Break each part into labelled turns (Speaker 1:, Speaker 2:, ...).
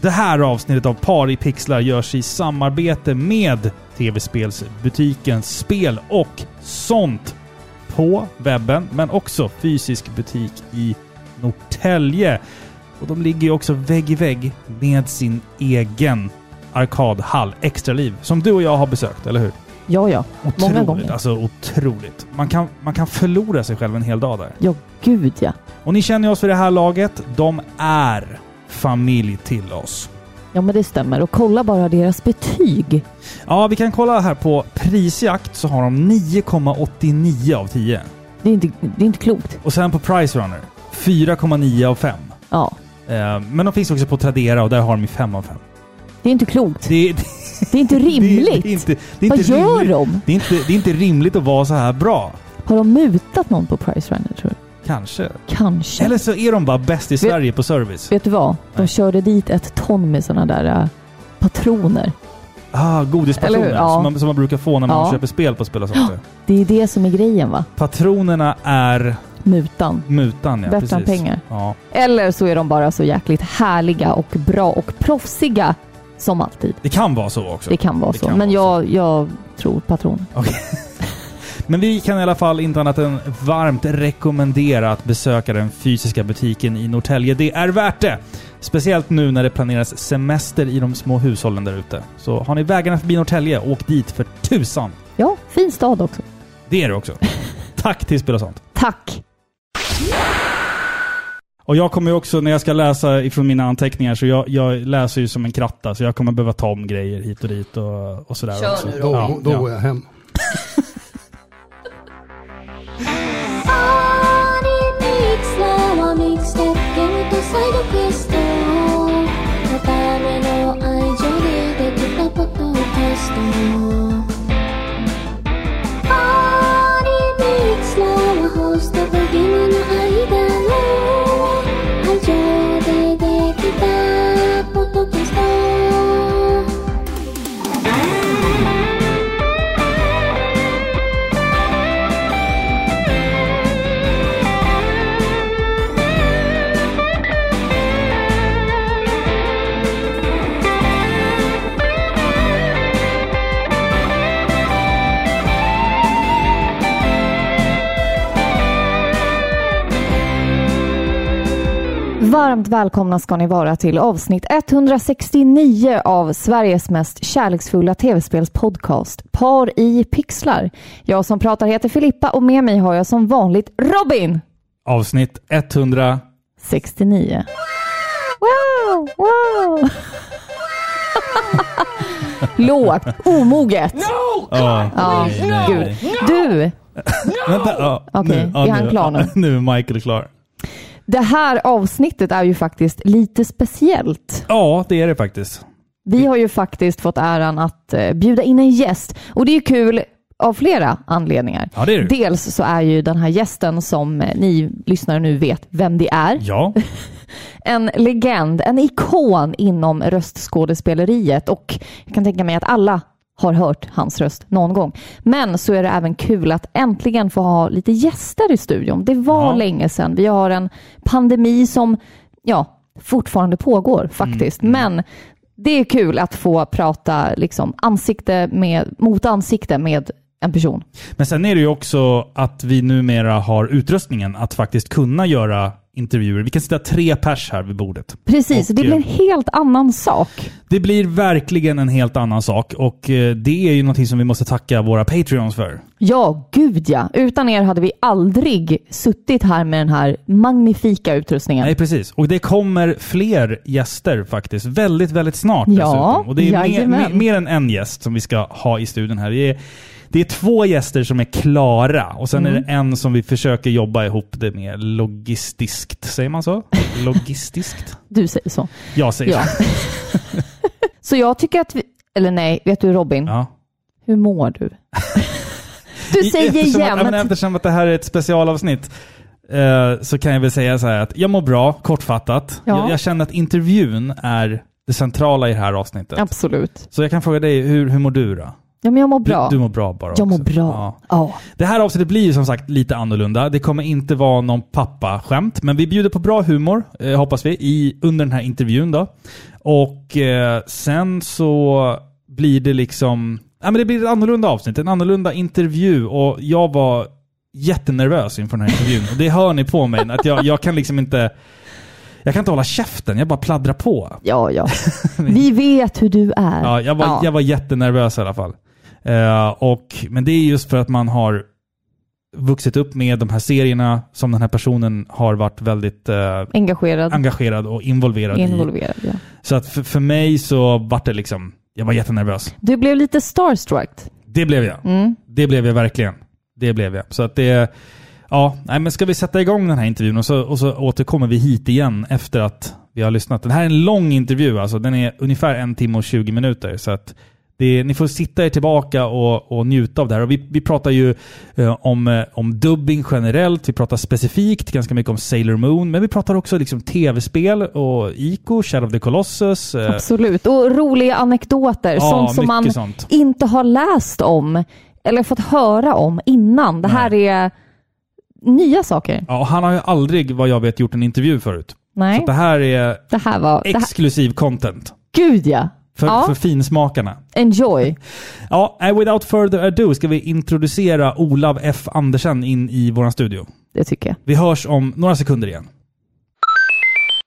Speaker 1: Det här avsnittet av Par i pixlar görs i samarbete med tv-spelsbutiken Spel och sånt på webben, men också fysisk butik i Norrtälje. Och de ligger ju också vägg i vägg med sin egen arkadhall, Extraliv, som du och jag har besökt, eller hur?
Speaker 2: Ja, ja.
Speaker 1: Otroligt,
Speaker 2: gånger.
Speaker 1: Alltså otroligt. Man kan, man kan förlora sig själv en hel dag där.
Speaker 2: Ja, gud ja.
Speaker 1: Och ni känner oss för det här laget. De är familj till oss.
Speaker 2: Ja, men det stämmer. Och kolla bara deras betyg.
Speaker 1: Ja, vi kan kolla här på Prisjakt så har de 9,89 av 10.
Speaker 2: Det är inte, det är inte klokt.
Speaker 1: Och sen på Price Runner 4,9 av 5.
Speaker 2: Ja,
Speaker 1: Eh, Men de finns också på Tradera och där har de ju 5 av 5.
Speaker 2: det är inte klokt.
Speaker 1: Det, det,
Speaker 2: Det är inte
Speaker 1: det,
Speaker 2: rimligt.
Speaker 1: det är inte, det är
Speaker 2: Vad
Speaker 1: inte
Speaker 2: gör
Speaker 1: rimligt.
Speaker 2: de?
Speaker 1: Det är, inte, det är inte rimligt att vara så här bra.
Speaker 2: Har de mutat någon på Price Runner tror du?
Speaker 1: Kanske.
Speaker 2: Kanske.
Speaker 1: Eller så är de bara bäst i Sverige på service.
Speaker 2: Vet du vad? De
Speaker 1: Nej.
Speaker 2: körde dit ett ton med sådana där äh, patroner.
Speaker 1: Ah, godispatroner
Speaker 2: Eller hur? Ja.
Speaker 1: som, man, som man brukar få när man
Speaker 2: Ja.
Speaker 1: köper spel på Spel och sånt. där.
Speaker 2: Det är det som är grejen va?
Speaker 1: Patronerna är
Speaker 2: Mutan.
Speaker 1: mutan, ja.
Speaker 2: Bättre än
Speaker 1: precis.
Speaker 2: pengar.
Speaker 1: Ja.
Speaker 2: Eller så är de bara så jäkligt härliga och bra och proffsiga som alltid.
Speaker 1: Det kan vara så också.
Speaker 2: Det kan vara
Speaker 1: Det
Speaker 2: så.
Speaker 1: kan
Speaker 2: Men
Speaker 1: vara
Speaker 2: jag, jag tror patron.
Speaker 1: Men vi kan i alla fall inte annat än varmt rekommendera att besöka den fysiska butiken i Norrtälje. Det är värt det! Speciellt nu när det planeras semester i de små hushållen där ute. Så har ni vägarna förbi Norrtälje, åk dit för tusan!
Speaker 2: Ja, fin stad också.
Speaker 1: Det är det också. Tack till Spel och sånt.
Speaker 2: Tack!
Speaker 1: Och jag kommer ju också, när jag ska läsa ifrån mina anteckningar, så jag, jag läser ju som en kratta, så jag kommer behöva ta om grejer hit och dit och, och sådär
Speaker 2: Kör
Speaker 1: också.
Speaker 2: nu
Speaker 3: Då, då går jag hem.
Speaker 4: Thank you
Speaker 2: 100. Varmt välkomna ska ni vara till avsnitt 169 av Sveriges mest kärleksfulla tv-spelspodcast Par i pixlar. Jag som pratar heter Filippa och med mig har jag som vanligt Robin!
Speaker 1: Avsnitt 100...
Speaker 2: 69. Wow! Wow! Lågt, omoget.
Speaker 1: Ja.
Speaker 2: Ja,
Speaker 1: Nej, nej,
Speaker 2: gud.
Speaker 1: nej.
Speaker 2: Du,
Speaker 1: Vänta, ja.
Speaker 2: Okej,
Speaker 1: nu, ja,
Speaker 2: är han
Speaker 1: nu,
Speaker 2: klar nu?
Speaker 1: ja, nu är Michael klar.
Speaker 2: det här avsnittet är ju faktiskt lite speciellt.
Speaker 1: Ja, det är det faktiskt.
Speaker 2: Vi har ju faktiskt fått äran att eh, bjuda in en gäst och det är ju kul av flera anledningar.
Speaker 1: Ja, det är det.
Speaker 2: Dels så är ju den här gästen som eh, ni lyssnare nu vet vem det är.
Speaker 1: Ja,
Speaker 2: en legend, en ikon inom röstskådespeleriet och jag kan tänka mig att alla har hört hans röst någon gång. Men så är det även kul att äntligen få ha lite gäster i studion. Det var
Speaker 1: Ja.
Speaker 2: länge sedan. Vi har en pandemi som ja, fortfarande pågår faktiskt.
Speaker 1: Mm,
Speaker 2: Men det är kul att få prata liksom, ansikte med, mot ansikte med en person.
Speaker 1: men sen är det ju också att vi numera har utrustningen att faktiskt kunna göra intervjuer. Vi kan sitta tre pers här vid bordet.
Speaker 2: Precis,
Speaker 1: Och,
Speaker 2: det blir
Speaker 1: eh,
Speaker 2: en helt annan sak.
Speaker 1: Det blir verkligen en helt annan sak och eh, det är ju någonting som vi måste tacka våra Patreons för.
Speaker 2: Ja, gud ja. Utan er hade vi aldrig suttit här med den här magnifika utrustningen.
Speaker 1: Nej, precis. Och det kommer fler gäster faktiskt. Väldigt, väldigt snart
Speaker 2: Ja,
Speaker 1: dessutom. Och det är mer,
Speaker 2: jajamän.
Speaker 1: mer, mer än en gäst som vi ska ha i studion här. Det är, det är två gäster som är klara och sen är det
Speaker 2: Mm.
Speaker 1: en som vi försöker jobba ihop det med logistiskt. Säger man så? Logistiskt?
Speaker 2: Du säger så.
Speaker 1: Jag säger
Speaker 2: Ja.
Speaker 1: så.
Speaker 2: så jag tycker att vi... Eller nej, vet du Robin?
Speaker 1: Ja.
Speaker 2: Hur mår du? du
Speaker 1: I-
Speaker 2: säger
Speaker 1: eftersom, Att, ja, men
Speaker 2: jämt...
Speaker 1: eftersom att det här är ett specialavsnitt eh, så kan jag väl säga så här att jag mår bra, kortfattat.
Speaker 2: Ja.
Speaker 1: Jag, jag känner att intervjun är det centrala i det här avsnittet.
Speaker 2: Absolut.
Speaker 1: Så jag kan fråga dig, hur, hur mår du då?
Speaker 2: Ja, men jag mår bra.
Speaker 1: Du, du mår bra bara
Speaker 2: jag mår
Speaker 1: också.
Speaker 2: bra.
Speaker 1: Ja.
Speaker 2: Ja.
Speaker 1: Det här avsnittet blir ju som sagt lite annorlunda. Det kommer inte vara någon pappa-skämt, men vi bjuder på bra humor, eh, hoppas vi, i, under den här intervjun då. Och eh, sen så blir det liksom... Ja, men det blir ett annorlunda avsnitt, en annorlunda intervju och jag var jättenervös inför den här intervjun. Och det hör ni på mig, att jag, jag kan liksom inte... Jag kan inte hålla käften, jag bara pladdrar på.
Speaker 2: Ja, ja. Vi vet hur du är.
Speaker 1: Ja, jag, var,
Speaker 2: Ja.
Speaker 1: jag var jättenervös i alla fall. Eh, och, men det är just för att man har vuxit upp med de här serierna som den här personen har varit väldigt eh,
Speaker 2: Engagerad,
Speaker 1: engagerad och involverad i.
Speaker 2: involverad. Ja.
Speaker 1: Så att för, för mig så vart det liksom, jag var jättenervös.
Speaker 2: Du blev lite starstruck.
Speaker 1: Det blev jag.
Speaker 2: Mm.
Speaker 1: Det blev jag verkligen. Det blev jag. Så att det, ja, nej men ska vi sätta igång den här intervjun och så, och så återkommer vi hit igen efter att vi har lyssnat. Den här är en lång intervju alltså. Den är ungefär en timme och 20 minuter. Så att det, ni får sitta er tillbaka och, och njuta av det här. Och vi, vi pratar ju eh, om, eh, om dubbing generellt, vi pratar specifikt ganska mycket om Sailor Moon, men vi pratar också liksom tv-spel och Ico, Shadow of the Colossus. eh,
Speaker 2: Absolut. Och roliga anekdoter.
Speaker 1: Ja,
Speaker 2: sånt som
Speaker 1: mycket
Speaker 2: man
Speaker 1: sånt.
Speaker 2: inte har läst om eller fått höra om innan. Det här är nya saker.
Speaker 1: Ja, och han har ju aldrig, vad jag vet, gjort en intervju förut. Så
Speaker 2: Nej,
Speaker 1: att det här är
Speaker 2: det här var... Det här,
Speaker 1: Exklusiv content.
Speaker 2: gud ja!
Speaker 1: För,
Speaker 2: Ja.
Speaker 1: för finsmakarna.
Speaker 2: Enjoy.
Speaker 1: Ja, eh, without further ado ska vi introducera Olav F. Andersen in i vår studio.
Speaker 2: Det tycker jag.
Speaker 1: Vi hörs om några sekunder igen.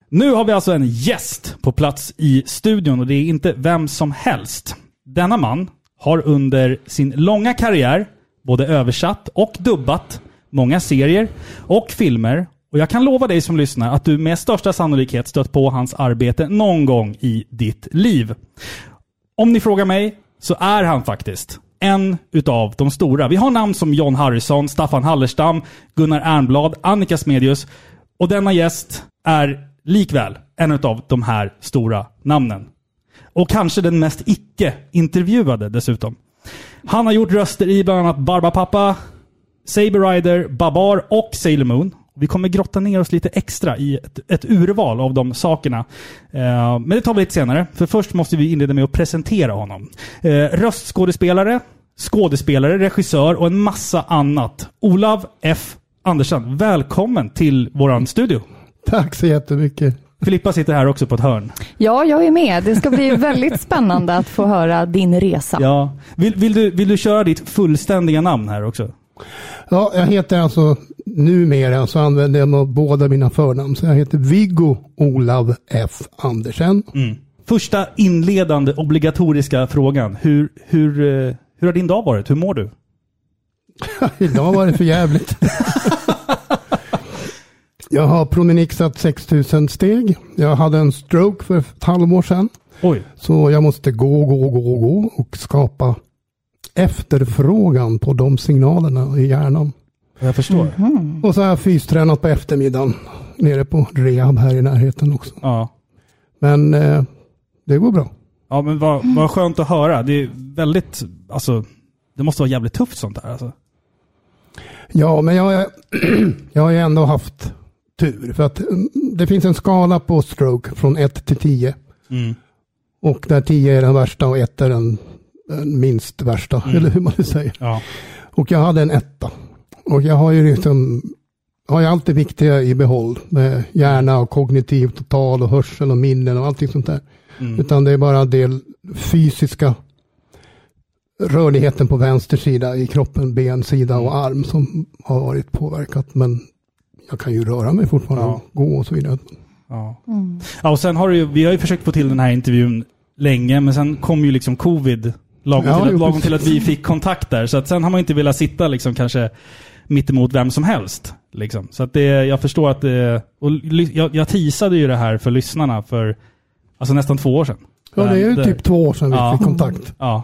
Speaker 1: Nu har vi alltså en gäst på plats i studion och det är inte vem som helst. Denna man har under sin långa karriär både översatt och dubbat många serier och filmer. Och jag kan lova dig som lyssnar att du med största sannolikhet stött på hans arbete någon gång i ditt liv. Om ni frågar mig så är han faktiskt en utav de stora. Vi har namn som John Harrison, Staffan Hallerstam, Gunnar Ernblad, Annika Smedius och denna gäst är likväl en utav de här stora namnen. Och kanske den mest icke-intervjuade dessutom. Han har gjort röster i bland annat Barbapapa, Saber Rider, Babar och Sailor Moon. Vi kommer grotta ner oss lite extra i ett, ett urval av de sakerna. Eh, men det tar vi lite senare, för först måste vi inleda med att presentera honom. Eh, röstskådespelare, skådespelare, regissör och en massa annat. Olav F. Andersen, välkommen till våran studio.
Speaker 3: Tack så jättemycket.
Speaker 1: Filippa sitter här också på ett hörn.
Speaker 2: Ja, jag är med. Det ska bli väldigt spännande att få höra din resa.
Speaker 1: Ja. Vill, vill, du, vill du köra ditt fullständiga namn här också?
Speaker 3: Ja, jag heter alltså, numera så använder jag mig av båda mina förnamn. Så jag heter Viggo Olav F Andersen.
Speaker 1: Första inledande obligatoriska frågan. Hur, hur, eh, hur har din dag varit? Hur mår du?
Speaker 3: Idag var det för jävligt. jag har promenixat 6000 steg. Jag hade en stroke för ett halvår sedan.
Speaker 1: Oj.
Speaker 3: Så jag måste gå, gå, gå, gå och skapa efterfrågan på de signalerna i hjärnan.
Speaker 1: Jag förstår.
Speaker 3: Och så har jag fystränat på eftermiddagen nere på rehab här i närheten också.
Speaker 1: Ja.
Speaker 3: Men eh, det går bra.
Speaker 1: ja, men vad, vad skönt att höra. Det är väldigt, alltså, det måste vara jävligt tufft sånt där. Alltså.
Speaker 3: Ja, men jag, jag har ju ändå haft tur. För att mm, det finns en skala på stroke från 1 till 10. Och där 10 är den värsta och 1 är den, den minst värsta. Eller hur man nu säger.
Speaker 1: Ja.
Speaker 3: Och jag hade en etta. Och jag har ju liksom, har ju allt det viktiga i behåll. Med hjärna och kognitiv total och hörsel och minnen och allting sånt där.
Speaker 1: Mm,
Speaker 3: Utan det är bara del fysiska rörligheten på vänster sida i kroppen, ben, sida
Speaker 1: Mm.
Speaker 3: och arm som har varit påverkat. Men jag kan ju röra mig fortfarande,
Speaker 1: Ja.
Speaker 3: gå och så vidare.
Speaker 1: Ja. ja, och sen har du ju, vi har ju försökt få till den här intervjun länge, men sen kom ju liksom covid lagom,
Speaker 3: Ja,
Speaker 1: till,
Speaker 3: jo,
Speaker 1: att, lagom
Speaker 3: precis.
Speaker 1: till att vi fick kontakt där. Så att sen har man inte velat sitta liksom kanske mittemot vem som helst. Liksom. Så att det, jag förstår att det, och ly- jag, jag teasade ju det här för lyssnarna för alltså nästan två år sedan.
Speaker 3: Ja, det är ju
Speaker 1: Där-
Speaker 3: typ två år sedan vi
Speaker 1: Ja.
Speaker 3: fick kontakt.
Speaker 1: Ja,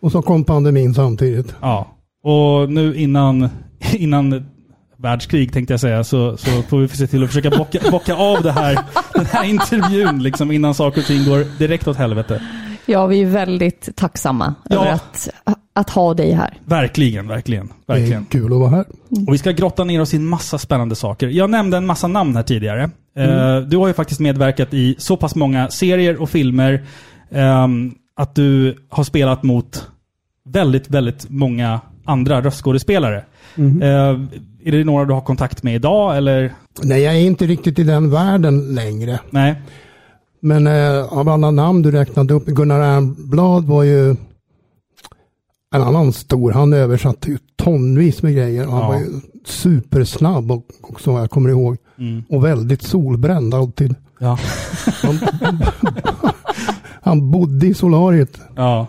Speaker 3: Och så kom pandemin samtidigt.
Speaker 1: Ja, och nu innan, innan världskrig tänkte jag säga så, så får vi se till att försöka bocka, bocka av det här, den här intervjun liksom, innan saker och ting går direkt åt helvete.
Speaker 2: Ja, vi är väldigt tacksamma
Speaker 1: Ja.
Speaker 2: över att, att ha dig här.
Speaker 1: Verkligen, verkligen,
Speaker 3: Det
Speaker 1: verkligen.
Speaker 3: är kul att vara här.
Speaker 1: Och vi ska grotta ner oss i en massa spännande saker. Jag nämnde en massa namn här tidigare. Eh, Du har ju faktiskt medverkat i så pass många serier och filmer ehm, att du har spelat mot väldigt, väldigt många andra röstskådespelare.
Speaker 3: Mhm.
Speaker 1: Eh, är det några du har kontakt med idag eller?
Speaker 3: Nej, jag är inte riktigt i den världen längre.
Speaker 1: Nej.
Speaker 3: Men eh, av alla namn du räknade upp, Gunnar Ernblad var ju en annan stor. Han översatte ju tonvis med grejer. Han
Speaker 1: Ja.
Speaker 3: var ju supersnabb och- också, vad jag kommer ihåg.
Speaker 1: Mm.
Speaker 3: Och väldigt solbränd alltid.
Speaker 1: Ja.
Speaker 3: Han, han bodde i solariet.
Speaker 1: ja.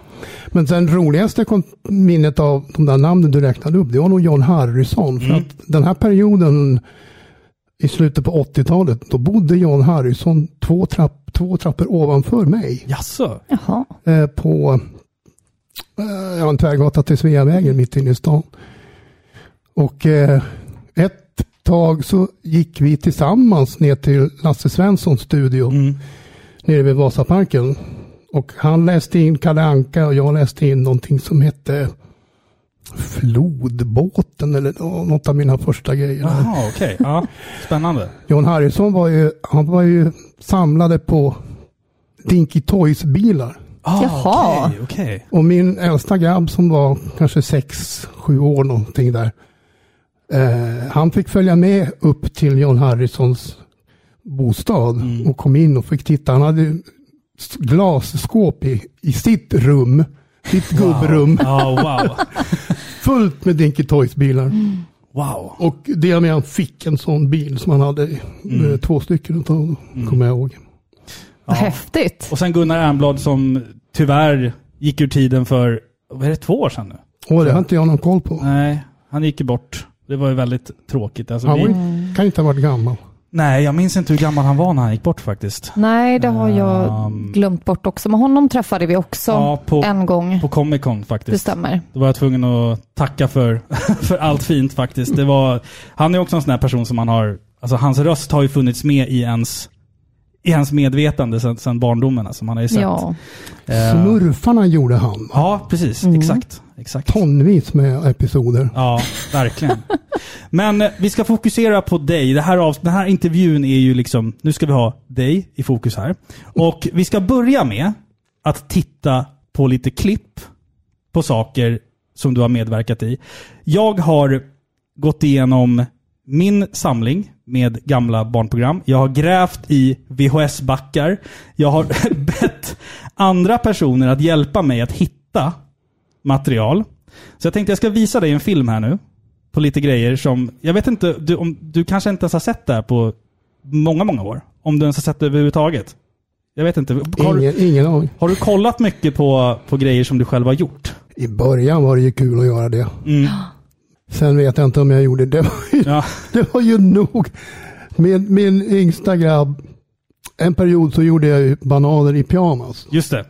Speaker 3: Men sen roligaste kon- minnet av de där namnen du räknade upp, det var nog John Harrison. För
Speaker 1: Mm.
Speaker 3: att den här perioden i slutet på 80-talet, då bodde John Harrison två, trapp, två trappor ovanför mig.
Speaker 1: Jaså?
Speaker 2: Jaha.
Speaker 3: Eh, på eh, ja, en tvärgata till Sveavägen mitt inne i stan. Och eh, ett tag så gick vi tillsammans ner till Lasse Svenssons studio
Speaker 1: Mm.
Speaker 3: nere vid Vasaparken. Och han läste in Kalle Anka och jag läste in någonting som hette Flodbåten eller nå- något av mina första grejer.
Speaker 1: Jaha, okej. Ja. Spännande.
Speaker 3: John Harrison var ju, han var ju samlade på Dinky Toys bilar.
Speaker 1: Ah,
Speaker 2: Jaha.
Speaker 1: Okej, okej.
Speaker 3: Och min äldsta grabb som var kanske sex, sju år någonting där. Eh, han fick följa med upp till John Harrisons bostad
Speaker 1: Mm.
Speaker 3: och kom in och fick titta. Han hade ju s- glasskåp i, i sitt rum, sitt gubbrum,
Speaker 1: Ja, Ah, wow.
Speaker 3: fullt med Dinky Toys bilar.
Speaker 1: Mm. Wow.
Speaker 3: Och det med han fick en sån bil som han hade,
Speaker 1: Mm.
Speaker 3: eh, två stycken utav, kommer jag ihåg.
Speaker 2: Vad häftigt.
Speaker 1: Och sen Gunnar Ernblad som tyvärr gick ur tiden för, vad är det, två år sedan nu?
Speaker 3: Och det har inte jag någon koll på.
Speaker 1: Nej, han gick ju bort. Det var ju väldigt tråkigt. Alltså,
Speaker 3: Han
Speaker 1: vi,
Speaker 3: var, ju- kan inte ha varit gammal.
Speaker 1: Nej, jag minns inte hur gammal han var när han gick bort faktiskt.
Speaker 2: Nej, det har jag
Speaker 1: Ehm.
Speaker 2: glömt bort också. Men honom träffade vi också
Speaker 1: Ja, på,
Speaker 2: en gång.
Speaker 1: på Comic Con
Speaker 2: Det
Speaker 1: faktiskt.
Speaker 2: stämmer.
Speaker 1: Då var jag tvungen att tacka för, för allt fint faktiskt. Det var, han är också en sån här person som man har, alltså hans röst har ju funnits med i ens, i ens medvetande sedan sedan barndomen. Alltså, man har ju sett.
Speaker 2: Ja.
Speaker 1: Eh,
Speaker 3: Smurfarna gjorde han.
Speaker 1: ja, precis.
Speaker 2: Mm.
Speaker 1: Exakt. exakt.
Speaker 3: tonvis med episoder.
Speaker 1: Ja, verkligen. Men eh, vi ska fokusera på dig. Det här av, den här intervjun är ju liksom, nu ska vi ha dig i fokus här. Och vi ska börja med att titta på lite klipp på saker som du har medverkat i. Jag har gått igenom min samling med gamla barnprogram. Jag har grävt i VHS-backar. Jag har bett andra personer att hjälpa mig att hitta material. Så jag tänkte jag ska visa dig en film här nu. På lite grejer som, jag vet inte, du, om, du kanske inte ens har sett det här på många, många år. Om du ens har sett det överhuvudtaget. Jag vet inte. Har, du-
Speaker 3: Ingen, ingen aning.
Speaker 1: har du kollat mycket på, på grejer som du själv har gjort?
Speaker 3: I början var det ju kul att göra det.
Speaker 1: Mm.
Speaker 3: Sen vet jag inte om jag gjorde det. Det var ju,
Speaker 1: Ja.
Speaker 3: det var ju nog. Min, min yngsta grabb, en period så gjorde jag ju bananer i pyjamas.
Speaker 1: Just det.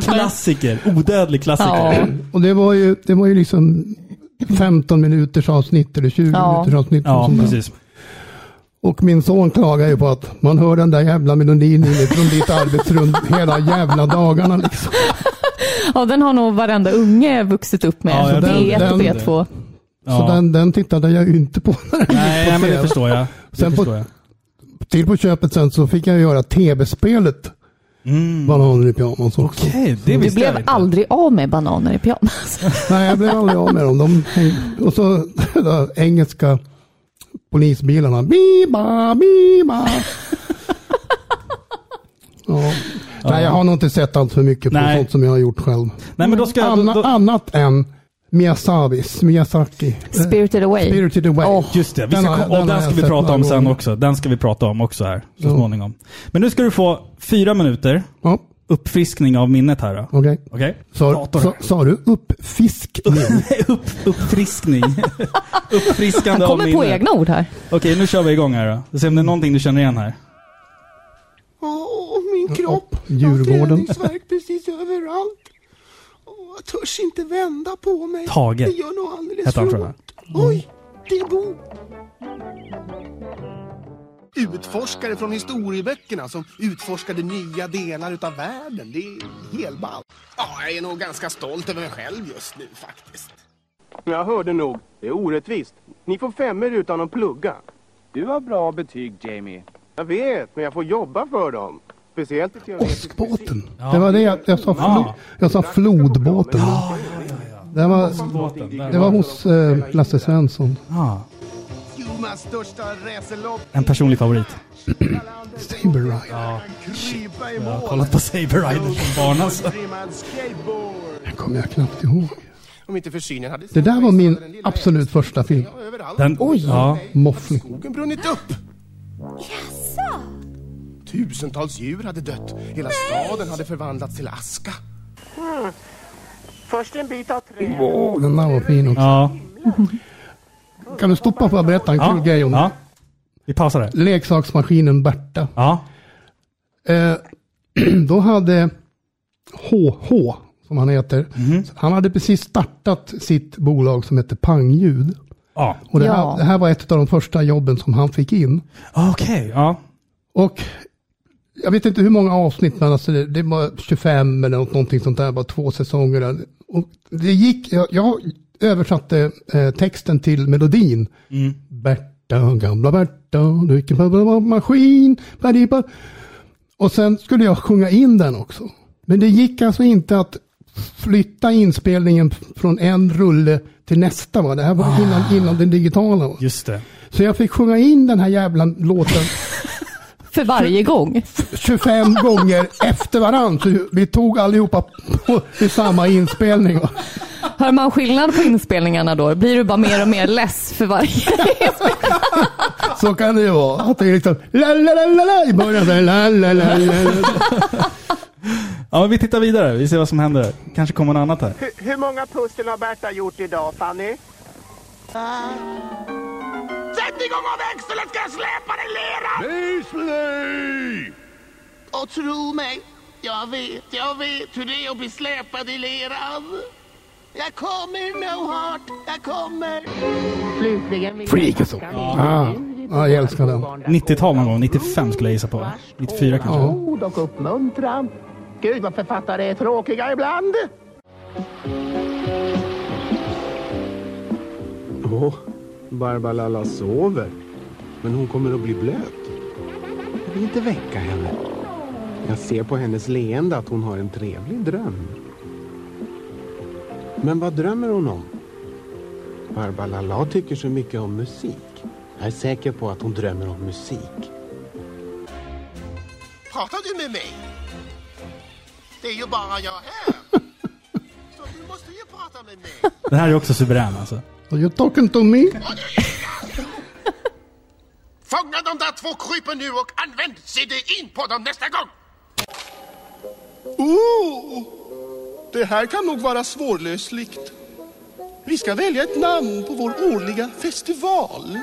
Speaker 1: Klassiker. Odödlig klassiker.
Speaker 2: Ja.
Speaker 3: Och det var ju, det var ju liksom 15 minuters avsnitt eller 20
Speaker 2: Ja.
Speaker 3: minuters avsnitt. och
Speaker 1: Ja,
Speaker 3: sånt där.
Speaker 1: precis.
Speaker 3: Och min son klagar ju på att man hör den där jävla melodin inifrån ditt arbetsrum hela jävla dagarna liksom.
Speaker 2: ja, den har nog varenda unge vuxit upp med.
Speaker 1: Ja, jag
Speaker 3: tror
Speaker 2: B1 och
Speaker 3: det.
Speaker 2: B2.
Speaker 1: Ja.
Speaker 3: Så den, den tittade jag ju inte på när den
Speaker 1: Nej,
Speaker 3: gick på
Speaker 1: nej, men det
Speaker 3: TV.
Speaker 1: förstår jag. Det
Speaker 3: Sen på-
Speaker 1: förstår jag.
Speaker 3: Till på köpet sen så fick jag göra tv-spelet
Speaker 1: Mm.
Speaker 3: Bananer i pyjamas också.
Speaker 1: Okej, det
Speaker 2: Du
Speaker 1: visste jag
Speaker 2: blev
Speaker 1: inte.
Speaker 2: aldrig av med bananer i pyjamas.
Speaker 3: Nej, jag blev aldrig av med dem. De, och så de där engelska polisbilarna. Biba, biba. Ja. Nej, jag har nog inte sett allt för mycket på
Speaker 1: Nej.
Speaker 3: sånt som jag har gjort själv.
Speaker 1: Nej, men då ska jag...
Speaker 3: Anna,
Speaker 1: Då, då,
Speaker 3: annat än Miyazabis, Miyazaki. Eh,
Speaker 2: Spirited away.
Speaker 3: Spirited Away.
Speaker 2: Åh.
Speaker 1: just det, vi
Speaker 3: Den
Speaker 1: ska,
Speaker 3: har-
Speaker 1: ko- och
Speaker 3: den
Speaker 1: den
Speaker 3: har
Speaker 1: ska
Speaker 3: jag
Speaker 1: vi
Speaker 3: sett
Speaker 1: prata
Speaker 3: några
Speaker 1: om sen
Speaker 3: gånger.
Speaker 1: också. Den ska vi prata om också här så
Speaker 3: Ja.
Speaker 1: småningom. Men nu ska du få fyra minuter
Speaker 3: Ja,
Speaker 1: uppfriskning av minnet här då.
Speaker 3: okej.
Speaker 1: Okej?
Speaker 3: Sa,
Speaker 1: Dator.
Speaker 3: sa, sa du uppfiskning?
Speaker 1: Upp, uppfriskning.
Speaker 2: Han
Speaker 1: Uppfriskande av eh,
Speaker 2: kommer
Speaker 1: minnet.
Speaker 2: på egna ord här.
Speaker 1: Okej, nu kör vi igång här då. Vi ser om det är någonting du känner igen här.
Speaker 4: Åh, min kropp.
Speaker 3: Djurgården.
Speaker 4: Jag har träningsvärk precis överallt. Åh, jag törs inte vända på mig.
Speaker 1: Tage
Speaker 4: Det gör nog alldeles
Speaker 1: hette han,
Speaker 4: för
Speaker 1: tror jag.
Speaker 4: ont. Oj, det är Bo. Utforskare från historieböckerna som utforskade nya delar utav världen. Det är helball. Ja, jag är nog ganska stolt över mig själv just nu faktiskt.
Speaker 5: Jag hörde nog. Det är orättvist. Ni får femmer utan att plugga.
Speaker 6: Du har bra betyg, Jamie.
Speaker 5: Jag vet, men jag får jobba för dem. Speciellt i teoretisk fysik.
Speaker 3: Åskbåten. Det var det jag, jag sa. Flo,
Speaker 1: Ja.
Speaker 3: jag sa flodbåten. Det var,
Speaker 1: Båten, där
Speaker 3: det var hos eh, Lasse Svensson.
Speaker 1: Ah,
Speaker 4: Jonas största racerlopp
Speaker 1: en personlig favorit.
Speaker 3: Saber Ride.
Speaker 1: Ja,
Speaker 4: krypa i
Speaker 1: jag har
Speaker 4: mål.
Speaker 1: kollat på Saber Rider som barn alltså.
Speaker 4: Uptrimmad skateboard.
Speaker 3: Den kommer jag knappt ihåg.
Speaker 4: Om inte försynen hade...
Speaker 3: Det där var min absolut första film.
Speaker 4: Ja, överallt.
Speaker 1: Den, Oj! Ja,
Speaker 3: Moffling.
Speaker 4: Skogen brunnit upp. Tusentals djur hade dött. Hela staden hade förvandlats till aska.
Speaker 6: Först en bit av trä.
Speaker 3: Åh, den där var fin också.
Speaker 1: ja,
Speaker 3: Kan du stoppa för att berätta en kul
Speaker 1: ja,
Speaker 3: grej om
Speaker 1: ja. Vi pausar där.
Speaker 3: leksaksmaskinen Berta?
Speaker 1: Ja,
Speaker 3: Eh, då hade HH, som han heter,
Speaker 1: Mhm.
Speaker 3: han hade precis startat sitt bolag som hette Pangljud.
Speaker 1: ja.
Speaker 3: Och det,
Speaker 2: Ja.
Speaker 3: här, det här var ett av de första jobben som han fick in.
Speaker 1: Ah, Okej, ja.
Speaker 3: Och jag vet inte hur många avsnitt, men alltså det, det var 25 eller något, någonting sånt där, bara två säsonger. Och det gick, jag, jag översatte eh, texten till melodin. Berta, gamla Berta, du gick en maskin. Badiba. Och sen skulle jag sjunga in den också. Men det gick alltså inte att flytta inspelningen från en rulle till nästa. Va? Det här var innan, innan den digitala. Va?
Speaker 1: Just det.
Speaker 3: Så jag fick sjunga in den här jävla låten
Speaker 2: För varje gång.
Speaker 3: 25 gånger efter varandra. Så vi tog allihopa på, i samma inspelning. va.
Speaker 2: Hör man skillnad på inspelningarna då? Blir du bara mer och mer less för varje?
Speaker 3: Så kan det ju vara. Att det är liksom la la la la la i början. så här, La, la, la, la, la.
Speaker 1: Ja, men vi tittar vidare. Vi ser vad som händer. Kanske kommer något annat här.
Speaker 6: Hur, hur många pussel har Berta gjort idag, Fanny?
Speaker 4: Sätt igång av växeln ska jag släpa dig lera!
Speaker 7: Och tro mig, jag vet, jag vet hur det är att bli släpad i leran. Jag kommer, no heart, jag kommer.
Speaker 6: Slutligen vill
Speaker 3: Freakazoon. Ah, ja, jag älskar den.
Speaker 1: 90-tal någon gång. 95 skulle jag gissa på. 94 kanske.
Speaker 3: Ja.
Speaker 6: Ord och uppmuntran. Gud vad författare är tråkiga ibland.
Speaker 5: Åh, Barbalala sover. Men hon kommer att bli blöt. Jag vill inte väcka henne. Jag ser på hennes leende att hon har en trevlig dröm. Men vad drömmer hon om? Barbalala tycker så mycket om musik. Jag är säker på att hon drömmer om musik.
Speaker 7: Pratar du med mig? Det är ju bara jag här. Så du måste ju prata med mig.
Speaker 1: Den här är också suverän alltså.
Speaker 3: You talking to me?
Speaker 7: Fånga de där två krypen nu och använd CD-in på dem nästa gång.
Speaker 4: Oh, det här kan nog vara svårlösligt. Vi ska välja ett namn på vår årliga festival.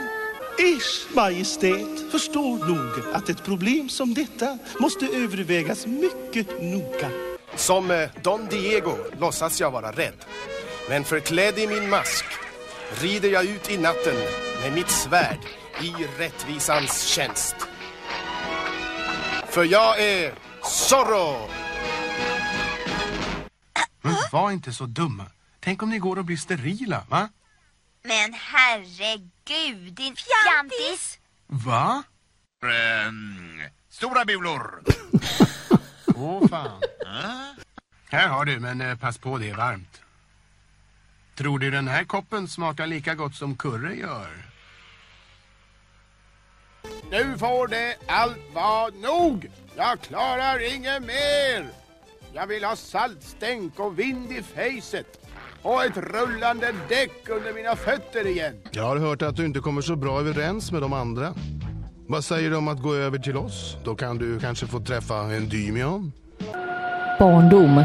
Speaker 4: Ers Majestät förstår nog att ett problem som detta måste övervägas mycket noga.
Speaker 8: Som eh, Don Diego låtsas jag vara rädd. Men förklädd i min mask rider jag ut i natten med mitt svärd i rättvisans tjänst. För jag är Zorro!
Speaker 5: Men var inte så dumma. Tänk om ni går och blir sterila, va?
Speaker 9: Men herregud, din fjantis!
Speaker 5: Va? Ehm,
Speaker 8: Stora bulor!
Speaker 5: Åh fan. Eh? här har du, men eh, pass på det är varmt. Tror du den här koppen smakar lika gott som kurre gör?
Speaker 8: Nu får det allt vara nog! Jag klarar inget mer! Jag vill ha saltstänk och vind i fejset och ett rullande däck under mina fötter igen.
Speaker 5: Jag har hört att du inte kommer så bra överens med de andra. Vad säger du om att gå över till oss? Då kan du kanske få träffa en dymion.
Speaker 2: Barndom.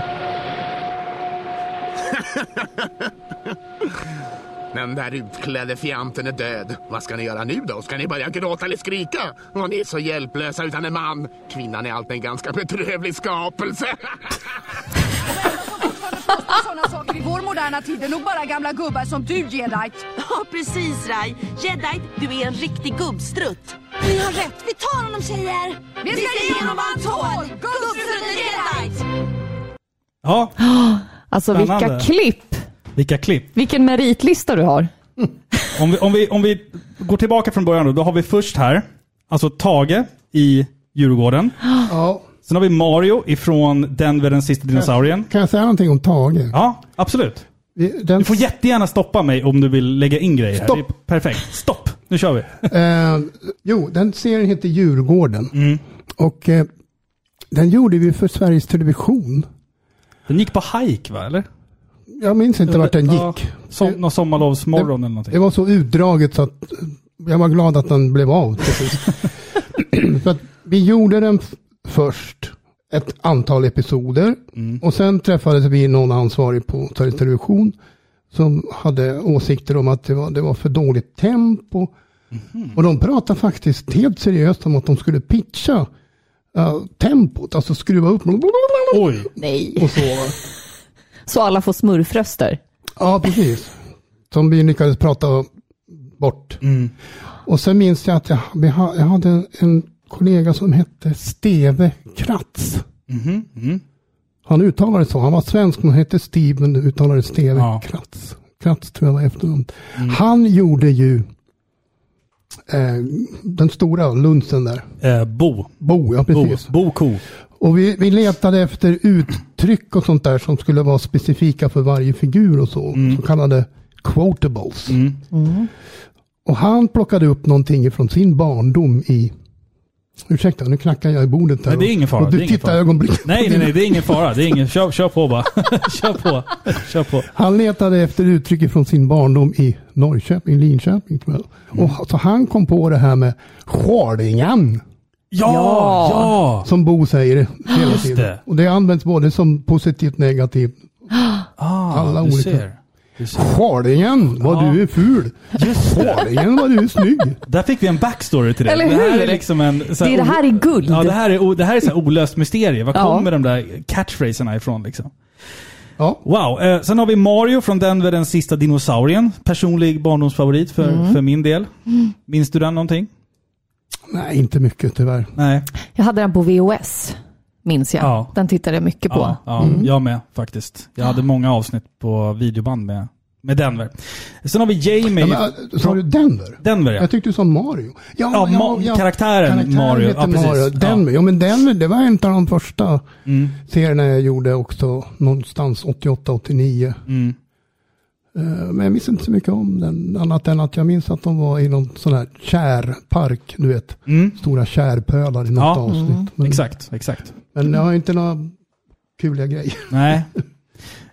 Speaker 8: Den där utklädde fjanten är död. Vad ska ni göra nu då? Ska ni börja gråta eller skrika? Och ni är så hjälplösa utan en man. Kvinnan är alltid en ganska bedrövlig skapelse.
Speaker 10: sådana saker i vår moderna tid. Det är nog bara gamla gubbar som du, Jedite.
Speaker 9: Ja, precis Rai. Jedi, du är en riktig gubbstrutt. Ni har rätt, vi tar honom tjejer!
Speaker 10: Vi ska ge honom vad han tål! Gubbstrutten Jedite!
Speaker 1: Ja,
Speaker 2: Alltså
Speaker 1: Spännande.
Speaker 2: vilka klipp!
Speaker 1: vilka klipp.
Speaker 2: Vilken meritlista du har.
Speaker 1: Om vi, om, vi, om vi går tillbaka från början då. Då har vi först här, alltså Tage i Djurgården.
Speaker 3: Ja.
Speaker 1: Sen har vi Mario ifrån Denver, den sista dinosaurien.
Speaker 3: Kan jag säga någonting om Tage?
Speaker 1: Ja, absolut.
Speaker 3: Den-
Speaker 1: Du får jättegärna stoppa mig om du vill lägga in grejer här.
Speaker 3: Stopp.
Speaker 1: Det är Perfekt. Stopp! Nu kör vi.
Speaker 3: Eh, jo, den serien heter Djurgården. Och eh, den gjorde vi för Sveriges Television.
Speaker 1: Den gick på hike va, eller?
Speaker 3: Jag minns inte vart den
Speaker 1: Ja,
Speaker 3: gick.
Speaker 1: som, någon sommarlovsmorgon eller någonting.
Speaker 3: Det var så utdraget så att eh, jag var glad att den blev av till sist. så att vi gjorde den f- först ett antal episoder
Speaker 1: Mm.
Speaker 3: och sen träffades vi någon ansvarig på Sveriges Television som hade åsikter om att det var, det var för dåligt tempo.
Speaker 1: Mhm.
Speaker 3: Och de pratade faktiskt helt seriöst om att de skulle pitcha eh, tempot, alltså skruva upp.
Speaker 1: Oj.
Speaker 2: Nej.
Speaker 3: Och så. va.
Speaker 2: Så alla får smurfröster.
Speaker 3: Ja, precis. Som vi lyckades prata bort.
Speaker 1: Mm.
Speaker 3: Och sen minns jag att jag, vi ha- jag hade en, en kollega som hette Steve Kratz.
Speaker 1: Mhm,
Speaker 3: Han uttalade så. Han var svensk men hette Steve men uttalade Steve
Speaker 1: Ja. Mm.
Speaker 3: Kratz. Kratz tror jag var efternamn. Han gjorde ju eh, den stora lunsen där.
Speaker 1: Eh, bo.
Speaker 3: Bo, ja
Speaker 1: Bo.
Speaker 3: precis.
Speaker 1: Bo ko.
Speaker 3: Och vi, vi letade efter uttryck och sånt där som skulle vara specifika för varje figur och så.
Speaker 1: Mm.
Speaker 3: Så kallade quotables. Och han plockade upp någonting från sin barndom i... Ursäkta, nu knackar jag i bordet där.
Speaker 1: Nej, det är ingen fara.
Speaker 3: Och du
Speaker 1: det är ingen
Speaker 3: tittar
Speaker 1: fara.
Speaker 3: ögonblickligen.
Speaker 1: Nej, nej, nej, det är ingen fara. Det är ingen... Kör, kör på bara. kör på. Kör på.
Speaker 3: Han letade efter uttryck från sin barndom i Norrköping, Linköping tror jag.
Speaker 1: Mm.
Speaker 3: Och, så han kom på det här med skörlingen.
Speaker 1: Ja!
Speaker 2: Ja.
Speaker 1: Ja!
Speaker 3: Som Bo säger det hela
Speaker 1: Just
Speaker 3: tiden.
Speaker 1: det.
Speaker 3: Och det används både som positivt och negativt.
Speaker 1: Ah,
Speaker 3: Alla
Speaker 1: du
Speaker 3: olika.
Speaker 1: Ser. Du ser.
Speaker 3: Skörlingen, vad
Speaker 1: Ja.
Speaker 3: du är ful. Skörlingen, vad du är snygg.
Speaker 1: Där fick vi en backstory till det.
Speaker 2: Eller
Speaker 1: Det här
Speaker 2: hur?
Speaker 1: är liksom en... så
Speaker 2: Det, det här är guld.
Speaker 1: Ja, det här är, o- det här är så här olöst mysterium. Var
Speaker 2: Ja.
Speaker 1: kommer de där catchphraserna ifrån liksom?
Speaker 3: Ja.
Speaker 1: Wow. Eh, sen har vi Mario från Denver, den sista dinosaurien. Personlig barndomsfavorit för,
Speaker 2: Mm.
Speaker 1: för min del. Minns du den någonting?
Speaker 3: Nej, inte mycket tyvärr.
Speaker 1: Nej.
Speaker 2: Jag hade den på VOS, minns jag.
Speaker 1: Ja.
Speaker 2: Den tittade jag mycket på.
Speaker 1: Ja, ja
Speaker 3: Mm.
Speaker 1: jag med faktiskt. Jag hade många avsnitt på videoband med, med Denver. Sen har vi Jamie.
Speaker 3: Ja, men, äh, sa du Denver?
Speaker 1: Denver ja.
Speaker 3: Jag tyckte du sa Mario.
Speaker 1: Ja, Ma- karaktären Mario.
Speaker 3: heter
Speaker 1: Ja, Mm. precis.
Speaker 3: Mario. Denver. Ja. men Denver, det var en av de första serierna jag gjorde också. Någonstans 88-89.
Speaker 1: Mm.
Speaker 3: Eh, Men jag minns inte så mycket om den. Annat än att jag minns att de var i någon sån här kärpark. Du vet,
Speaker 1: Mm.
Speaker 3: stora kärpölar i något
Speaker 1: Ja, Mm.
Speaker 3: avsnitt. Men,
Speaker 1: Exakt, exakt.
Speaker 3: men jag har inte några kuliga grejer.
Speaker 1: Nej.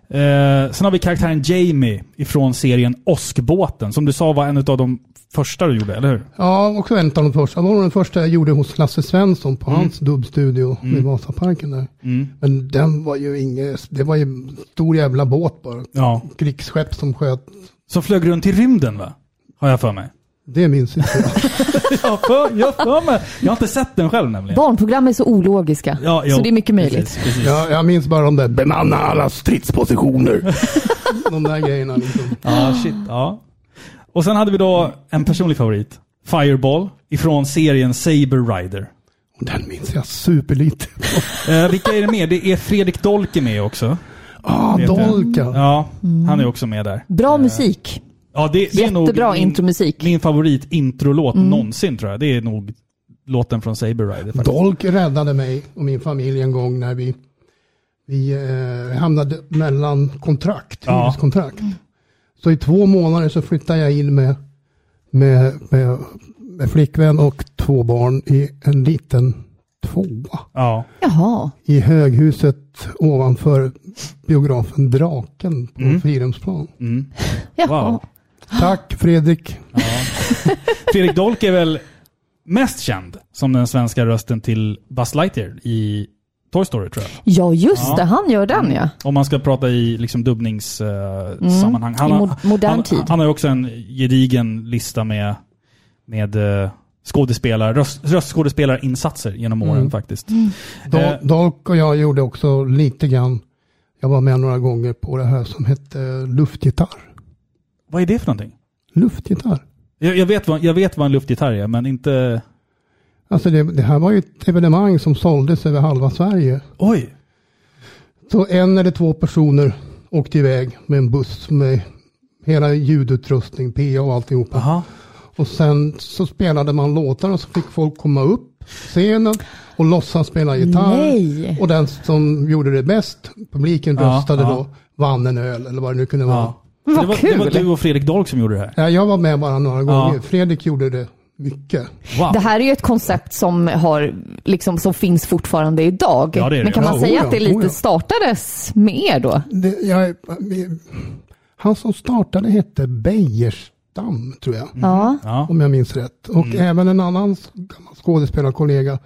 Speaker 1: Eh, sen har vi karaktären Jamie ifrån serien Oskbåten, som du sa var en av de första du gjorde, eller hur?
Speaker 3: Ja, också en av de första. Det var nog den första jag gjorde hos Lasse Svensson på hans dubbstudio vid Vasaparken där. Men den var ju inget, det var ju en stor jävla båt bara.
Speaker 1: Ja.
Speaker 3: Krigsskepp som sköt.
Speaker 1: Som flög runt i rymden va? Har jag för mig.
Speaker 3: Det minns inte jag.
Speaker 1: Jag har för, jag har för mig. Jag har inte sett den själv nämligen.
Speaker 2: Barnprogram är så ologiska,
Speaker 1: Ja, jo,
Speaker 2: så det är mycket möjligt.
Speaker 1: Precis, precis.
Speaker 3: jag. Jag minns bara de där bemanna alla stridspositioner. de där grejerna liksom.
Speaker 2: Ah.
Speaker 1: Ja, shit. Ja. Och sen hade vi då en personlig favorit. Fireball ifrån serien Saber Rider.
Speaker 3: Och Den minns jag superlite.
Speaker 1: Eh, vilka är det med? Det är Fredrik Dolke med också.
Speaker 3: Ah,
Speaker 1: Vet jag.
Speaker 3: Dolka.
Speaker 1: Ja,
Speaker 2: Mm.
Speaker 1: han är också med där.
Speaker 2: Bra musik.
Speaker 1: Ja, det, det är nog
Speaker 2: Jättebra
Speaker 1: min-
Speaker 2: intromusik. Mm.
Speaker 1: Min favorit introlåt någonsin tror jag. Det är nog låten från Saber Rider. faktiskt.
Speaker 3: Dolk räddade mig och min familj en gång när vi, vi eh, hamnade mellan kontrakt,
Speaker 1: Ja.
Speaker 3: hyreskontrakt. Så i två månader så flyttade jag in med, med, med, med flickvän och två barn i en liten tvåa
Speaker 1: Ja.
Speaker 2: Jaha.
Speaker 3: i höghuset ovanför biografen Draken på Frirumsplan.
Speaker 1: Mm.
Speaker 2: Jaha.
Speaker 1: Wow.
Speaker 3: Tack Fredrik.
Speaker 1: Fredrik Dolk är väl mest känd som den svenska rösten till Buzz Lightyear i Toy Story tror jag.
Speaker 2: Ja, just
Speaker 1: Ja.
Speaker 2: det. Han gör den ja.
Speaker 1: Om man ska prata i liksom dubbningssammanhang.
Speaker 2: Mm. I mo- modern
Speaker 1: han,
Speaker 2: tid.
Speaker 1: han har ju också en gedigen lista med, med eh, skådespelare, röst, röstskådespelarinsatser genom åren
Speaker 2: Mm.
Speaker 1: faktiskt.
Speaker 3: Dol-
Speaker 1: Eh.
Speaker 3: Dolk och jag gjorde också lite grann, jag var med några gånger på det här som hette eh, luftgitarr.
Speaker 1: Vad är det för någonting?
Speaker 3: Luftgitarr.
Speaker 1: Jag, jag, vet, vad, jag vet vad en luftgitarr är, men inte...
Speaker 3: Alltså det, det här var ju ett evenemang som såldes över halva Sverige.
Speaker 1: Oj!
Speaker 3: Så en eller två personer åkte iväg med en buss med hela ljudutrustning, PA och alltihopa.
Speaker 1: Aha.
Speaker 3: Och sen så spelade man låtar och så fick folk komma upp upp scenen och låtsas spela gitarr.
Speaker 2: Nej.
Speaker 3: Och den som gjorde det bäst, publiken
Speaker 1: Ja,
Speaker 3: röstade
Speaker 1: ja.
Speaker 3: då, vann en öl eller vad det nu kunde vara.
Speaker 1: Så det, var, det var
Speaker 2: kul.
Speaker 1: du och Fredrik Dahl som gjorde det här.
Speaker 3: Ja. Jag var med bara några gånger.
Speaker 1: Ja.
Speaker 3: Fredrik gjorde det mycket.
Speaker 1: Wow.
Speaker 2: Det här är ju ett koncept som, har, liksom, som finns fortfarande idag.
Speaker 1: Ja, det är det.
Speaker 2: Men kan
Speaker 1: Ja, Mm.
Speaker 2: man säga
Speaker 3: oja,
Speaker 2: att det lite
Speaker 3: oja.
Speaker 2: startades med er då?
Speaker 3: Det, jag, han som startade hette Beijerstam, tror jag.
Speaker 2: Ja.
Speaker 1: Ja.
Speaker 3: Om jag minns rätt. Och
Speaker 2: Mm.
Speaker 3: även en annan s- gammal skådespelarkollega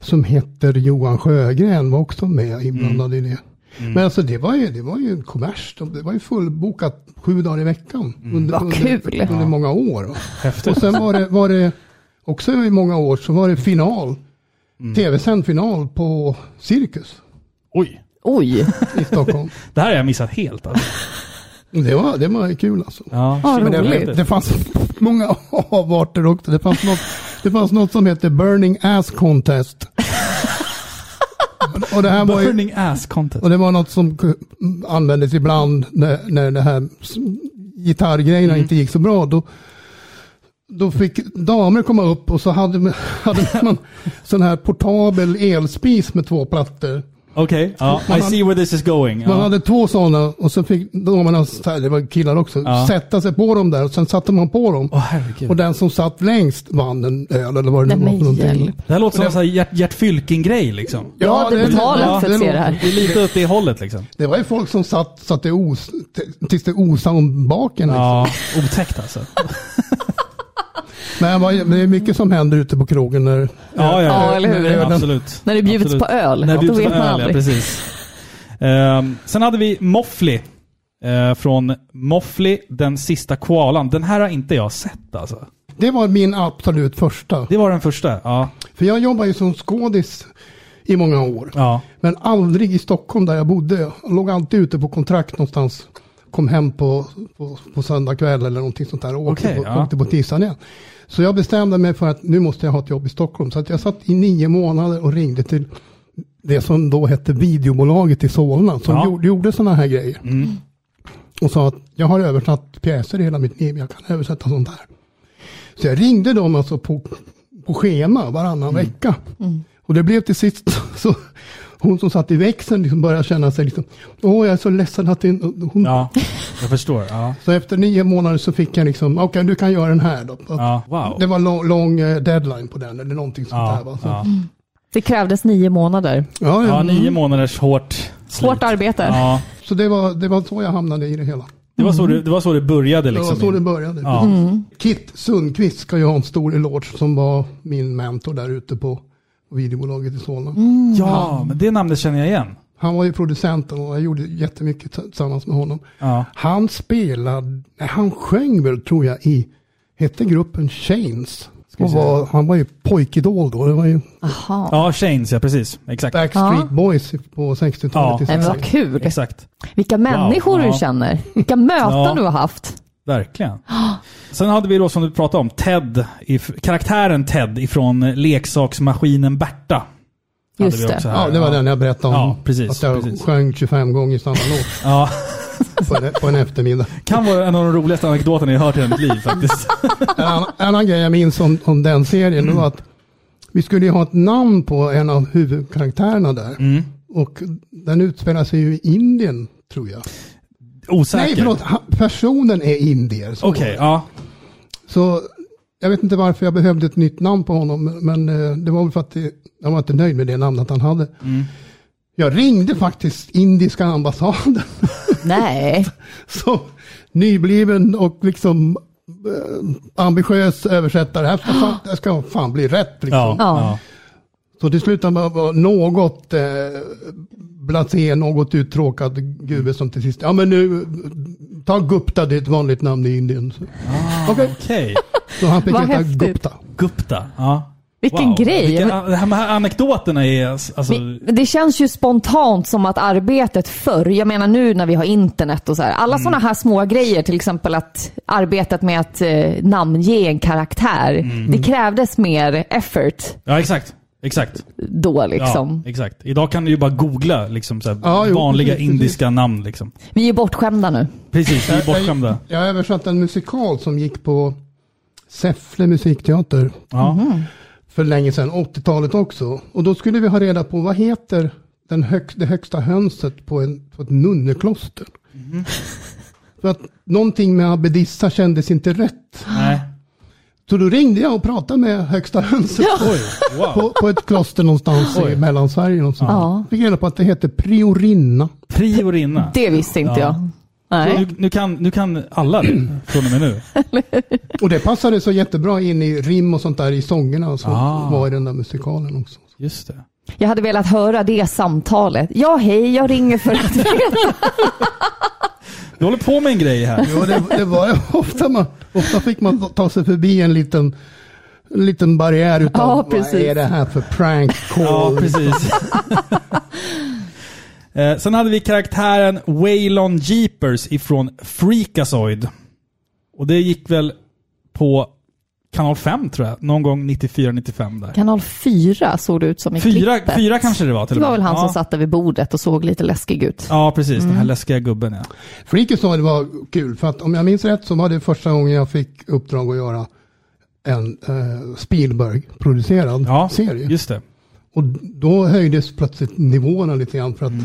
Speaker 3: som heter Johan Sjögren var också med inblandad
Speaker 2: Mm.
Speaker 3: i det. Men alltså det var ju, det var ju en kommers. Det var ju fullbokat sju dagar i veckan. Under,
Speaker 2: Mm. Vad kul.
Speaker 3: under, under många år. va.
Speaker 1: Häftigt.
Speaker 3: Och sen var det, var det också i många år så var det final.
Speaker 2: Mm.
Speaker 3: Tv-sänd final på Cirkus
Speaker 1: Oj.
Speaker 2: Oj,
Speaker 3: i Stockholm.
Speaker 1: Det här har jag missat helt alltså.
Speaker 3: det, var, det var kul alltså.
Speaker 1: Ja,
Speaker 2: Ja,
Speaker 1: shit,
Speaker 3: Men
Speaker 1: vad
Speaker 3: det,
Speaker 1: häftigt.
Speaker 3: det fanns många avarter också. Det fanns något, det fanns något som hette Burning Ass Contest. Och det, här var ju,
Speaker 1: Burning ass content.
Speaker 3: och det var något som ku- användes ibland när, när det här s- gitarrgrejerna
Speaker 1: Mm.
Speaker 3: inte gick så bra. Då, då fick damer komma upp och så hade, man- hade man sån här portabel elspis med två plattor.
Speaker 1: Okej, ja. I see where this is going.
Speaker 3: Man
Speaker 1: Ja.
Speaker 3: hade två sådana och så fick damerna, så här, det var killar också,
Speaker 1: Ja.
Speaker 3: sätta sig på dem där och sen satte man på dem.
Speaker 1: Åh, herregud.
Speaker 3: Och den som satt längst vann en öl eller vad det
Speaker 2: Nej,
Speaker 3: nu var för
Speaker 2: men
Speaker 3: någonting.
Speaker 2: hjälp.
Speaker 1: Det här låter som en sån här Gert, Gert Fylking-grej liksom.
Speaker 2: Jag hade betalat
Speaker 3: ja,
Speaker 2: för att se det här.
Speaker 1: Det är lite åt det hållet liksom.
Speaker 3: Det var ju folk som satt så att det os, t- tills det osade om baken. Liksom.
Speaker 1: Ja, otäckt alltså.
Speaker 3: Men vad- det är mycket som händer ute på krogen. När,
Speaker 1: Ja, ja,
Speaker 2: Ja, eller hur?
Speaker 1: Absolut.
Speaker 2: När det bjuds
Speaker 1: Absolut.
Speaker 2: på öl.
Speaker 1: När det
Speaker 2: Då
Speaker 1: bjuds
Speaker 2: vet
Speaker 1: på
Speaker 2: man
Speaker 1: öl, ja,
Speaker 2: aldrig.
Speaker 1: precis. Ehm, sen hade vi Moffli. eh, från Moffli, Den sista koalan. Den här har inte jag sett alltså.
Speaker 3: Det var min absolut första.
Speaker 1: Det var den första. Ja.
Speaker 3: För jag jobbade ju som skådis i många år.
Speaker 1: ja.
Speaker 3: Men aldrig i Stockholm där jag bodde. Jag låg alltid ute på kontrakt någonstans. Kom hem på, på, på söndag kväll eller någonting sånt där. Och åkte,
Speaker 1: Okej,
Speaker 3: på,
Speaker 1: ja.
Speaker 3: åkte på tisdagen igen. Så jag bestämde mig för att nu måste jag ha ett jobb i Stockholm. Så att jag satt i nio månader och ringde till det som då hette videobolaget i Solna. Som
Speaker 1: Ja. Mm.
Speaker 3: gjorde, gjorde sådana här grejer. Och sa att jag har översatt pjäser i hela mitt liv. Jag kan översätta sånt här. Så jag ringde dem alltså på, på schema varannan
Speaker 1: Mm.
Speaker 3: vecka. Och det blev till sist så hon som satt i växeln liksom började känna sig liksom, åh jag är så ledsen att det är hon...
Speaker 1: ja, jag förstår. Ja.
Speaker 3: Så efter nio månader så fick jag liksom, okej du kan göra den här då.
Speaker 1: Ja, wow.
Speaker 3: Det var lång, lång eh, deadline på den eller någonting sånt där.
Speaker 1: Ja,
Speaker 3: Va? Så,
Speaker 1: ja.
Speaker 2: Det krävdes nio månader.
Speaker 3: ja,
Speaker 1: ja, nio månaders hårt slit.
Speaker 2: Hårt arbete.
Speaker 1: Ja.
Speaker 3: så det, var, det var så jag hamnade i det hela.
Speaker 1: Det var, så det, det var så det började
Speaker 3: Det
Speaker 1: liksom.
Speaker 3: var så det började.
Speaker 1: Ja.
Speaker 3: Kit Sundqvist ska ju ha en stor eloge som var min mentor där ute på videobolaget i Solna.
Speaker 1: ja, men det namnet känner jag igen.
Speaker 3: Han var ju producenten och jag gjorde jättemycket t- tillsammans med honom.
Speaker 1: Ja.
Speaker 3: Han spelade, nej, han sjöng väl tror jag i, hette gruppen Chains. Och var, han var ju pojkidol då, det var ju
Speaker 2: Jaha.
Speaker 1: Ja, Shanes ja, precis. Exakt.
Speaker 3: Backstreet Boys på 60-talet.
Speaker 1: Ja.
Speaker 2: Nej,
Speaker 3: i
Speaker 2: men vad
Speaker 3: Sverige.
Speaker 2: kul.
Speaker 1: Exakt.
Speaker 2: Vilka människor
Speaker 1: ja.
Speaker 2: du känner. Vilka möten
Speaker 1: Ja.
Speaker 2: du har haft.
Speaker 1: Verkligen. Sen hade vi då som du pratade om, Ted. if- Karaktären Ted ifrån eh, leksaksmaskinen Berta. Hade
Speaker 2: Just
Speaker 1: vi
Speaker 2: det.
Speaker 1: också här.
Speaker 3: Ja, det var den jag berättade om.
Speaker 1: Ja, precis,
Speaker 3: att jag
Speaker 1: precis.
Speaker 3: sjöng 25 gånger samma låt
Speaker 1: Ja,
Speaker 3: på, en- på en eftermiddag.
Speaker 1: kan vara en av de roligaste anekdoterna jag hört i hela mitt liv faktiskt.
Speaker 3: En annan, en annan grej jag minns om, om den serien var att vi skulle ju ha ett namn på en av huvudkaraktärerna där.
Speaker 1: Mm.
Speaker 3: Och den utspelar sig ju i Indien, tror jag.
Speaker 1: Osäker.
Speaker 3: Nej, förlåt. Han- Personen är indier. så.
Speaker 1: Okej, ja.
Speaker 3: Så jag vet inte varför jag behövde ett nytt namn på honom, men- men eh, det var väl för att det, jag var inte nöjd med det namnet han hade.
Speaker 1: Mm.
Speaker 3: Jag ringde faktiskt indiska ambassaden
Speaker 2: Nej.
Speaker 3: som nybliven och liksom eh, ambitiös översättare. Det här ska fan, det här ska fan bli rätt. Liksom.
Speaker 1: Ah. Ja, ja.
Speaker 2: Ja.
Speaker 3: Så till slut han var- var något eh, blasé, något uttråkad gubbe som till sist, ja men nu, ta Gupta, det är ett vanligt namn i Indien. Så, Okej.
Speaker 1: Okej.
Speaker 3: så han fick
Speaker 2: Ah. Vad
Speaker 3: heta
Speaker 2: häftigt.
Speaker 3: Gupta.
Speaker 1: Gupta. Ja.
Speaker 2: Vilken grej.
Speaker 1: Vilka,
Speaker 2: Men-
Speaker 1: de här anekdoterna är alltså...
Speaker 2: Men Det känns ju spontant som att arbetet förr, jag menar nu när vi har internet och så här, alla
Speaker 1: Mm.
Speaker 2: såna sådana här små grejer, till exempel att arbetet med att eh, namnge en karaktär,
Speaker 1: Mm.
Speaker 2: det krävdes mer effort
Speaker 1: Ja, exakt. Exakt.
Speaker 2: då liksom.
Speaker 1: Ja, exakt. Idag kan du ju bara googla liksom, så här,
Speaker 3: Ja, jo,
Speaker 1: vanliga
Speaker 3: precis,
Speaker 1: indiska namn. Liksom.
Speaker 2: Vi är bortskämda nu.
Speaker 1: Precis, vi är bortskämda.
Speaker 3: Jag, jag
Speaker 2: Mm-hmm.
Speaker 3: översatte en musikal som gick på Säffle musikteater
Speaker 1: Ja.
Speaker 3: för länge sedan, 80-talet också. Och då skulle vi ha reda på vad heter den hög, det högsta hönset på, en, på ett nunnekloster.
Speaker 2: Mm-hmm.
Speaker 3: För att någonting med abbedissa kändes inte rätt.
Speaker 1: Nej.
Speaker 3: Så då ringde jag och pratade med högsta hönset
Speaker 1: Oj, wow.
Speaker 3: på, på ett kloster någonstans
Speaker 1: Oj.
Speaker 3: i Mellansverige. Någonstans.
Speaker 2: Ja.
Speaker 3: Fick reda på att det heter priorinna.
Speaker 1: Priorinna.
Speaker 2: Det visste
Speaker 1: Ja.
Speaker 2: inte jag. Nej.
Speaker 1: Nu, nu, kan, nu kan alla det från och med nu.
Speaker 3: Och det passade så jättebra in i rim och sånt där i sångerna som
Speaker 1: Ah.
Speaker 3: var i den där musikalen också.
Speaker 1: Just det.
Speaker 2: Jag hade velat höra det samtalet. Ja, hej, jag ringer för att
Speaker 1: Du håller på med en grej här.
Speaker 3: Ja, det, det var ofta man, ofta fick man ta sig förbi en liten, en liten barriär utan
Speaker 2: Ja,
Speaker 3: vad
Speaker 2: precis.
Speaker 3: är det här för prank call?
Speaker 1: Ja, precis. Eh, Sen hade vi karaktären Waylon Jeepers ifrån Freakazoid. Och det gick väl på kanal 5 tror jag, någon gång 94-95 där.
Speaker 2: Kanal 4 såg det ut som i
Speaker 1: Fyra,
Speaker 2: klippet.
Speaker 1: fyra kanske det var till
Speaker 2: Det
Speaker 1: och
Speaker 2: var
Speaker 1: med.
Speaker 2: väl han
Speaker 1: ja.
Speaker 2: som satt Mm. där vid bordet och såg lite läskig ut.
Speaker 1: Ja, precis. Den här läskiga gubben ja.
Speaker 3: Freaky Story var kul för att om jag minns rätt så var det första gången jag fick uppdrag att göra en eh, Spielberg-producerad
Speaker 1: ja
Speaker 3: serie.
Speaker 1: Just det.
Speaker 3: Och då höjdes plötsligt nivåerna lite grann för att
Speaker 1: Mm.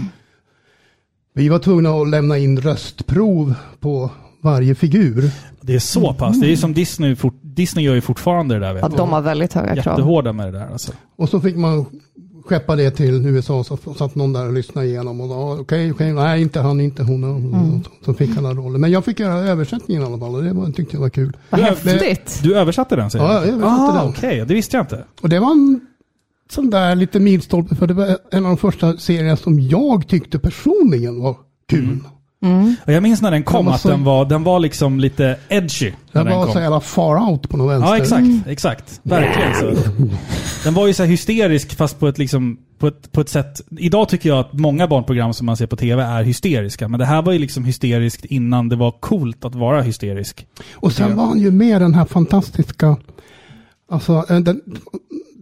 Speaker 3: vi var tvungna att lämna in röstprov på varje figur.
Speaker 1: Det är så pass. Det är ju som Disney, fort, Disney gör ju fortfarande det där vet
Speaker 2: Mm.
Speaker 1: du.
Speaker 2: Ja, de har väldigt höga krav.
Speaker 1: Jättehårda med det där alltså.
Speaker 3: Och så fick man skeppa det till USA så f- satt någon där och lyssnade igenom och sa okej, okej, nej inte han, inte hon. Mm. Så fick alla roller. Men jag fick göra översättningen i alla fall och det var, tyckte jag var kul.
Speaker 2: Vad
Speaker 1: Du-
Speaker 2: häftigt.
Speaker 1: Du översatte den säger
Speaker 3: Ja,
Speaker 1: du?
Speaker 3: jag översatte
Speaker 1: ah,
Speaker 3: den.
Speaker 1: Okej, det visste jag inte.
Speaker 3: Och det var en sån där lite milstolpe för det var en av de första serierna som jag tyckte personligen var kul.
Speaker 1: Mm. Och jag minns när den kom
Speaker 3: Den var
Speaker 1: att
Speaker 3: så-
Speaker 1: den var, den var liksom lite edgy. När
Speaker 3: Den
Speaker 1: den
Speaker 3: var
Speaker 1: kom.
Speaker 3: så jävla far out på något vänster.
Speaker 1: Ja, exakt. exakt. Verkligen så. Den var ju så här hysterisk fast på ett, liksom, på, ett, på ett sätt... Idag tycker jag att många barnprogram som man ser på TV är hysteriska. Men det här var ju liksom hysteriskt innan det var coolt att vara hysterisk.
Speaker 3: Och sen var han ju med i den här fantastiska, alltså en den,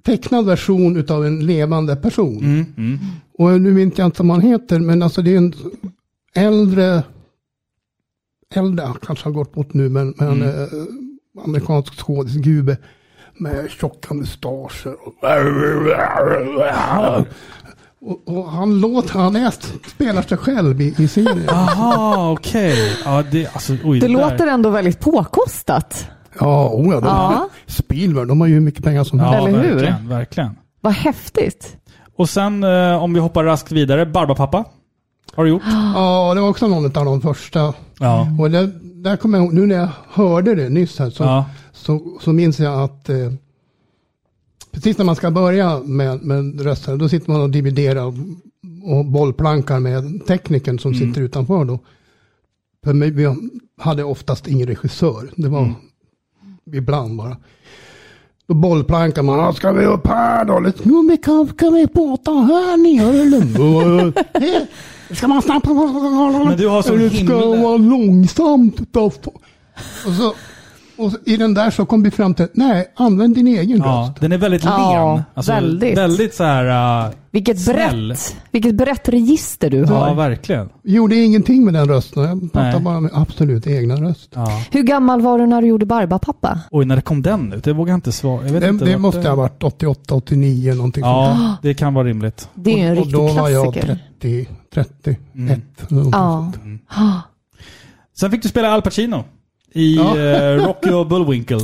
Speaker 3: tecknad version utav en levande person. Och nu minns jag inte vad han heter, men alltså det är en äldre, äldre, han kanske har gått bort nu, men, men eh, amerikansk skådisgube med tjocka mustascher. Och, och han låter, han är, spelar sig själv i, i serien.
Speaker 1: Aha, okej. Ja, det... Alltså, oj,
Speaker 2: Det
Speaker 1: där-
Speaker 2: låter ändå väldigt påkostat.
Speaker 3: Ja, oh ja, de,
Speaker 2: Ja.
Speaker 3: Spielberg, de har ju hur mycket pengar som helst.
Speaker 1: Ja,
Speaker 2: eller hur?
Speaker 1: verkligen, verkligen.
Speaker 2: Vad häftigt.
Speaker 1: Och sen, eh, om vi hoppar raskt vidare, Barbapapa. Har du gjort?
Speaker 3: Ja, det var också någon av de första.
Speaker 1: Ja.
Speaker 3: Och det, där kommer jag ihåg, nu när jag hörde det nyss här så,
Speaker 1: Ja.
Speaker 3: så, så minns jag att eh, precis när man ska börja med, med röster, då sitter man och dividerar och, och bollplankar med teknikern som
Speaker 1: Mm.
Speaker 3: sitter utanför då. För mig, vi hade oftast ingen regissör, det
Speaker 1: Mm.
Speaker 3: var ibland bara. Då bollplankar man, "Ah, ska vi upp här då? Lite, Jo men kan, kan vi prata här nere? ska man snabbt... Men
Speaker 1: du har sån
Speaker 3: Det ska
Speaker 1: himla-
Speaker 3: vara långsamt. då." Och så, och så, i den där så kom vi fram till, nej, använd din egen
Speaker 1: Ja,
Speaker 3: röst.
Speaker 1: den är väldigt
Speaker 2: Ja,
Speaker 1: len. Alltså,
Speaker 2: väldigt.
Speaker 1: Väldigt så här... eh,
Speaker 2: Vilket
Speaker 1: Snäll.
Speaker 2: brett, vilket brett register du har.
Speaker 1: ja, verkligen.
Speaker 3: Gjorde ingenting med den rösten, jag pratade
Speaker 1: Nej.
Speaker 3: bara med absolut egna röst.
Speaker 1: Ja.
Speaker 2: Hur gammal var du när du gjorde Barbapapa?
Speaker 1: Oj, när kom den ut? Det vågar jag inte svara. Jag vet
Speaker 3: Det,
Speaker 1: inte
Speaker 3: det
Speaker 1: vart
Speaker 3: måste ha varit 88, 89 någonting sånt
Speaker 1: Ja, det kan vara rimligt.
Speaker 2: Det är ju en
Speaker 3: där. Och
Speaker 2: riktig
Speaker 3: då var jag
Speaker 2: klassiker.
Speaker 3: 30, 31.
Speaker 1: Mm.
Speaker 2: Ja.
Speaker 1: Sen fick du spela Al Pacino i
Speaker 3: Ja.
Speaker 1: eh, Rocky och Bullwinkle.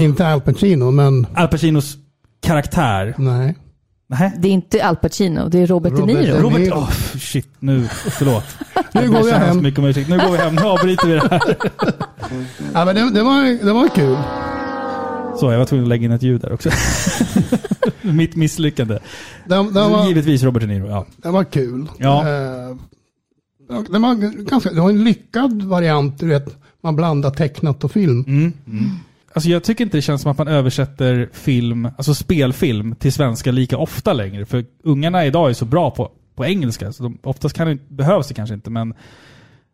Speaker 3: Inte Al Pacino, men
Speaker 1: Al Pacinos karaktär.
Speaker 3: nej.
Speaker 1: Nej.
Speaker 2: Det är inte Al Pacino, det är Robert,
Speaker 3: Robert
Speaker 2: De Niro.
Speaker 3: De-
Speaker 1: Robert...
Speaker 3: Niro.
Speaker 1: Åh, shit. Nu... Förlåt.
Speaker 3: Nu går jag hem.
Speaker 1: Mycket om ursäkt. Nu går vi hem. Nu avbryter vi det här.
Speaker 3: Ja, men det, det, var, det var kul.
Speaker 1: Så, jag var tvungen att lägga in ett ljud där också. Mitt misslyckande.
Speaker 3: Det, det, var,
Speaker 1: Givetvis Robert De Niro, ja.
Speaker 3: det var kul.
Speaker 1: Ja.
Speaker 3: Eh, Det, var ganska, det var en lyckad variant, du vet. Man blandar tecknat och film.
Speaker 1: Alltså jag tycker inte det känns som att man översätter film, alltså spelfilm till svenska lika ofta längre. För ungarna idag är så bra på, på engelska, så de, oftast kan det, behövs det kanske inte. Men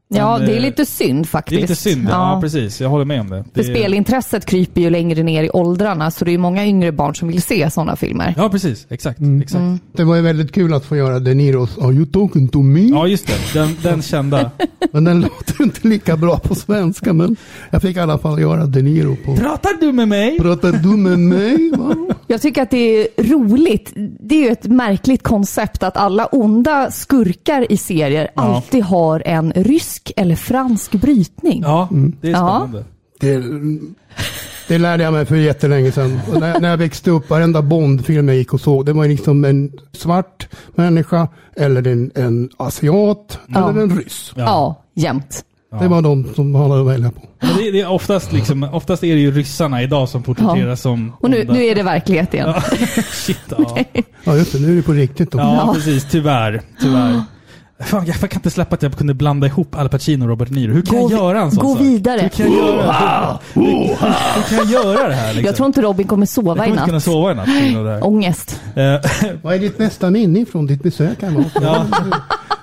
Speaker 2: Ja,
Speaker 1: Men,
Speaker 2: det är
Speaker 1: eh,
Speaker 2: lite synd faktiskt.
Speaker 1: det är lite synd. Ja, precis. Jag håller med om det.
Speaker 2: För
Speaker 1: det
Speaker 2: spelintresset kryper ju längre ner i åldrarna, så det är ju många yngre barn som vill se sådana filmer.
Speaker 1: Ja, precis. Exakt. exakt.
Speaker 2: Mm.
Speaker 3: Det var ju väldigt kul att få göra De Niros Are you talking to me?
Speaker 1: Ja, just det. Den, den kända.
Speaker 3: Men den låter inte lika bra på svenska. Men jag fick i alla fall göra De Niro på...
Speaker 1: Pratar du med mig?
Speaker 3: Pratar du med mig? Va?
Speaker 2: Jag tycker att det är roligt. Det är ju ett märkligt koncept att alla onda skurkar i serier
Speaker 1: Ja.
Speaker 2: alltid har en rysk eller fransk brytning.
Speaker 1: Ja, det är
Speaker 2: Ja.
Speaker 1: spännande.
Speaker 3: Det, det lärde jag mig för jättelänge sedan. Och när, när jag växte upp, varenda Bondfilm jag gick och såg, det var ju liksom en svart människa eller en, en asiat
Speaker 2: Ja.
Speaker 3: eller en ryss.
Speaker 2: Ja, jämt.
Speaker 3: Det var de som man hade att välja på.
Speaker 1: Men det, det är oftast, liksom, oftast är det ju ryssarna idag som porträtteras som
Speaker 2: Och nu,
Speaker 1: onda.
Speaker 2: nu är det verklighet igen.
Speaker 1: Shit, ja.
Speaker 3: Ja just det, nu är det på riktigt då.
Speaker 1: ja,
Speaker 2: Ja.
Speaker 1: precis. Tyvärr. tyvärr. Fan, jag kan inte släppa att jag kunde blanda ihop Al Pacino och Robert De Niro. Hur kan
Speaker 2: Gå
Speaker 1: jag
Speaker 2: vi-
Speaker 1: göra en sån
Speaker 2: gå
Speaker 1: sak?
Speaker 2: vidare.
Speaker 1: Hur kan jag göra, hur, hur, hur kan jag göra det här? Liksom?
Speaker 2: Jag tror inte Oh. Robin kommer
Speaker 1: jag
Speaker 2: sova i
Speaker 1: kommer inte kunna
Speaker 2: natt.
Speaker 1: sova i natt. på grund av det här.
Speaker 2: Ångest.
Speaker 1: Eh,
Speaker 3: Vad är ditt nästan inifrån, ditt besök här var?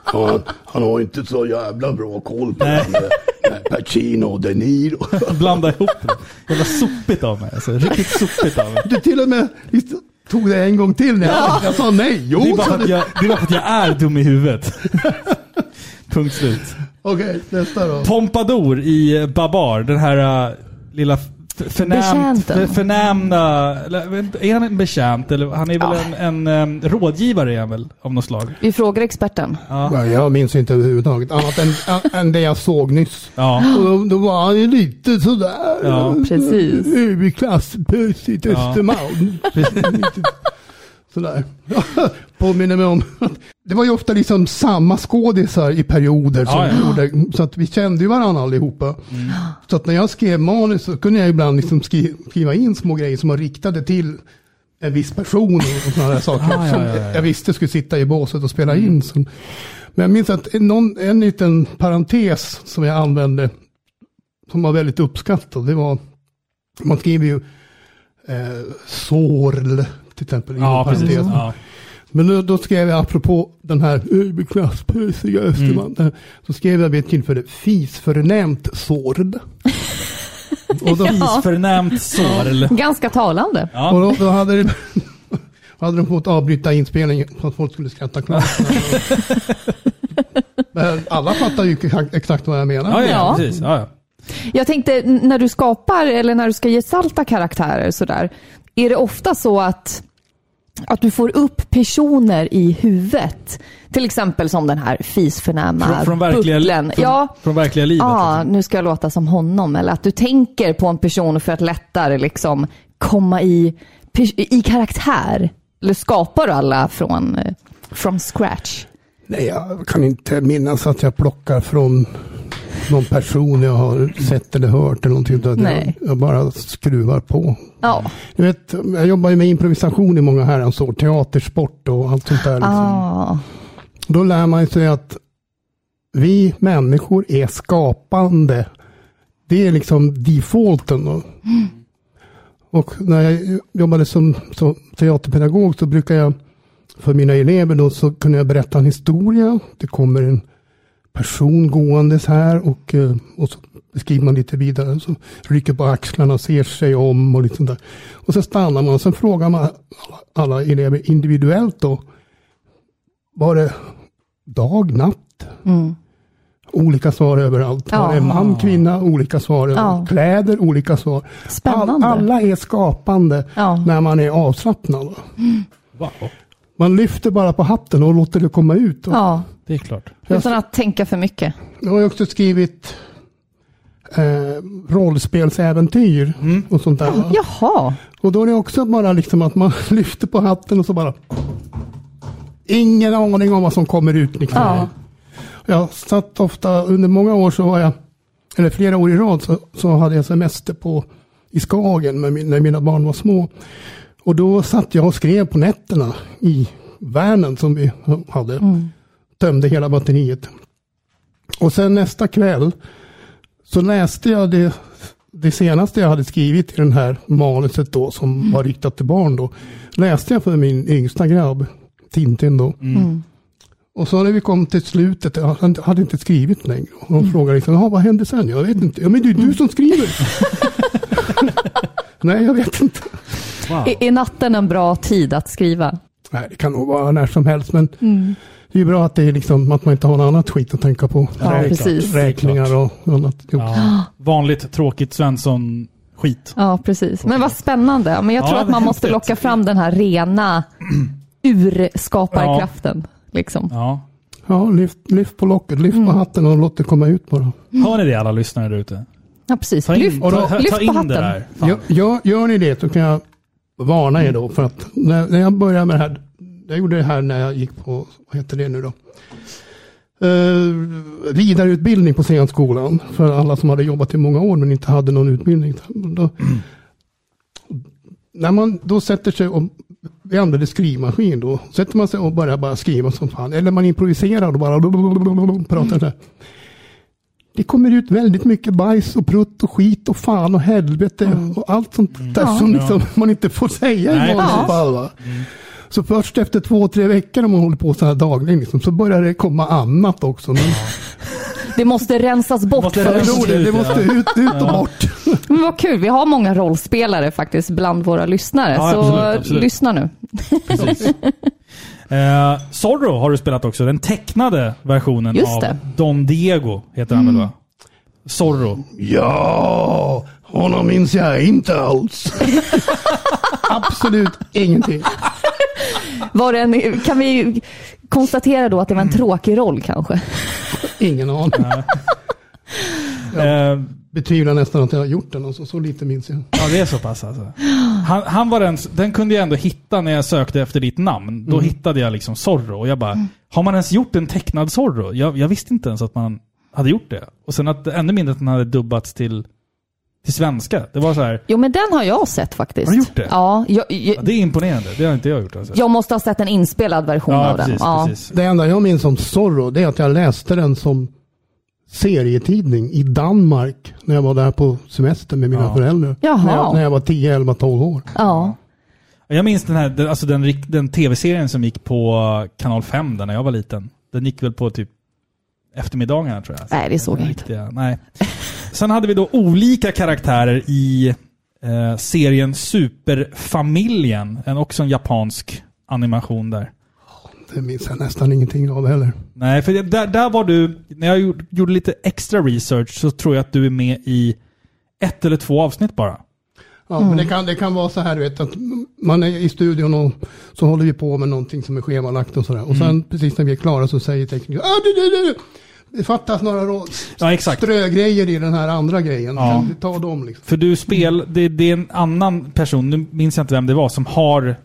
Speaker 11: Han, han har inte så jävla bra koll på den där, eh, Pacino och De Niro.
Speaker 1: blanda ihop det. Jävla sopigt av mig. Alltså, riktigt sopigt av mig.
Speaker 3: Du till och med visst, tog det en gång till när jag, jag sa nej. Jo,
Speaker 1: Det är, bara
Speaker 3: sa
Speaker 1: för
Speaker 3: du.
Speaker 1: att jag, det är bara för att jag är dum i huvudet. Punkt slut.
Speaker 3: Okej, nästa då.
Speaker 1: Pompadour i Babar, den här äh, lilla f- förnämt,
Speaker 2: Betjänten.
Speaker 1: f- förnämna... eller, Är han en betjänt? Eller, han är väl en, en, äm, rådgivare är han väl, av något slag?
Speaker 2: Vi frågar experten.
Speaker 3: Ja, jag minns inte överhuvudtaget annat än, än- än det jag såg nyss.
Speaker 1: Ja.
Speaker 3: Och då, då var han ju lite sådär. eh,
Speaker 1: Ja.
Speaker 2: Precis.
Speaker 3: Överklasspösigt
Speaker 1: Ja.
Speaker 3: Östermalm. Lite sådär. Påminner mig om att det var ju ofta liksom samma skådisar i perioder som
Speaker 1: Ja, ja. Mm.
Speaker 3: gjorde, så att vi kände ju varandra allihopa. Så att när jag skrev manus så kunde jag ibland liksom skri- skriva in små grejer som var riktade till en viss person och sådana där saker
Speaker 1: Ah, ja,
Speaker 3: som
Speaker 1: ja, ja.
Speaker 3: jag visste skulle sitta i båset och spela in. Så, men jag minns att en- någon, en liten parentes som jag använde som var väldigt uppskattad, det var, man skriver ju eh, sorl till exempel. inom
Speaker 1: Ja, precis.
Speaker 3: parentes.
Speaker 1: Ja.
Speaker 3: Men då, då skrev jag, apropå den här överklasspösiga Östermalm,
Speaker 1: Mm.
Speaker 3: där, så skrev jag vid ett tillfälle fisförnämt sorl. och då,
Speaker 1: Isförnämt sorl.
Speaker 2: Ganska talande.
Speaker 3: och då, då hade, det, hade de fått avbryta inspelningen för att folk skulle skratta klart. Men alla fattar ju exakt vad jag menar.
Speaker 1: Ja, ja,
Speaker 2: Ja.
Speaker 1: precis. Ja, ja.
Speaker 2: Jag tänkte, n- när du skapar eller när du ska gestalta karaktärer sådär, är det ofta så att, att du får upp personer i huvudet? Till exempel som den här fisförnäma
Speaker 1: Från, från, verkliga,
Speaker 2: butlern.
Speaker 1: från,
Speaker 2: ja,
Speaker 1: från verkliga livet.
Speaker 2: ah, nu ska jag låta som honom. Eller att du tänker på en person för att lättare liksom komma i, pers- i karaktär. Eller skapar du alla från eh, from scratch?
Speaker 3: Nej, jag kan inte minnas att jag plockar från någon person jag har sett eller hört eller någonting. utan
Speaker 2: Nej.
Speaker 3: Jag, jag bara skruvar på.
Speaker 2: Ja,
Speaker 3: Du vet, jag jobbar ju med improvisation i många herrans år, teatersport och allt sånt där. Liksom.
Speaker 2: ah,
Speaker 3: Då lär man sig att vi människor är skapande. Det är liksom defaulten. Då.
Speaker 2: Mm.
Speaker 3: Och när jag jobbade som, som teaterpedagog så brukar jag för mina elever då så kunde jag berätta en historia. Det kommer en person gåendes här och, eh, och så beskriver man lite vidare. Så rycker på axlarna och ser sig om och lite sånt där. Och så stannar man och sen frågar man alla elever individuellt då. Var det dag, natt?
Speaker 2: Mm.
Speaker 3: Olika svar överallt. Var det
Speaker 2: Ja.
Speaker 3: man, kvinna? Olika svar överallt.
Speaker 2: Ja.
Speaker 3: Kläder? Olika svar.
Speaker 2: Spännande.
Speaker 3: alla är skapande
Speaker 2: Ja.
Speaker 3: när man är avslappnad. va?
Speaker 1: Wow,
Speaker 3: Man lyfter bara på hatten och låter det komma ut. va?
Speaker 2: ja.
Speaker 1: det är klart.
Speaker 2: Utan att tänka för mycket.
Speaker 3: Jag har ju också skrivit eh, rollspelsäventyr och sånt där. va?
Speaker 2: Jaha.
Speaker 3: Och då är det också bara liksom att man lyfter på hatten och så bara Ingen aning om vad som kommer ut. Liksom.
Speaker 2: Ja.
Speaker 3: Jag satt ofta, under många år så var jag, eller flera år i rad, så, så hade jag semester på, i Skagen med min, när mina barn var små. Och då satt jag och skrev på nätterna i värnen som vi hade. Tömde hela batteriet. Och sen nästa kväll så läste jag det, det senaste jag hade skrivit i den här manuset då som var riktat till barn då. Läste jag för min yngsta grabb, Tintin då. Och så när vi kom till slutet, jag hade- hade inte skrivit längre. Och
Speaker 2: Mm.
Speaker 3: hon frågade liksom, "Jaha, vad hände sen? Jag vet inte. Ja men det är du som skriver. Nej jag vet inte.
Speaker 1: Wow.
Speaker 2: Är, är natten en bra tid att skriva?
Speaker 3: Nej det kan nog vara när som helst men
Speaker 2: Mm.
Speaker 3: det är ju bra att, det är liksom, att man inte har något annat skit att tänka på.
Speaker 2: Ja,
Speaker 1: det är
Speaker 2: precis.
Speaker 1: klart. Det är klart.
Speaker 3: Räkningar och annat.
Speaker 1: Ja. Vanligt tråkigt Svensson skit.
Speaker 2: Ja, precis. Men vad spännande. Men jag
Speaker 1: Ja,
Speaker 2: tror att man
Speaker 1: det är
Speaker 2: måste
Speaker 1: häftigt.
Speaker 2: locka fram den här rena urskaparkraften. Liksom.
Speaker 1: Ja.
Speaker 3: Ja, lyft, lyft på locket, lyft
Speaker 2: Mm.
Speaker 3: på hatten och låt det komma ut bara.
Speaker 1: Hör ni det alla lyssnare där ute?
Speaker 2: Ja, precis.
Speaker 1: Ta in-
Speaker 2: Mm. lyft
Speaker 1: och då- ta-
Speaker 2: lyft
Speaker 1: ta
Speaker 2: på
Speaker 1: in det
Speaker 2: hatten.
Speaker 1: där.
Speaker 3: Ja, ja, gör ni det så kan jag varna er då för att när, när jag började med det här, jag gjorde det här när jag gick på, vad heter det nu då? Eh, vidareutbildning på scenskolan för alla som hade jobbat i många år men inte hade någon utbildning. Då, när man då sätter sig och vi använder skrivmaskin då. Sätter man sig och börjar bara skriva som fan. Eller man improviserar och bara pratar så här. Det kommer ut väldigt mycket bajs och prutt och skit och fan och helvete och allt sånt där
Speaker 11: Ja.
Speaker 3: som liksom
Speaker 11: Ja.
Speaker 3: man inte får säga
Speaker 11: Nej,
Speaker 3: i vanliga
Speaker 11: precis.
Speaker 3: fall. Va? Så först efter två, tre veckor om man håller på så här dagligen liksom, så börjar det komma annat också. Men
Speaker 2: Det måste rensas bort.
Speaker 3: Måste
Speaker 2: först.
Speaker 3: rensas ut, Det måste ja. ut- ut och Ja. bort.
Speaker 2: Men vad kul, vi har många rollspelare faktiskt bland våra lyssnare.
Speaker 1: Ja,
Speaker 2: så
Speaker 1: absolut, absolut.
Speaker 2: lyssna nu.
Speaker 1: Eh, Zorro har du spelat också, den tecknade versionen
Speaker 2: Just
Speaker 1: av
Speaker 2: det. Mm.
Speaker 1: Don Diego, heter han väl va? Zorro.
Speaker 11: Ja, honom minns jag inte alls.
Speaker 3: Absolut ingenting.
Speaker 2: Var det en, kan vi konstatera då att det var en
Speaker 1: Mm.
Speaker 2: tråkig roll kanske?
Speaker 3: Ingen aning. Jag betvivlar nästan att jag har gjort den. Alltså, så lite minns jag.
Speaker 1: Eh, Ja, det är så pass alltså. Han, han var den, den kunde jag ändå hitta när jag sökte efter ditt namn. Då
Speaker 3: Mm.
Speaker 1: hittade jag liksom Zorro och jag bara,
Speaker 2: Mm.
Speaker 1: har man ens gjort en tecknad Zorro? Jag, jag visste inte ens att man hade gjort det. Och sen att, ännu mindre att den hade dubbats till, till svenska. Det var så här,
Speaker 2: Jo, men den har jag sett faktiskt.
Speaker 1: Har du gjort det?
Speaker 2: Ja, jag, jag,
Speaker 1: ja, det är imponerande. Det har inte jag gjort alltså.
Speaker 2: jag måste ha sett en inspelad version av den. Ja.
Speaker 3: Det enda jag minns om Zorro det är att jag läste den som serietidning i Danmark när jag var där på semester med mina
Speaker 1: Ja.
Speaker 3: föräldrar.
Speaker 2: Jaha.
Speaker 3: När jag, när jag var 10, 11, 12 år.
Speaker 2: Ja.
Speaker 1: Jag minns den här, den, alltså den, rikt- den tv-serien som gick på kanal 5 där när jag var liten. Den gick väl på typ eftermiddagarna tror jag.
Speaker 2: Nej, det såg jag inte.
Speaker 1: Riktiga, nej. Sen hade vi då olika karaktärer i eh, serien Superfamiljen. En, också en japansk animation där.
Speaker 3: Det minns jag nästan ingenting av heller.
Speaker 1: Nej, för det- där, där var du, när jag gjorde, gjorde lite extra research så tror jag att du är med i ett eller två avsnitt bara.
Speaker 3: Ja, men det, kan, det kan vara så här du vet, att man är i studion och så håller vi på med någonting som är schemalagt och sådär. Och sen precis när vi är klara så säger teknikern "Ah, du, du, du, du. det fattas några rå-
Speaker 1: Ja, exakt.
Speaker 3: strögrejer i den här andra grejen.
Speaker 1: Ja.
Speaker 3: Kan du ta dem liksom?
Speaker 1: För du spel, det, det är en annan person, nu minns jag inte vem det var, som har d-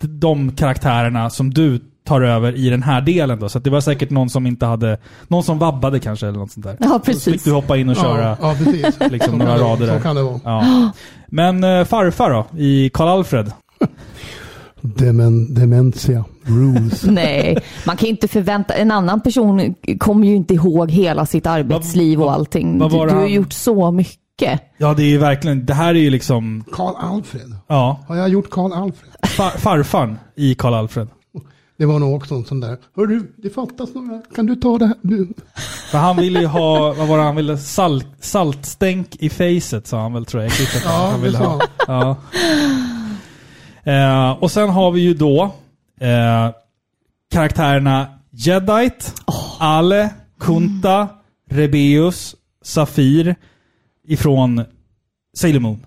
Speaker 1: de karaktärerna som du tar över i den här delen då. Så att det var säkert någon som inte hade, någon som vabbade kanske eller något sånt där.
Speaker 2: Ja,
Speaker 1: Så
Speaker 2: precis.
Speaker 1: fick du hoppa in och
Speaker 3: Ja,
Speaker 1: köra
Speaker 3: ja, precis. Så
Speaker 1: liksom,
Speaker 3: kan
Speaker 1: några
Speaker 3: det-
Speaker 1: rader
Speaker 3: så
Speaker 1: där.
Speaker 3: kan det vara.
Speaker 1: Ja. Men eh, farfar då, i Karl-Alfred?
Speaker 3: Demen, dementia rules.
Speaker 2: Nej, man kan ju inte förvänta... En annan person kommer ju inte ihåg hela sitt arbetsliv och allting.
Speaker 1: vad var
Speaker 2: du
Speaker 1: det
Speaker 2: du har
Speaker 1: han-
Speaker 2: gjort så mycket.
Speaker 1: Ja, det är ju verkligen, det här är ju liksom,
Speaker 3: Karl Alfred.
Speaker 1: ja,
Speaker 3: Har jag gjort Karl Alfred?
Speaker 1: far, farfarn i Karl-Alfred.
Speaker 3: Det var nog också en sån där. Hörru, det fattas några. Kan du ta det här? Du.
Speaker 1: För han ville ju ha, vad var det han ville? Salt, saltstänk i facet sa han väl tror jag. Jag klippte att
Speaker 3: Ja,
Speaker 1: han
Speaker 3: det
Speaker 1: ville
Speaker 3: sa
Speaker 1: ha. Ja. Eh, och sen har vi ju då eh, karaktärerna Jedite, Ale, Kunta, Rebeus, Safir ifrån Sailor Moon.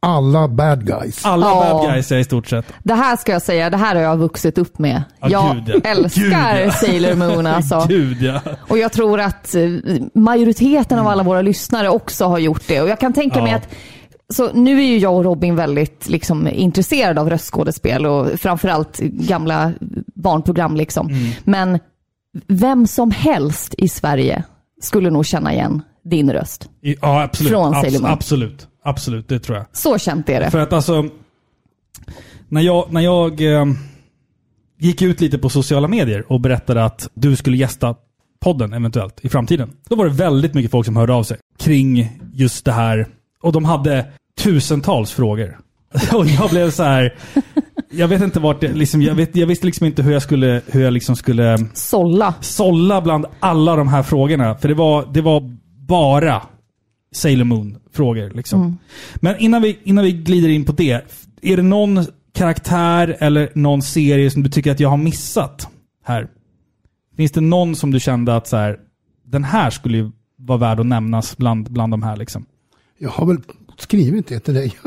Speaker 3: Alla bad guys.
Speaker 1: Alla
Speaker 2: Ja.
Speaker 1: bad guys är i stort sett.
Speaker 2: Det här ska jag säga, det här har jag vuxit upp med.
Speaker 1: Ja,
Speaker 2: jag
Speaker 1: gud, ja.
Speaker 2: älskar
Speaker 1: Gud, ja.
Speaker 2: Sailor Moon alltså.
Speaker 1: Gud ja.
Speaker 2: Och jag tror att eh, majoriteten av alla våra lyssnare också har gjort det. Och jag kan tänka
Speaker 1: Ja.
Speaker 2: mig att så nu är ju jag och Robin väldigt liksom, intresserade av röstskådespel och framförallt gamla barnprogram. Liksom.
Speaker 3: Mm.
Speaker 2: Men vem som helst i Sverige skulle nog känna igen din röst.
Speaker 1: I- Ja, absolut.
Speaker 2: Från
Speaker 1: Abs-
Speaker 2: Sailor Moon.
Speaker 1: Absolut. Absolut, det tror jag.
Speaker 2: Så känt är det.
Speaker 1: För att alltså, när jag, när jag eh, gick ut lite på sociala medier och berättade att du skulle gästa podden eventuellt i framtiden. Då var det väldigt mycket folk som hörde av sig kring just det här. Och de hade tusentals frågor. Och jag blev så här, jag vet inte vart det, liksom, jag, vet, jag visste liksom inte hur jag skulle, hur jag liksom skulle
Speaker 2: Sålla.
Speaker 1: sålla bland alla de här frågorna. För det var, det var bara Sailor Moon-frågor. Liksom. Men innan vi, innan vi glider in på det. Är det någon karaktär eller någon serie som du tycker att jag har missat här? Finns det någon som du kände att så här, den här skulle ju vara värd att nämnas bland, bland de här? Liksom?
Speaker 3: Jag har väl skrivit det till dig.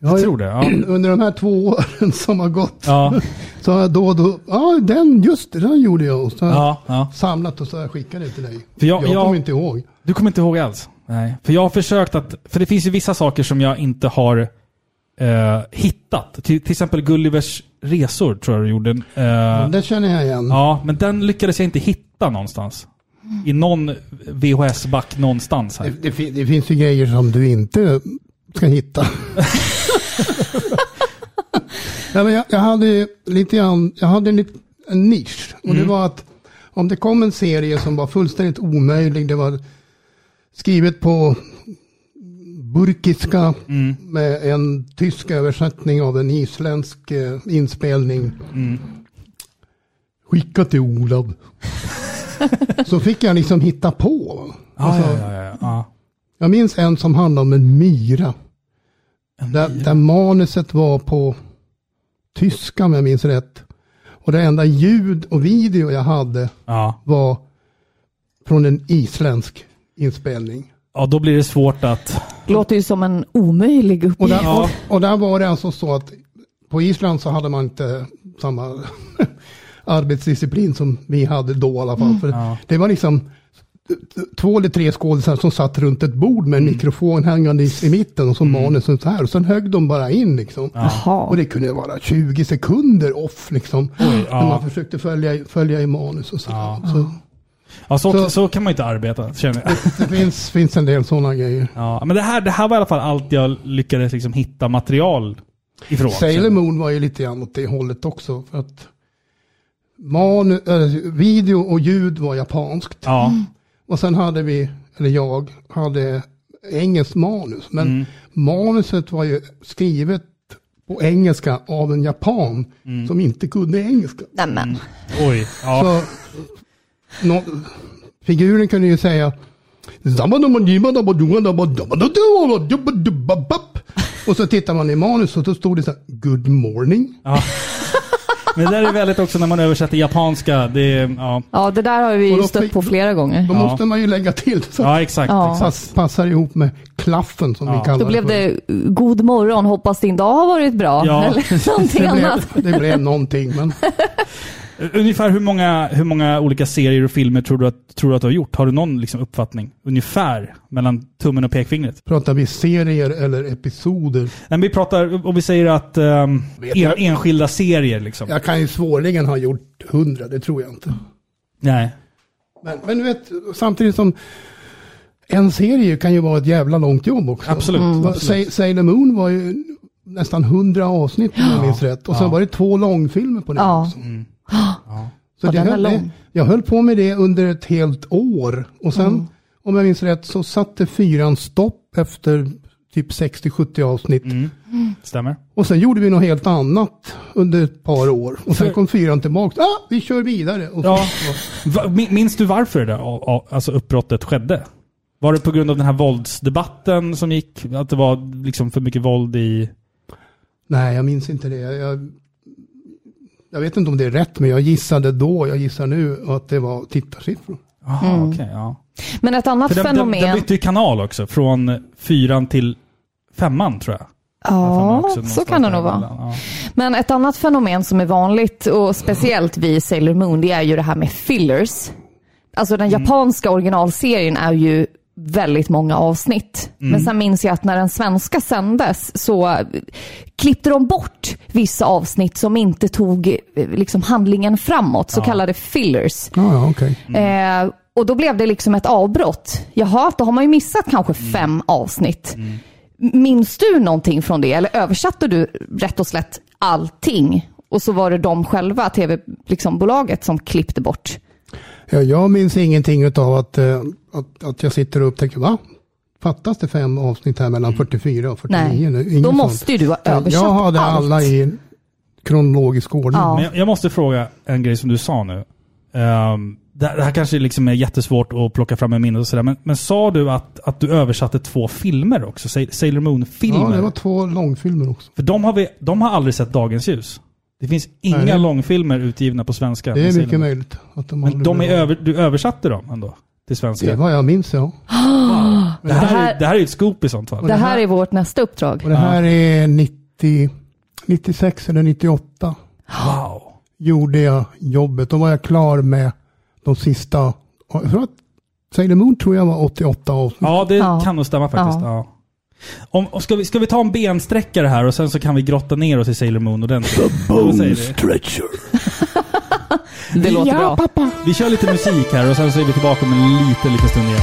Speaker 1: Jag, tror det. Ja.
Speaker 3: Under de här två åren som har gått
Speaker 1: Ja.
Speaker 3: så har jag då och då, ja den, just det, den gjorde jag. Och så har jag
Speaker 1: Ja, ja.
Speaker 3: samlat och så har jag skickat det till dig.
Speaker 1: För jag- jag-
Speaker 3: kommer inte ihåg.
Speaker 1: Du kommer inte ihåg alls? Nej. För jag har försökt att... För det finns ju vissa saker som jag inte har eh, hittat. Till, till exempel Gullivers resor tror jag du gjorde. en, Eh,
Speaker 3: Den känner jag igen.
Speaker 1: ja, men den lyckades jag inte hitta någonstans. I någon VHS-back någonstans här.
Speaker 3: Det, det, fin- det finns ju grejer som du inte ska hitta. Nej, men jag, jag hade ju lite grann, jag hade en, lit- en nisch och det
Speaker 1: Mm.
Speaker 3: var att om det kom en serie som var fullständigt omöjlig, det var skrivet på burkiska
Speaker 1: Mm.
Speaker 3: med en tysk översättning av en isländsk eh, inspelning.
Speaker 1: Mm.
Speaker 3: Skicka till Olav. Så fick jag liksom hitta på.
Speaker 1: Ah, Ja, ja, ja, ja, ja.
Speaker 3: Jag minns en som handlade om en myra. där, där manuset var på tyska om jag minns rätt. Och det enda ljud och video jag hade
Speaker 1: Ja.
Speaker 3: var från en isländsk inspelning.
Speaker 1: ja, då blir det svårt att...
Speaker 2: Låter ju som en omöjlig
Speaker 3: Och
Speaker 2: uppgift.
Speaker 3: där, och, och där var det alltså så att på Island så hade man inte samma arbetsdisciplin som vi hade då i alla fall.
Speaker 1: Mm.
Speaker 3: För Det var liksom två eller tre skådisar som satt runt ett bord med en
Speaker 1: Mm.
Speaker 3: mikrofon hängande i, i mitten och så manusen så här. Och sen högg de bara in liksom.
Speaker 2: Jaha.
Speaker 3: Och det kunde vara 20 sekunder off liksom.
Speaker 1: ja.
Speaker 3: När man försökte följa, följa i manus och så. så
Speaker 1: Ja, så, så,
Speaker 3: Så-
Speaker 1: kan man ju inte arbeta, känner jag.
Speaker 3: det finns, finns en del sådana grejer.
Speaker 1: Ja, men det här, det här var i alla fall allt jag lyckades liksom hitta material ifrån.
Speaker 3: Sailor Moon var ju lite grann åt det hållet också. För att manu, äh, video och ljud var japanskt.
Speaker 1: Ja.
Speaker 3: Och sen hade vi, eller jag, hade engelskt manus. Men
Speaker 1: Mm.
Speaker 3: manuset var ju skrivet på engelska av en japan som inte kunde engelska.
Speaker 2: Nämen.
Speaker 1: Oj. Mm. Ja.
Speaker 3: Så, nå, figuren kunde ju säga och så tittar man i manus och då stod det så här, good morning.
Speaker 1: Men det där är väldigt också när man översätter japanska. Det, är- ja.
Speaker 2: Ja, det där har vi
Speaker 3: Och
Speaker 2: ju
Speaker 3: då
Speaker 2: stött
Speaker 3: fick-
Speaker 2: på flera gånger.
Speaker 3: Då
Speaker 1: Ja.
Speaker 3: måste man ju lägga till så att
Speaker 1: ja, exakt.
Speaker 2: Ja.
Speaker 1: exakt.
Speaker 3: pass, passar ihop med klaffen som vi kallar
Speaker 2: Då blev
Speaker 3: för.
Speaker 2: det god morgon, hoppas din dag har varit bra.
Speaker 1: Ja.
Speaker 2: Eller någonting
Speaker 3: det
Speaker 2: annat.
Speaker 3: blev, det blev någonting. Men
Speaker 1: Ungefär hur många, hur många olika serier och filmer tror du att, tror du, att du har gjort? Har du någon liksom uppfattning? Ungefär mellan tummen och pekfingret?
Speaker 3: pratar vi serier eller episoder?
Speaker 1: Nej, men vi pratar, om vi säger att ehm, en, enskilda serier liksom.
Speaker 3: Jag kan ju svårligen ha gjort hundra, det tror jag inte.
Speaker 1: Nej.
Speaker 3: Men, men du vet, samtidigt som en serie kan ju vara ett jävla långt jobb också.
Speaker 1: Absolut,
Speaker 3: Va-
Speaker 1: absolut.
Speaker 3: Sa- Sailor Moon var ju nästan hundra avsnitt om jag minns rätt. Och sen var det två långfilmer på den
Speaker 2: Ja. Mm.
Speaker 3: också. Mm.
Speaker 2: Ja,
Speaker 3: Så det
Speaker 2: den var
Speaker 3: höll,
Speaker 2: lång.
Speaker 3: jag höll på med det under ett helt år. Och sen,
Speaker 2: Mm.
Speaker 3: om jag minns rätt, så satte fyran stopp efter typ 60-70 avsnitt.
Speaker 2: Mm.
Speaker 1: Stämmer?
Speaker 3: Och sen gjorde vi något helt annat under ett par år. Och
Speaker 1: För-
Speaker 3: sen kom fyran tillbaka. Ah, vi kör vidare. Och så,
Speaker 1: Ja. Va- min- Minns du varför det där a- a- alltså uppbrottet skedde? Var det på grund av den här våldsdebatten som gick? Att det var liksom för mycket våld i...
Speaker 3: Nej, jag minns inte det. Jag, jag, jag vet inte om det är rätt, men jag gissade då, jag gissar nu, att det var tittarsiffror.
Speaker 1: Aha, okej, ja.
Speaker 2: Men ett annat
Speaker 1: För den, den,
Speaker 2: fenomen...
Speaker 1: den bytte ju kanal också, från fyran till femman tror jag.
Speaker 2: ja,
Speaker 1: Också
Speaker 2: så
Speaker 1: någonstans
Speaker 2: kan det nog
Speaker 1: däremellan,
Speaker 2: vara.
Speaker 1: ja.
Speaker 2: Men ett annat fenomen som är vanligt
Speaker 1: Mm.
Speaker 2: och speciellt vid Sailor Moon, det är ju det här med fillers. Alltså den
Speaker 1: Mm.
Speaker 2: japanska originalserien är ju väldigt många avsnitt.
Speaker 1: Mm.
Speaker 2: Men sen minns jag att när den svenska sändes så eh, klippte de bort vissa avsnitt som inte tog eh, liksom, handlingen framåt, så kallade fillers.
Speaker 3: Ja, ja, okej.
Speaker 2: Eh, och då blev det liksom ett avbrott. Jaha, då har man ju missat kanske fem avsnitt. Minns du någonting från det? Eller översatte du rätt och slätt allting? Och så var det de själva, tv-bolaget, liksom, bolaget som klippte bort.
Speaker 3: Ja, jag minns ingenting utav att, eh, att, att jag sitter och upptäcker, va? Fattas det fem avsnitt här mellan 44 och 49
Speaker 2: Mm. Nej,
Speaker 3: nu? Inget
Speaker 2: då
Speaker 3: sånt.
Speaker 2: måste ju du ha översatt
Speaker 3: Jag hade
Speaker 2: allt.
Speaker 3: alla i kronologisk ordning.
Speaker 2: Ja.
Speaker 1: Men jag, jag måste fråga en grej som du sa nu. Ehm, det, det här kanske liksom är jättesvårt att plocka fram i minnet och sådär, men, men sa du att, att du översatte två filmer också? Sa- Sailor
Speaker 3: Ja,
Speaker 1: Moon-filmer?
Speaker 3: det var två långfilmer också.
Speaker 1: För de har, vi, de har aldrig sett dagens ljus. Det finns inga
Speaker 3: Nej, det-
Speaker 1: långfilmer utgivna på svenska.
Speaker 3: Det
Speaker 1: med
Speaker 3: är
Speaker 1: Sailor
Speaker 3: mycket
Speaker 1: Moon.
Speaker 3: möjligt. Att de
Speaker 1: Men
Speaker 3: aldrig
Speaker 1: de är
Speaker 3: blev av.
Speaker 1: över, du översatte dem ändå till svenska?
Speaker 3: Det är vad jag minns, ja.
Speaker 1: Det här, är, det här är ju ett scoop i sånt fall.
Speaker 2: Det här är vårt nästa uppdrag.
Speaker 3: Och det här är 90, 96 eller 98.
Speaker 1: Wow.
Speaker 3: Gjorde jag jobbet. Då var jag klar med de sista, jag tror att Sailor Moon tror jag var 88 avsnitt.
Speaker 1: Ja, det kan nog stämma faktiskt. Ja. Om, om, ska, vi, ska vi ta en bensträckare här och sen så kan vi grotta ner oss i Sailor Moon ordentligt? The
Speaker 11: Bone stretcher.
Speaker 2: Det låter
Speaker 1: ja,
Speaker 2: bra.
Speaker 1: Pappa. Vi kör lite musik här och sen så är vi tillbaka om en liten, liten stund igen.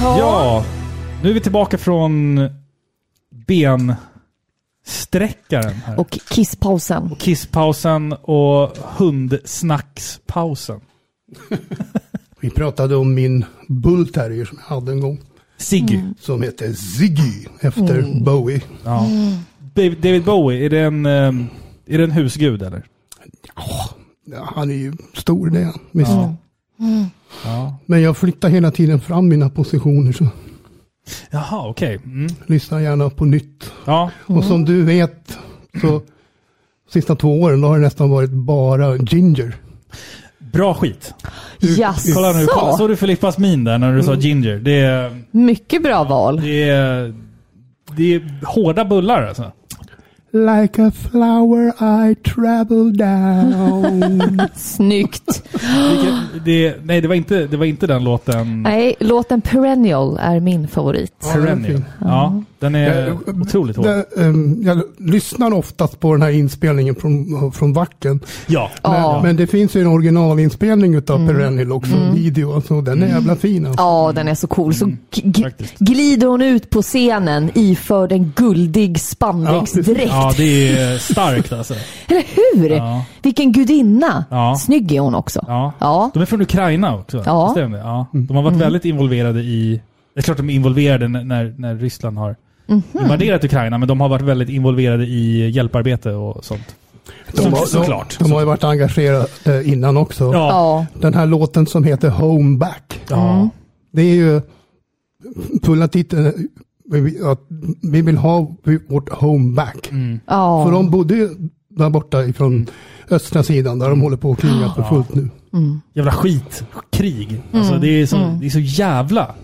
Speaker 1: Ja, nu är vi tillbaka från bensträckaren. Här.
Speaker 2: Och kisspausen.
Speaker 1: Kisspausen och hundsnackspausen.
Speaker 3: Vi pratade om min bullterrier som jag hade en gång.
Speaker 1: Siggy. Mm.
Speaker 3: Som heter Ziggy efter Bowie.
Speaker 1: Ja. David David Bowie, är det en, eh, är det en husgud eller?
Speaker 3: Ja, han är ju stor det är han. Visst.
Speaker 1: Ja. Ja.
Speaker 3: Men jag flyttar hela tiden fram mina positioner så
Speaker 1: Jaha, okej. Mm.
Speaker 3: lyssna gärna på nytt.
Speaker 1: Ja.
Speaker 3: Och som du vet så sista två åren då har det nästan varit bara ginger.
Speaker 1: Bra skit.
Speaker 2: Jaså?
Speaker 1: Kolla nu, kolla, såg du Filippas min där när du sa ginger? Det är,
Speaker 2: Mycket bra val.
Speaker 1: det är, det är hårda bullar alltså.
Speaker 3: Like a flower I travel down.
Speaker 2: Snyggt.
Speaker 1: Vilket, det, nej, det var, inte, det var inte den låten.
Speaker 2: Nej, låten Perennial är min favorit.
Speaker 1: Perennial. Ja, den är otroligt hård.
Speaker 3: Det, ehm, jag lyssnar oftast på den här inspelningen från, från Vacken.
Speaker 1: Ja. Mm.
Speaker 2: Ja.
Speaker 3: Men, men det finns ju en originalinspelning utav Perennial också, video. Alltså, den är jävla fin. Alltså.
Speaker 2: Ja, den är så cool. Så g-
Speaker 1: Mm, faktiskt.
Speaker 2: glider hon ut på scenen iförd en guldig spandexdräkt.
Speaker 1: ja, det är starkt alltså.
Speaker 2: Eller hur?
Speaker 1: Ja.
Speaker 2: Vilken gudinna!
Speaker 1: Ja.
Speaker 2: Snygg är hon också.
Speaker 1: Ja.
Speaker 2: Ja.
Speaker 1: De är från Ukraina också.
Speaker 2: Ja.
Speaker 1: Visst är de det? ja. De har varit väldigt involverade i... Det är klart de är involverade när- när, när Ryssland har invaderat Ukraina, men de har varit väldigt involverade i hjälparbete och sånt. Så- såklart.
Speaker 3: alltså. De, de har ju varit engagerade eh, innan också.
Speaker 1: Ja.
Speaker 2: Ja.
Speaker 3: Den här låten som heter Home Back.
Speaker 1: Ja.
Speaker 2: Mm.
Speaker 3: Det är ju fulla titeln vi- att vi vill ha vårt home back.
Speaker 1: Mm.
Speaker 2: Ja.
Speaker 3: För de bodde ju där borta ifrån östra sidan
Speaker 1: Mm.
Speaker 3: där de håller på att kriga för fullt nu.
Speaker 1: Jävla skitkrig. Alltså,
Speaker 2: Mm.
Speaker 1: det, är så, det är så jävla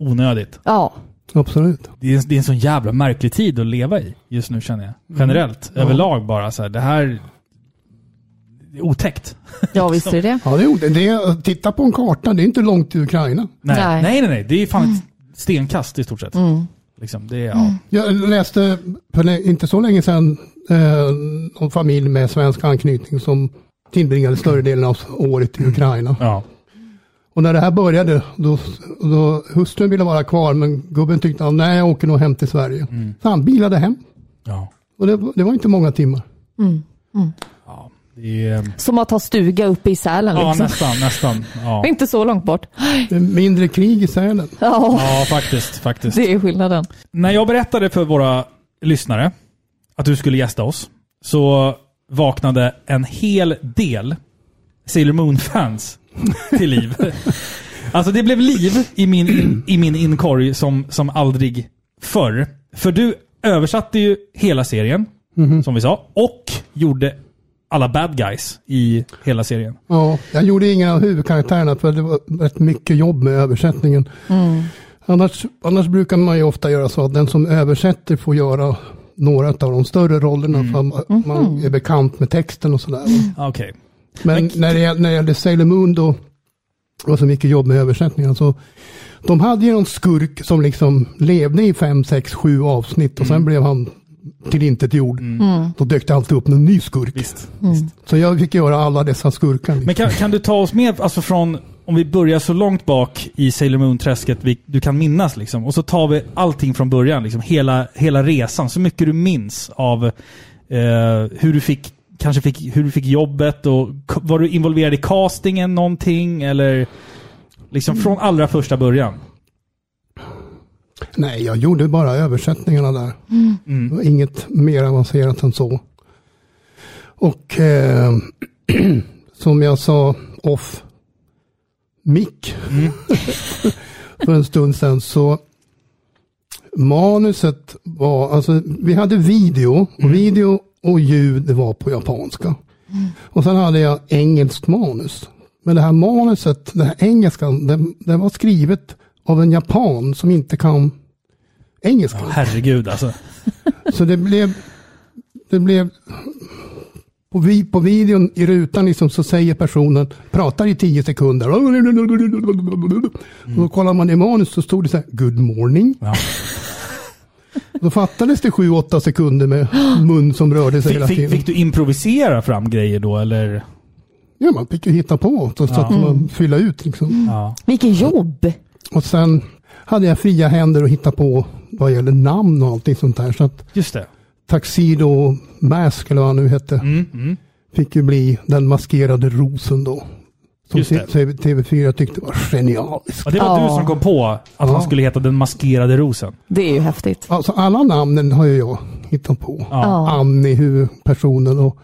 Speaker 1: onödigt.
Speaker 2: ja.
Speaker 3: Absolut.
Speaker 1: Det är, det är en sån jävla märklig tid att leva i just nu känner
Speaker 2: Mm.
Speaker 1: jag. Generellt. Överlag bara så här. Det här... Det är otäckt.
Speaker 2: Ja, visst är det
Speaker 3: Ja, det gjorde det. är- Titta på en karta, det är inte långt till Ukraina.
Speaker 1: Nej, nej,
Speaker 2: Nej. Mm.
Speaker 1: nej. nej, Det är fan ett stenkast i stort sett. Liksom, det är, ja.
Speaker 3: Jag läste för lä- inte så länge sedan eh, om familj med svensk anknytning som tillbringade större delen av året i Ukraina.
Speaker 1: Ja.
Speaker 3: Och när det här började, då, då hustrun ville vara kvar men gubben tyckte att nej, jag åker nog hem till Sverige. Så han bilade hem.
Speaker 1: ja.
Speaker 3: Och det, det var inte många timmar.
Speaker 1: Det är,
Speaker 2: Som att ha stuga uppe i Sälen
Speaker 1: ja,
Speaker 2: liksom.
Speaker 1: nästan, nästan. Ja,
Speaker 2: Inte så långt bort.
Speaker 3: Det är Mindre krig i Sälen.
Speaker 2: Ja,
Speaker 1: ja faktiskt, faktiskt.
Speaker 2: det är skillnaden.
Speaker 1: När jag berättade för våra lyssnare att du skulle gästa oss så vaknade en hel del Sailor Moon-fans till liv. Alltså det blev liv i min, i min inkorg som, som aldrig förr. För du översatte ju hela serien, som vi sa, och gjorde alla bad guys i hela serien.
Speaker 3: Ja, jag gjorde ingen av huvudkaraktärerna för det var rätt mycket jobb med översättningen.
Speaker 1: Mm.
Speaker 3: Annars, annars brukar man ju ofta göra så att den som översätter får göra några av de större rollerna
Speaker 1: Mm.
Speaker 3: för man,
Speaker 1: Mhm.
Speaker 3: man är bekant med texten och sådär.
Speaker 1: Ah, Okej.
Speaker 3: Men när det, gäll- när det gällde Sailor Moon då, det var så mycket jobb med översättningen, så de hade ju någon skurk som liksom levde i fem, sex, sju avsnitt och sen blev han tillintetgjord.
Speaker 1: Mm.
Speaker 3: Då dök det alltid upp en ny skurk.
Speaker 1: Mm.
Speaker 3: Så jag fick göra alla dessa skurkar. liksom.
Speaker 1: Men kan, kan du ta oss med, alltså från, om vi börjar så långt bak i Sailor Moon-träsket vi, du kan minnas liksom. Och så tar vi allting från början, liksom hela, hela resan. Så mycket du minns av eh, hur du fick, kanske fick, hur du fick jobbet och k- var du involverad i castingen någonting eller liksom från allra första början.
Speaker 3: Nej, jag gjorde bara översättningarna där. Det var inget mer avancerat än så. Och eh, som jag sa off mick för en stund sedan så manuset var, alltså vi hade video och video och ljud var på japanska. Och sen hade jag engelskt manus. Men det här manuset, den här engelskan, den, den var skrivet av en japan som inte kan engelska.
Speaker 1: Herregud alltså.
Speaker 3: Så det blev, det blev på, vi, på videon i rutan liksom så säger personen, pratar i tio sekunder. Och då kollar man i manus så stod det så här, good morning. Då fattades det sju, åtta sekunder med mun som rörde sig
Speaker 1: Fick,
Speaker 3: hela
Speaker 1: fick,
Speaker 3: tiden.
Speaker 1: fick du improvisera fram grejer då eller?
Speaker 3: Ja, man fick ju hitta på så, så
Speaker 1: Ja.
Speaker 3: att man
Speaker 1: Mm.
Speaker 3: fylla ut liksom.
Speaker 1: Ja.
Speaker 2: Vilket jobb!
Speaker 3: Och sen hade jag fria händer att hitta på vad gäller namn och allting sånt där. Så att
Speaker 1: Just det.
Speaker 3: Tuxedo Mask eller vad han nu hette.
Speaker 1: Mm,
Speaker 3: Fick ju bli den maskerade rosen då. Som
Speaker 1: Just det.
Speaker 3: TV- TV4 tyckte var genialisk.
Speaker 1: Ja, det var
Speaker 2: Ja.
Speaker 1: du som kom på att han skulle heta Den Maskerade Rosen.
Speaker 2: Det är ju häftigt.
Speaker 3: Alltså alla namnen har ju jag hittat på.
Speaker 2: Ja.
Speaker 3: Annie huvudpersonen och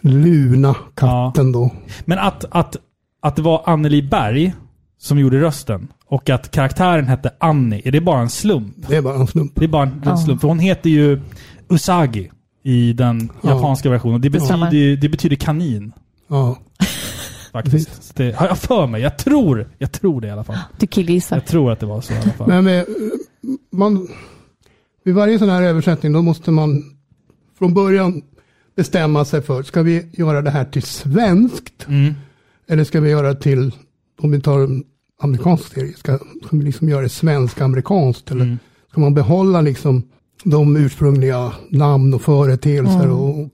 Speaker 3: Luna katten då.
Speaker 1: Men att, att, att det var Anneli Berg som gjorde rösten och att karaktären hette Annie, är det bara en slump?
Speaker 3: Det är bara en slump.
Speaker 1: Det är bara en, en
Speaker 2: Ja.
Speaker 1: slump. För hon heter ju Usagi i den
Speaker 3: Ja.
Speaker 1: japanska versionen. Det
Speaker 2: stämmer.
Speaker 1: betyder, ju- det betyder kanin.
Speaker 3: Ja.
Speaker 1: Faktiskt. Så Det har jag för mig. Jag tror, jag tror det i alla fall.
Speaker 2: Du killgissar.
Speaker 1: Jag tror att det var så i alla fall.
Speaker 3: Men med, man, vid varje sån här översättning då måste man från början bestämma sig för, ska vi göra det här till svenskt? Eller ska vi göra det till, om vi tar en amerikansk serie, ska, ska vi liksom göra det svensk-amerikanskt? Eller ska man behålla liksom de ursprungliga namn och företeelser och, och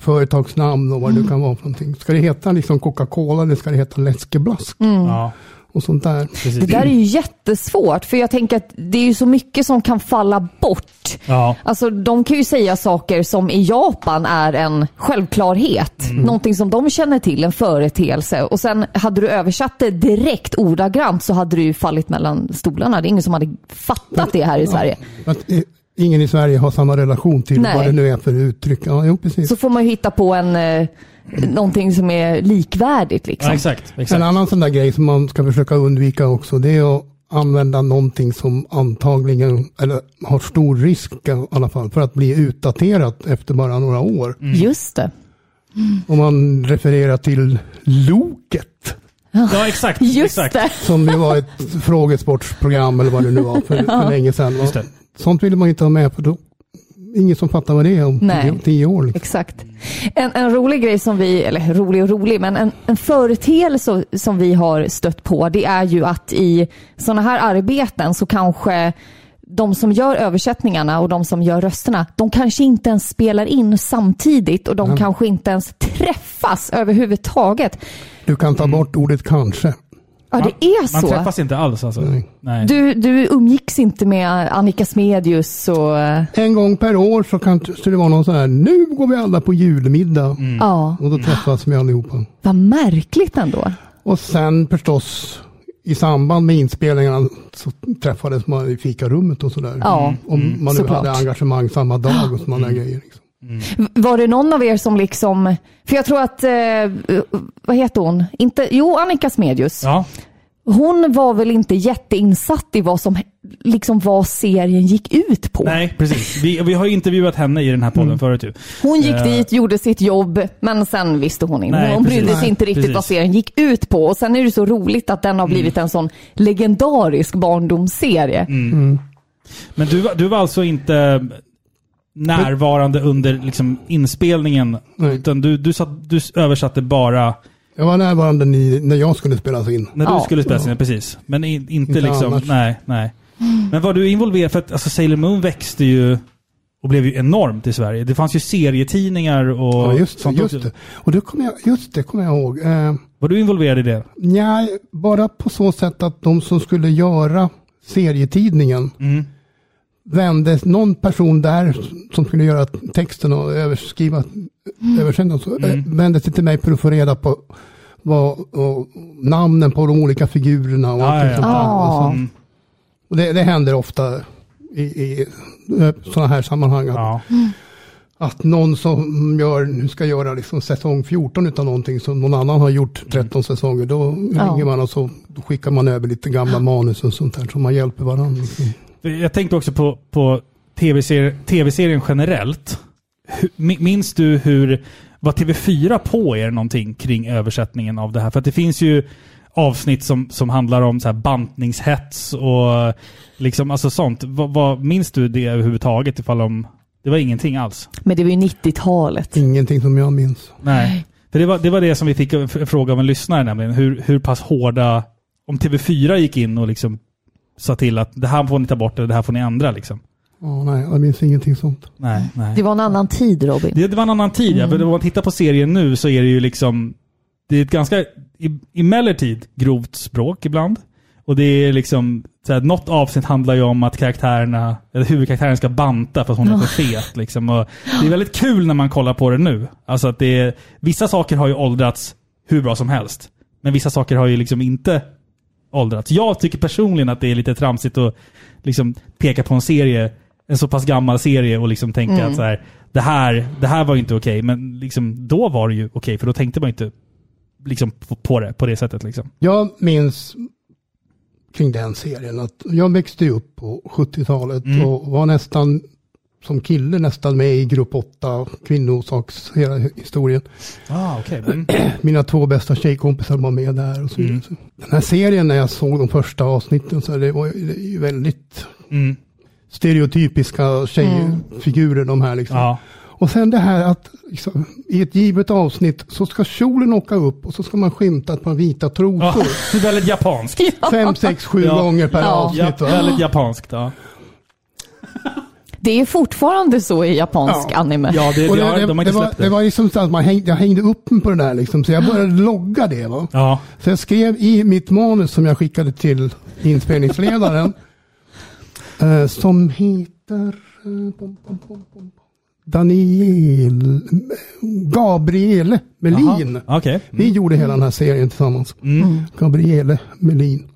Speaker 3: företagsnamn och vad det nu kan vara för någonting? Ska det heta liksom Coca-Cola eller ska det heta läskeblask?
Speaker 1: Ja,
Speaker 3: Och sånt där.
Speaker 1: precis.
Speaker 2: Mm. Det där är ju jättesvårt, för jag tänker att det är ju så mycket som kan falla bort.
Speaker 1: Ja.
Speaker 2: Alltså, de kan ju säga saker som i Japan är en självklarhet. Någonting som de känner till, en företeelse. Och sen hade du översatt det direkt ordagrant så hade du ju fallit mellan stolarna. Det är ingen som hade fattat det här i Sverige.
Speaker 3: Att eh, ingen i Sverige har samma relation till
Speaker 2: Nej.
Speaker 3: vad det nu är för uttryck. Ja, jo, precis.
Speaker 2: Så får man ju hitta på en, eh, någonting som är likvärdigt.
Speaker 1: Ja,
Speaker 2: Liksom.
Speaker 1: exakt.
Speaker 3: En
Speaker 1: exakt.
Speaker 3: annan sån där grej som man ska försöka undvika också, det är att använda någonting som antagligen, eller har stor risk i alla fall, för att bli utdaterat efter bara några år.
Speaker 1: Mm.
Speaker 2: Just det.
Speaker 3: Om man refererar till Loket,
Speaker 1: Ja, exakt.
Speaker 2: Just
Speaker 1: exakt.
Speaker 2: det.
Speaker 3: som ju var ett frågesportsprogram eller vad det nu var för, för länge sedan. va?
Speaker 1: Just det.
Speaker 3: Sånt vill man inte ha med, för då ingen som fattar vad det är om
Speaker 2: Nej.
Speaker 3: tio, tio år. Liksom.
Speaker 2: Exakt. En, en rolig grej som vi, eller rolig och rolig, men en, en företeelse som vi har stött på det är ju att i sådana här arbeten så kanske de som gör översättningarna och de som gör rösterna, de kanske inte ens spelar in samtidigt och de
Speaker 1: Mm.
Speaker 2: kanske inte ens träffas överhuvudtaget.
Speaker 3: Du kan
Speaker 1: Mm.
Speaker 3: ta bort ordet kanske.
Speaker 2: Ja, det är
Speaker 1: Man
Speaker 2: så. Mm.
Speaker 1: träffas inte alls alltså.
Speaker 3: Nej.
Speaker 1: Nej.
Speaker 2: Du, du umgicks inte med Annika Smedius och... eh,
Speaker 3: En gång per år så kan så det vara någon sån här, nu går vi alla på julmiddag.
Speaker 2: Ja,
Speaker 3: Och då träffas vi allihopa.
Speaker 2: vad märkligt ändå.
Speaker 3: Och sen förstås i samband med inspelningarna så träffades man i fikarummet och sådär. Mm.
Speaker 2: Ja, Mm.
Speaker 3: Om man nu
Speaker 2: såklart. Mm.
Speaker 3: hade engagemang samma dag och sådana där grejer. Liksom.
Speaker 2: Var det någon av er som liksom... För jag tror att... Eh, vad heter hon? Inte, jo, Annika Smedius.
Speaker 1: Ja.
Speaker 2: Hon var väl inte jätteinsatt i vad som liksom vad serien gick ut på.
Speaker 1: Nej, precis. Vi, vi har ju intervjuat henne i den här podden
Speaker 2: Mm.
Speaker 1: förut ju.
Speaker 2: Hon gick
Speaker 1: Eh,
Speaker 2: dit, gjorde sitt jobb, men sen visste hon inte.
Speaker 1: Nej,
Speaker 2: hon brydde
Speaker 1: precis.
Speaker 2: sig inte
Speaker 1: Nej,
Speaker 2: riktigt vad
Speaker 1: precis. Mm.
Speaker 2: serien gick ut på. Och sen är det så roligt att den har blivit en sån legendarisk barndomsserie.
Speaker 1: Mm. Men du, var- du var alltså inte närvarande under liksom inspelningen?
Speaker 3: Nej.
Speaker 1: Utan du, du, satt, du översatte bara
Speaker 3: Jag var närvarande ni, när jag skulle spelas in.
Speaker 1: när du skulle spela in, precis. Men in, inte,
Speaker 3: Inte
Speaker 1: liksom,
Speaker 3: annars.
Speaker 1: nej, nej. Men var du involverad, för att alltså, Sailor Moon växte ju och blev ju enormt i Sverige. Det fanns ju serietidningar och
Speaker 3: Ja, just, det,
Speaker 1: sånt
Speaker 3: just
Speaker 1: också.
Speaker 3: det. Och det kommer jag, just det kommer jag ihåg. Eh,
Speaker 1: Var du involverad i det?
Speaker 3: Nej, bara på så sätt att de som skulle göra serietidningen
Speaker 1: Mm.
Speaker 3: vände någon person där som skulle göra texten och överskriva
Speaker 1: Mm.
Speaker 3: översända så eh, vände sig till mig för att få reda på vad, och, namnen på de olika figurerna och
Speaker 1: Ja, Ah, ja,
Speaker 3: allting sånt där.
Speaker 2: ja.
Speaker 3: Och, så,
Speaker 1: Mm.
Speaker 3: och det, det händer ofta i, i sådana här sammanhang att,
Speaker 1: Ja.
Speaker 3: att någon som gör, ska göra liksom säsong 14 utav någonting som någon annan har gjort 13 säsonger, då
Speaker 2: Ja.
Speaker 3: ringer man och så skickar man över lite gamla manus och sånt där så man hjälper varandra. Liksom.
Speaker 1: Jag tänkte också på, på TV-serien TV-serien generellt. Hur- mi- Minns du hur... Var TV4 på er någonting kring översättningen av det här? För att det finns ju avsnitt som, som handlar om så här bantningshets och liksom, alltså sånt. Vad, vad, minns du det överhuvudtaget? Ifall om, det var ingenting alls?
Speaker 2: Men det var ju 90-talet.
Speaker 1: Mm.
Speaker 3: Ingenting som jag minns.
Speaker 1: Nej. För det var, det var det som vi fick en f- en fråga av en lyssnare nämligen. Hur, hur pass hårda... Om TV4 gick in och liksom sa till att det här får ni ta bort eller det här får ni ändra liksom.
Speaker 3: Ja, nej, jag minns ingenting sånt.
Speaker 1: Nej, nej.
Speaker 2: Det var en annan tid Robin.
Speaker 1: Det, det var en annan tid, ja. För om man tittar på serien nu så är det ju liksom... Det är ett ganska, i- emellertid, grovt språk ibland. Och det är liksom... Så här, något avsnitt handlar ju om att karaktärerna, eller huvudkaraktären ska banta för att hon är för fet. Liksom. Och det är väldigt kul när man kollar på det nu. Alltså att det är, vissa saker har ju åldrats hur bra som helst. Men vissa saker har ju liksom inte åldrats. Jag tycker personligen att det är lite tramsigt att liksom peka på en serie, en så pass gammal serie och liksom tänka
Speaker 2: Mm.
Speaker 1: att så här, det, här, det här var ju inte okej. Men liksom, då var det ju okej, för då tänkte man ju inte liksom, på, på det på det sättet. Liksom.
Speaker 3: Jag minns kring den serien att jag växte upp på 70-talet och var nästan som kille nästan med i grupp 8, kvinnosaks, hela historien.
Speaker 1: Ah, okay.
Speaker 3: Mina två bästa tjejkompisar var med där och så
Speaker 1: Mm.
Speaker 3: vidare. Den här serien när jag såg de första avsnitten så det var ju det är ju väldigt
Speaker 1: Mm.
Speaker 3: stereotypiska tjejfigurer de här liksom.
Speaker 1: Ja.
Speaker 3: Och sen det här att liksom, i ett givet avsnitt så ska kjolen åka upp och så ska man skymta ett par vita trosor.
Speaker 1: Ja, det är väldigt japanskt.
Speaker 3: Fem, sex, sju
Speaker 1: Ja.
Speaker 3: gånger per
Speaker 2: Ja.
Speaker 3: avsnitt.
Speaker 1: Ja,
Speaker 3: va?
Speaker 1: väldigt japanskt. Ja,
Speaker 2: Det är fortfarande så i japansk
Speaker 3: Ja.
Speaker 2: anime.
Speaker 1: ja det,
Speaker 3: Och
Speaker 1: det, har- de har
Speaker 3: det,
Speaker 1: inte
Speaker 3: var,
Speaker 1: släppt det.
Speaker 3: det var liksom så att man hängde, jag hängde upp mig på det där liksom, så jag började logga det. Va?
Speaker 1: Ja.
Speaker 3: Så jag skrev i mitt manus som jag skickade till inspelningsledaren. eh, som heter eh, pom, pom, pom, pom, pom. Daniel eh, Gabriele Melin.
Speaker 1: Jaha, Okej.
Speaker 3: Vi gjorde hela den här serien tillsammans.
Speaker 1: Mm.
Speaker 3: Gabriele Melin.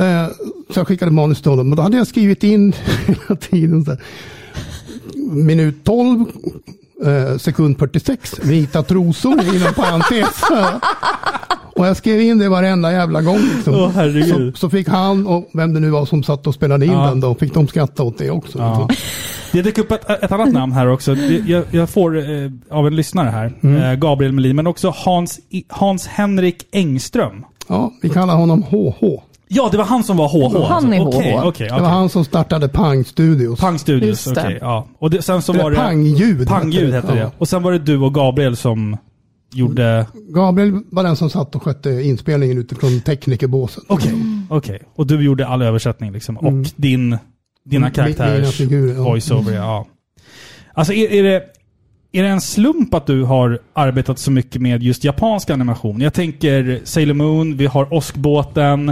Speaker 3: Eh, så jag skickade manus till honom och då hade jag skrivit in hela tiden. Så här, minut 12, eh, sekund 46, vita trosor inom parentes. och jag skrev in det varenda jävla gång. Liksom.
Speaker 1: Åh, herregud.
Speaker 3: så, så fick han och vem det nu var som satt och spelade in
Speaker 1: Ja.
Speaker 3: den då, fick de skratta åt det också.
Speaker 1: Ja. Det dök upp ett, ett annat namn här också. Det- Jag, jag får eh, av en lyssnare här, eh, Gabriel Melin, men också Hans, I- Hans Henrik Engström.
Speaker 3: Ja, vi kallar honom HH.
Speaker 1: Ja, det var han som var HH.
Speaker 2: Han är
Speaker 1: Okej,
Speaker 2: HH.
Speaker 1: okej,
Speaker 3: Det var
Speaker 1: okej.
Speaker 3: han som startade Pang Studios.
Speaker 1: Pang Studios,
Speaker 2: Just det.
Speaker 1: okej. ja. Och det, sen så
Speaker 3: Eller
Speaker 1: var det...
Speaker 3: Pangljud
Speaker 1: Pangljud hette det.
Speaker 3: Ja.
Speaker 1: Och sen var det du och Gabriel som gjorde...
Speaker 3: Gabriel var den som satt och skötte inspelningen utifrån teknikerbåset.
Speaker 1: Okej, okej. Och du gjorde all översättning liksom. Och
Speaker 3: Mm.
Speaker 1: din, dina
Speaker 3: Mm, mina
Speaker 1: karaktärers
Speaker 3: figurer, Mm. ja.
Speaker 1: voiceover, ja. Alltså är, är, det, är det en slump att du har arbetat så mycket med just japansk animation? Jag tänker Sailor Moon, vi har Åskbåten,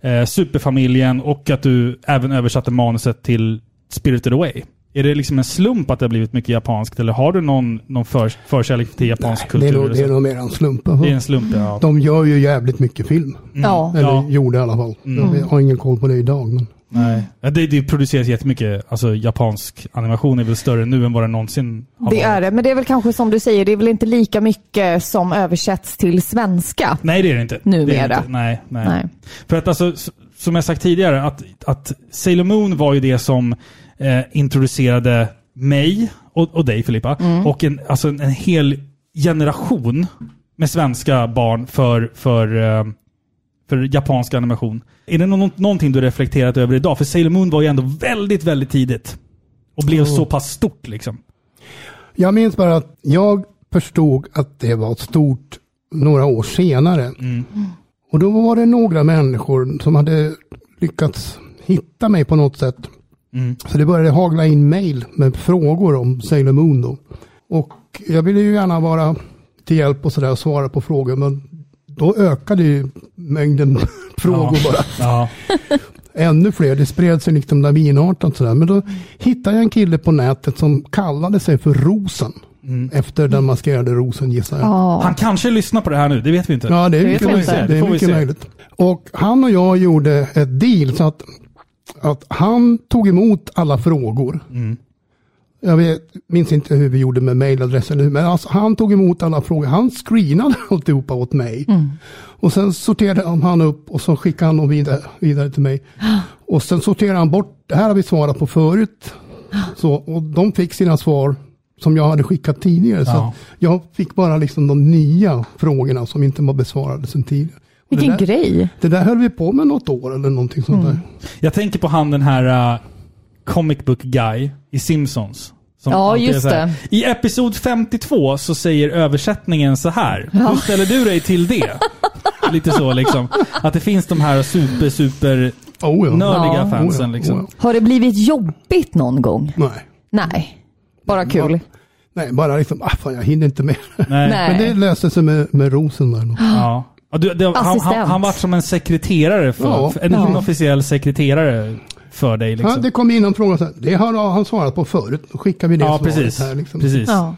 Speaker 1: eh, Superfamiljen och att du även översatte manuset till Spirited Away. Är det liksom en slump att det har blivit mycket japanskt eller har du någon, någon för, förkärlek till japansk
Speaker 3: Det
Speaker 1: kultur?
Speaker 3: är,
Speaker 1: eller
Speaker 3: nog,
Speaker 1: så?
Speaker 3: det är nog mer en slump.
Speaker 1: det är en slump, ja.
Speaker 3: De gör ju jävligt mycket film.
Speaker 2: Ja.
Speaker 3: Eller
Speaker 1: Ja. Mm.
Speaker 3: gjorde i alla fall. Jag har ingen koll på det idag. Men
Speaker 1: Nej. Ja, det, det produceras jättemycket. Alltså japansk animation är väl större nu än vad den någonsin har
Speaker 2: Det
Speaker 1: varit.
Speaker 2: är det, men det är väl kanske som du säger, det är väl inte lika mycket som översätts till svenska.
Speaker 1: Nej, det är det inte. Det är det
Speaker 2: Numera.
Speaker 1: inte. Nej, nej.
Speaker 2: Nej.
Speaker 1: För att alltså, s- som jag sagt tidigare, att, att Sailor Moon var ju det som eh, introducerade mig och, och dig Filippa,
Speaker 2: Mm.
Speaker 1: och en, alltså en, en hel generation med svenska barn för, för, eh, för japansk animation. Är det nå- någonting du reflekterat över idag? För Sailor Moon var ju ändå väldigt, väldigt tidigt. Och blev så pass stort liksom.
Speaker 3: Jag minns bara att jag förstod att det var stort några år senare. Och då var det några människor som hade lyckats hitta mig på något sätt. Så det började hagla in mejl med frågor om Sailor Moon då. Och jag ville ju gärna vara till hjälp och sådär och svara på frågor men då ökade ju mängden frågor bara
Speaker 1: Ja.
Speaker 3: ännu fler. Det spred sig liksom lavinartat sådär. Men då hittade jag en kille på nätet som kallade sig för Rosen. Efter den maskerade rosen gissar jag.
Speaker 1: Han kanske lyssnar på det här nu, det vet vi inte.
Speaker 3: Ja, det är mycket,
Speaker 1: vi
Speaker 3: möjligt.
Speaker 1: se,
Speaker 3: Det
Speaker 1: får
Speaker 3: är
Speaker 1: vi
Speaker 3: mycket
Speaker 1: se.
Speaker 3: möjligt. Och han och jag gjorde ett deal så att, att han tog emot alla frågor. Jag vet, minns inte hur vi gjorde med mejladress eller hur, men alltså, han tog emot alla frågor. Han screenade alltihopa åt mig.
Speaker 1: Mm.
Speaker 3: Och sen sorterade han upp och så skickade han dem vidare, vidare till mig. Och sen sorterade han bort, det här har vi svarat på förut. Så, och de fick sina svar som jag hade skickat tidigare. Så
Speaker 1: Ja.
Speaker 3: att jag fick bara liksom de nya frågorna som inte var besvarade sedan tidigare. Och det
Speaker 2: Vilken
Speaker 3: där,
Speaker 2: grej.
Speaker 3: Det där höll vi på med något år eller någonting sånt
Speaker 1: Mm.
Speaker 3: där.
Speaker 1: Jag tänker på han den här uh, comic book guy i Simpsons. Som
Speaker 2: Ja,
Speaker 1: alltid är
Speaker 2: just
Speaker 1: så här.
Speaker 2: det.
Speaker 1: I episod 52 så säger översättningen så här.
Speaker 2: Ja.
Speaker 1: Hur ställer du dig till det? Lite så liksom. Att det finns de här super, super
Speaker 3: ja.
Speaker 1: nördiga
Speaker 2: Ja.
Speaker 1: fansen
Speaker 3: Oh ja,
Speaker 1: liksom.
Speaker 3: oh
Speaker 2: Har det blivit jobbigt någon gång?
Speaker 3: Nej.
Speaker 2: Nej. Bara kul.
Speaker 3: Nej, bara liksom, ah, fan, jag hinner inte med.
Speaker 1: Nej.
Speaker 2: Nej.
Speaker 3: Men det löste sig med, med rosen där.
Speaker 1: Ja. Ja, du, det, han, han,
Speaker 2: Assistent.
Speaker 1: han var som en sekreterare, för,
Speaker 3: Ja.
Speaker 1: en
Speaker 2: Ja.
Speaker 1: inofficiell sekreterare för dig. Liksom.
Speaker 3: Ja, det kom in en fråga, så här, det har han svarat på förut, då skickar vi det
Speaker 1: Ja,
Speaker 3: svaret
Speaker 1: precis.
Speaker 3: här. Liksom.
Speaker 1: precis.
Speaker 2: Ja.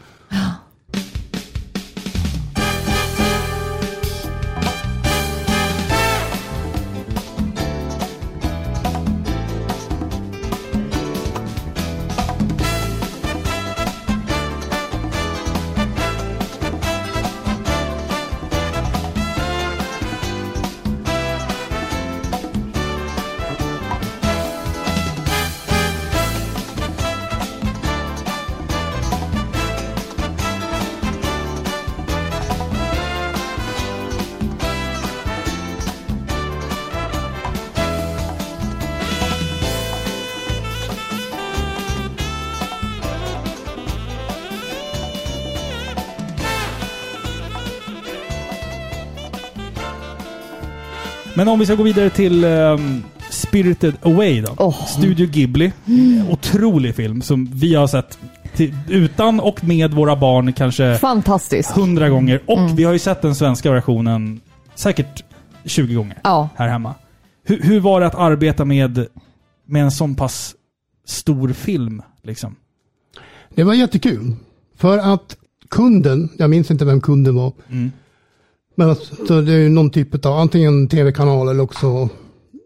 Speaker 1: Men om vi ska gå vidare till ehm, Spirited Away då.
Speaker 2: Åh.
Speaker 1: Studio Ghibli. Otrolig film som vi har sett till, utan och med våra barn kanske
Speaker 2: Fantastiskt.
Speaker 1: hundra gånger. Och vi har ju sett den svenska versionen säkert 20 gånger
Speaker 2: Ja.
Speaker 1: här hemma. Hur, hur var det att arbeta med, med en sån pass stor film? Liksom?
Speaker 3: Det var jättekul. För att kunden, jag minns inte vem kunden var,
Speaker 1: Mm.
Speaker 3: men alltså, det är ju någon typ av antingen tv-kanal eller också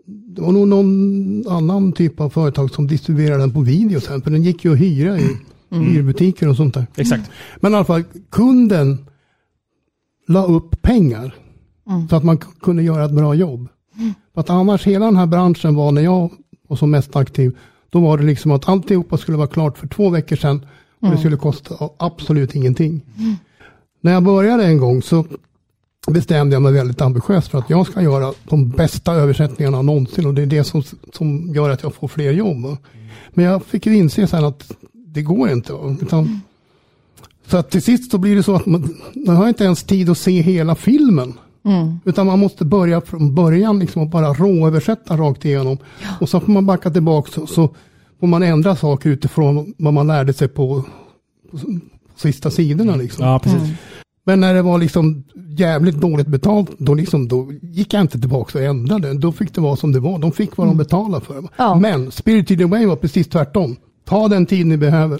Speaker 3: det var nog någon annan typ av företag som distribuerade den på video sen, för den gick ju att hyra i hyrbutiker och sånt där.
Speaker 1: Exakt.
Speaker 3: Men i alla fall, kunden la upp pengar så att man k- kunde göra ett bra jobb. För att annars hela den här branschen var när jag var som mest aktiv, då var det liksom att alltihopa skulle vara klart för två veckor sedan och det skulle kosta absolut ingenting. När jag började en gång så bestämde jag mig väldigt ambitiöst för att jag ska göra de bästa översättningarna någonsin och det är det som, som gör att jag får fler jobb. va. Men jag fick ju inse sen att det går inte. va, Utan, så att till sist så blir det så att man, man har inte ens tid att se hela filmen. Utan man måste börja från början liksom och bara råöversätta rakt igenom. Och så får man backa tillbaka så, så får man ändra saker utifrån vad man lärde sig på, på sista sidorna. Liksom.
Speaker 1: Ja, precis.
Speaker 3: Men när det var liksom jävligt dåligt betalt, då, liksom, då gick jag inte tillbaka och ändrade. Då fick det vara som det var. De fick vad de betalade för.
Speaker 2: Mm. Ja.
Speaker 3: Men Spirited Away var precis tvärtom. Ta den tid ni behöver.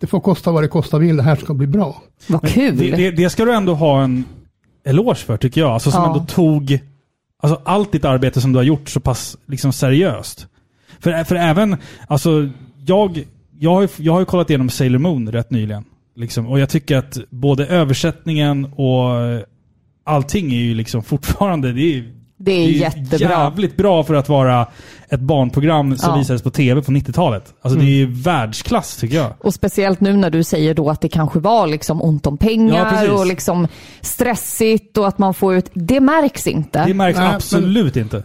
Speaker 3: Det får kosta vad det kosta vill. Det här ska bli bra.
Speaker 2: Vad
Speaker 1: Det,
Speaker 2: kul.
Speaker 1: det, det ska du ändå ha en eloge för tycker jag. Alltså som
Speaker 2: Ja.
Speaker 1: ändå tog alltså, allt ditt arbete som du har gjort så pass liksom, seriöst. För, för även, alltså jag, jag, har ju, jag har ju kollat igenom Sailor Moon rätt nyligen. Liksom, och jag tycker att både översättningen och allting är ju liksom fortfarande, det är ju
Speaker 2: Det är,
Speaker 1: ju
Speaker 2: jättebra.
Speaker 1: jävligt bra för att vara ett barnprogram som
Speaker 2: Ja. Mm.
Speaker 1: visades på tv på 90-talet. Alltså det är ju världsklass tycker jag.
Speaker 2: Och speciellt nu när du säger då att det kanske var liksom ont om
Speaker 1: Ja,
Speaker 2: pengar
Speaker 1: precis.
Speaker 2: och liksom stressigt och att man får ut... Det märks inte.
Speaker 1: Det märks absolut inte.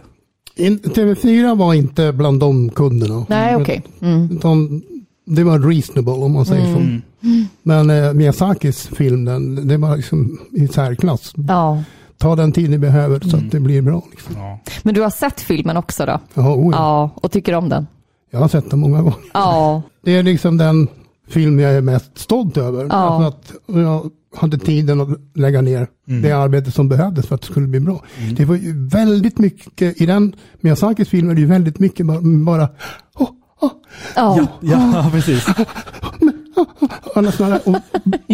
Speaker 3: In, TV4 var inte bland de kunderna.
Speaker 2: Nej, okej. Mm.
Speaker 3: Utan det var reasonable om man säger
Speaker 2: Mm.
Speaker 3: så. Men eh, Miyazakis film, den, det var liksom i särklass.
Speaker 2: Ja.
Speaker 3: Ta den tid ni behöver så
Speaker 2: Mm.
Speaker 3: att det blir bra. Liksom. oh
Speaker 2: Men du har sett filmen också då?
Speaker 3: Ja, oj.
Speaker 2: Ja, och tycker om den?
Speaker 3: Jag har sett den många gånger.
Speaker 2: Ja.
Speaker 3: Det är liksom den film jag är mest stolt över.
Speaker 2: Ja.
Speaker 3: För att jag hade tiden att lägga ner det arbete som behövdes för att det skulle bli bra. Det var ju väldigt mycket, i den Miyazakis film är det ju väldigt mycket bara, bara
Speaker 2: Ja.
Speaker 1: Ja, precis.
Speaker 3: alla såna där, och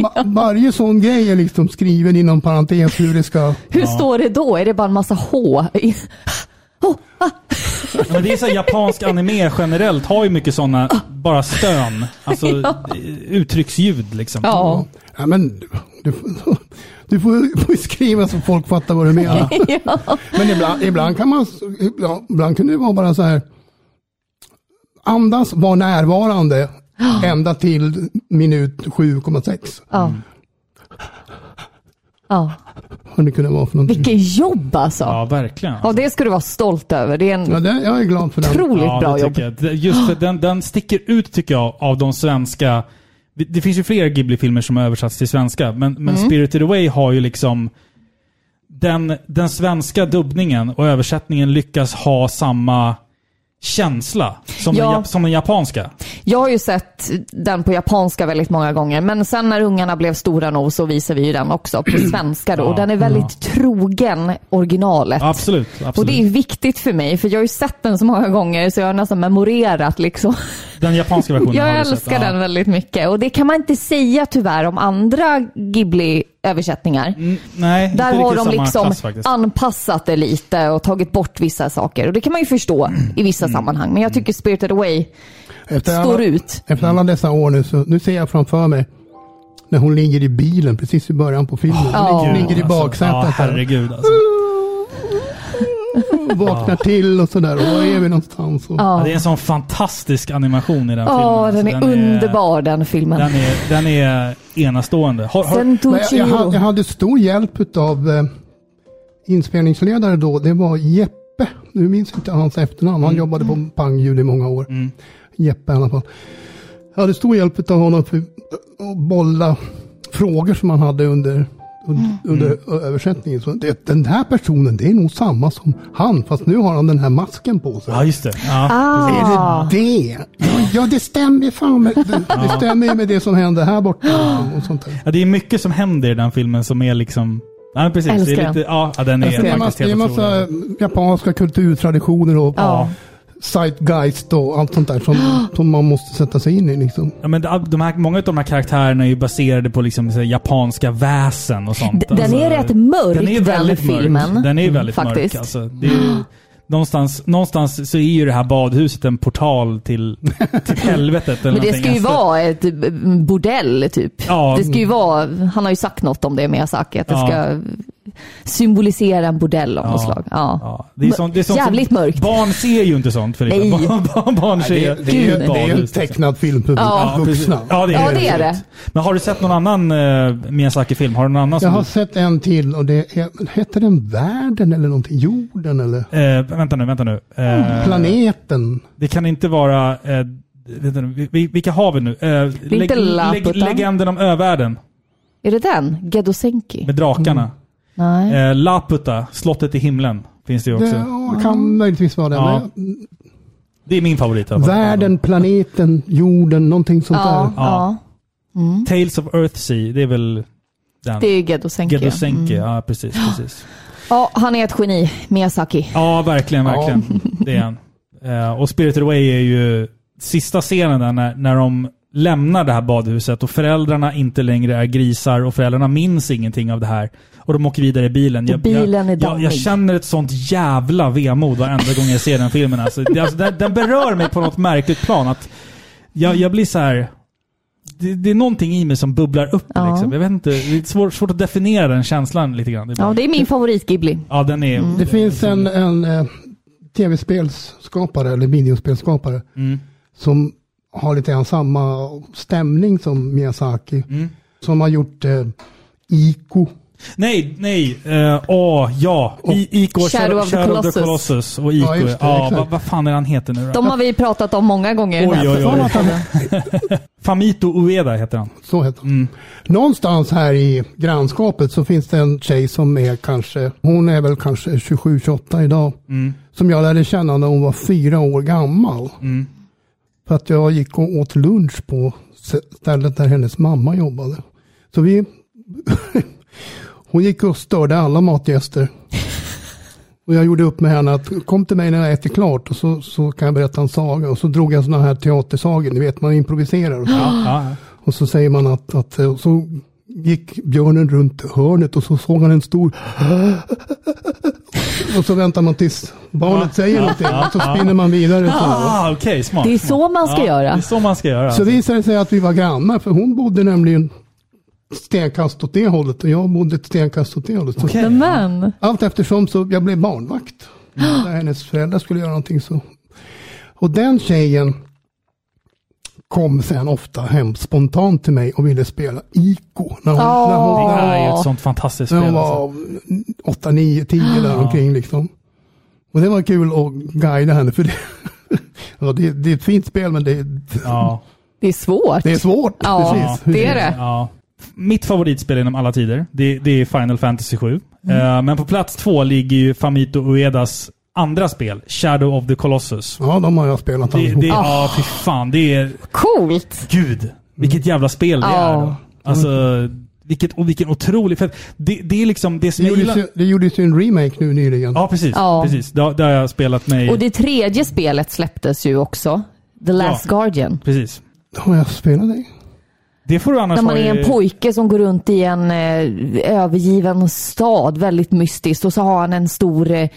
Speaker 3: va- varje sån grej är liksom skriven inom parentes hur det ska...
Speaker 2: Hur står det då? Är det bara en massa H?
Speaker 1: Men det är så här, japansk anime generellt har ju mycket sådana, bara stön. Alltså uttrycksljud liksom.
Speaker 2: Ja.
Speaker 3: Ja, men du, får- du får, får skriva så folk fattar vad du menar.
Speaker 2: ja.
Speaker 3: Men ibland, ibland kan man, ibland, ibland kan det vara bara så här. Andas, var närvarande ända till minut 7,6.
Speaker 2: Ja. ja.
Speaker 3: Har det kunnat vara för någonting.
Speaker 2: Vilket jobb alltså!
Speaker 1: Ja, verkligen.
Speaker 2: Ja, det ska du vara stolt över. Det är en...
Speaker 3: Ja, det, jag är glad för den.
Speaker 2: Otroligt
Speaker 1: Ja,
Speaker 2: bra
Speaker 1: det
Speaker 2: jobb.
Speaker 1: tycker jag. Det- Just för den, den sticker ut tycker jag av de svenska. Det finns ju flera Ghibli-filmer som har översatts till svenska, men, men
Speaker 2: Mm.
Speaker 1: Spirited Away har ju liksom den, den svenska dubbningen och översättningen lyckas ha samma känsla som,
Speaker 2: Ja.
Speaker 1: den, jap- som den japanska.
Speaker 2: Jag har ju sett den på japanska väldigt många gånger, men sen när ungarna blev stora nog så visar vi ju den också på svenska då.
Speaker 1: Ja,
Speaker 2: Och den är väldigt trogen originalet.
Speaker 1: Absolut. absolut.
Speaker 2: Och det är viktigt för mig, för jag har ju sett den så många gånger så jag har nästan memorerat liksom.
Speaker 1: Den japanska versionen har
Speaker 2: Jag
Speaker 1: du sett.
Speaker 2: älskar
Speaker 1: Ja.
Speaker 2: den väldigt mycket och det kan man inte säga tyvärr om andra Ghibli-översättningar.
Speaker 1: Nej, Mm, inte
Speaker 2: Där har
Speaker 1: riktigt
Speaker 2: de
Speaker 1: samma
Speaker 2: liksom
Speaker 1: klass faktiskt.
Speaker 2: anpassat det lite och tagit bort vissa saker. Och det kan man ju förstå i vissa
Speaker 1: Mm.
Speaker 2: sammanhang. Men jag tycker Spirited Away står
Speaker 3: alla,
Speaker 2: ut.
Speaker 3: Efter alla dessa år nu, så, nu ser jag framför mig när hon ligger i bilen precis i början på filmen.
Speaker 2: Ja.
Speaker 3: Hon ligger i baksätet.
Speaker 1: Alltså, Ja,
Speaker 3: där.
Speaker 1: herregud alltså.
Speaker 3: Och vaknar till och sådär. Och var är vi någonstans? Och,
Speaker 1: Ja, det är en sån fantastisk animation i den filmen.
Speaker 2: Ja,
Speaker 1: Alltså,
Speaker 2: den är underbar den filmen.
Speaker 1: Den är, den är enastående. Har, har,
Speaker 2: Sen
Speaker 3: Men jag, jag,
Speaker 2: Toichiro.
Speaker 3: hade- jag hade stor hjälp av eh, inspelningsledare då. Det var Jeppe. Nu minns inte hans efternamn. Han jobbade på Pangljud i många år. Jeppe i alla fall. Jag hade stor hjälp av honom för att bolla frågor som han hade under un- under ö- översättningen. Så det, den här personen, det är nog samma som han, fast nu har han den här masken på sig.
Speaker 1: Ja, just det. Ja.
Speaker 2: Ah.
Speaker 3: Är det det? Ja, Ja, det stämmer ju fan med, det, det stämmer ju med det som hände här borta. Och sånt där.
Speaker 1: Ja, det är mycket som händer i den filmen som är liksom... Ja, men precis.
Speaker 2: Älskar
Speaker 1: Det är lite,
Speaker 2: den.
Speaker 1: ja, ja, den är
Speaker 3: Det är, massa,
Speaker 1: faktiskt
Speaker 3: det är
Speaker 1: helt
Speaker 3: massa
Speaker 1: otrolig.
Speaker 3: eh, japanska kulturtraditioner och
Speaker 2: Ja.
Speaker 3: zeitgeist och allt sånt där som, som man måste sätta sig in i. Liksom.
Speaker 1: Ja, men de här, många av de här karaktärerna är ju baserade på liksom, så här, japanska väsen och sånt. Alltså,
Speaker 2: D- den är rätt mörk,
Speaker 1: den, är ju
Speaker 2: den
Speaker 1: väldigt mörk.
Speaker 2: filmen.
Speaker 1: Den är ju väldigt
Speaker 2: Mm, faktiskt.
Speaker 1: mörk. Alltså, det är ju, någonstans, någonstans så är ju det här badhuset en portal till, till helvetet. Eller
Speaker 2: Men det
Speaker 1: någonting.
Speaker 2: ska ju
Speaker 1: Alltså,
Speaker 2: vara ett b- bordell typ.
Speaker 1: Ja.
Speaker 2: Det ska ju vara, han har ju sagt något om det Miyazaki, att det
Speaker 1: Ja.
Speaker 2: ska symbolisera en bordell av
Speaker 1: Ja.
Speaker 2: något slag. Ja.
Speaker 1: Ja, det är sånt, det är sånt
Speaker 2: Jävligt
Speaker 1: som,
Speaker 2: mörkt.
Speaker 1: Barn ser ju inte sånt Filippa.
Speaker 2: Nej.
Speaker 1: Barn, barn, barn ser
Speaker 3: det, är ju
Speaker 1: ett
Speaker 3: det är ju en
Speaker 1: badhus, liksom.
Speaker 3: tecknad film för
Speaker 2: Ja.
Speaker 1: precis.
Speaker 3: vuxna.
Speaker 1: Ja, det är,
Speaker 2: Ja, det är det.
Speaker 1: Men har du sett någon annan eh, Miyazaki-film? Har du någon annan
Speaker 3: Jag
Speaker 1: som
Speaker 3: har sett en till och det är, heter den världen eller någonting? Jorden eller?
Speaker 1: du... Eh, vänta nu, vänta nu. Eh,
Speaker 3: Mm. Planeten?
Speaker 1: Det kan inte vara... Eh, vänta nu, vi- vi, vilka har vi nu? Eh,
Speaker 2: inte Laputa.
Speaker 1: legenden om övärlden
Speaker 2: Är det den? Gedosenki?
Speaker 1: med drakarna.
Speaker 2: Nej.
Speaker 1: Eh, Laputa, slottet i himlen, finns det ju
Speaker 3: Det
Speaker 1: också.
Speaker 3: ja, kan möjligtvis vara det.
Speaker 1: Ja.
Speaker 3: men-
Speaker 1: Det är min favorit. i alla fall.
Speaker 3: Världen, planeten, jorden, någonting sånt
Speaker 2: Ja,
Speaker 3: där.
Speaker 2: ja.
Speaker 1: Ja. Tales of Earthsea, det är väl den?
Speaker 2: det är ju Gedosenki.
Speaker 1: Gedosenki, ja precis. precis.
Speaker 2: Ja, han är ett geni, Miyazaki.
Speaker 1: Ja, verkligen,
Speaker 3: Ja.
Speaker 1: verkligen. Det är han. Eh, och Spirited Away är ju sista scenen där när, när de lämnar det här badhuset och föräldrarna inte längre är grisar och föräldrarna minns ingenting av det här. Och de åker vidare i bilen.
Speaker 2: Och bilen är
Speaker 1: jag, jag, jag
Speaker 2: dammig.
Speaker 1: känner ett sånt jävla vemod varenda gång jag ser den filmen. Alltså, det, alltså, den, den berör mig på något märkligt plan. Att jag, jag blir så här... det, det är någonting i mig som bubblar upp.
Speaker 2: Ja.
Speaker 1: Liksom. Jag vet inte, det är svårt, svårt att definiera den känslan lite grann.
Speaker 2: Ja, Mm. det är min favorit Ghibli.
Speaker 1: ja den är...
Speaker 3: Det finns en, en eh, tv-spelsskapare eller videospelsskapare som har lite grann samma stämning som Miyazaki. Som har gjort eh, Iko.
Speaker 1: Nej, nej. eh, Åh, ja. I, Ico, Shadow, Shadow, of, the Colossus och Ico.
Speaker 3: Ja,
Speaker 1: Ja,
Speaker 3: just det, exakt.
Speaker 1: vad vad fan är han heter nu då?
Speaker 2: De har vi pratat om många gånger i den
Speaker 1: Oj,
Speaker 2: här
Speaker 1: oj, oj.
Speaker 2: podden.
Speaker 1: Famito Ueda heter han.
Speaker 3: Så heter han. Någonstans här i grannskapet så finns det en tjej som är kanske, hon är väl kanske 27-28 idag. Som jag lärde känna när hon var fyra år gammal. För att jag gick och åt lunch på stället där hennes mamma jobbade. Så vi... hon gick och störde alla matgäster. Och jag gjorde upp med henne att kom till mig när jag äter klart och så, så kan jag berätta en saga. Och så drog jag sådana här teatersagor, ni vet man improviserar. Och så.
Speaker 2: Ah.
Speaker 1: Ja,
Speaker 3: Och så säger man att, att eh, och så gick björnen runt hörnet och så såg han en stor och så väntar man tills barnet säger någonting och så spinner man vidare. Så.
Speaker 1: Ah, okej. smart.
Speaker 2: Det är
Speaker 1: smart.
Speaker 2: så man ska
Speaker 1: ja,
Speaker 2: göra.
Speaker 1: Det är så man ska göra.
Speaker 3: Så visade det sig att vi var grannar för hon bodde nämligen stenkast åt det hållet och jag bodde ett stenkast åt det hållet. Så
Speaker 1: Okej.
Speaker 2: Men,
Speaker 3: Allt eftersom så jag blev barnvakt. När hennes föräldrar skulle göra någonting så. Och den tjejen kom sen ofta hem spontant till mig och ville spela Iko. När hon, när hon,
Speaker 1: Det här är ju
Speaker 2: Ja.
Speaker 1: ett sånt fantastiskt
Speaker 3: när hon
Speaker 1: spel. Alltså.
Speaker 3: var 8, 9, 10 där omkring liksom. Och det var kul att guida henne för det. Ja, det, det är ett fint spel men det,
Speaker 1: Ja.
Speaker 2: det är svårt.
Speaker 3: det är svårt.
Speaker 2: Ja,
Speaker 3: Hur
Speaker 2: det är
Speaker 3: känns
Speaker 2: det.
Speaker 1: Ja. Mitt favoritspel genom alla tider, det, det är Final Fantasy 7.
Speaker 2: Mm.
Speaker 1: men på plats två ligger ju Famito Uedas andra spel, Shadow of the Colossus.
Speaker 3: Ja, de har jag spelat
Speaker 1: Det,
Speaker 3: allihop.
Speaker 2: Ah.
Speaker 1: det, Ja, fy fan. Det är...
Speaker 2: Coolt!
Speaker 1: Gud, vilket jävla spel det
Speaker 2: Mm. Ja. Mm.
Speaker 1: är. Då. Alltså, vilket, och vilken otrolig... För att det, det är liksom det som
Speaker 3: Det
Speaker 1: jag
Speaker 3: gjordes,
Speaker 1: gillar...
Speaker 3: ju, det gjordes ju en remake nu nyligen.
Speaker 1: Ja, precis.
Speaker 2: Ja.
Speaker 1: precis. Det, har- det har jag spelat mig...
Speaker 2: Och det tredje spelet släpptes ju också. The Last
Speaker 1: Ja.
Speaker 2: Guardian.
Speaker 1: Precis.
Speaker 3: Har jag spelat det?
Speaker 1: Det får du annars
Speaker 2: När man
Speaker 1: ha i-
Speaker 2: är en pojke som går runt i en eh, övergiven stad, väldigt mystiskt, och så har han en stor... Eh,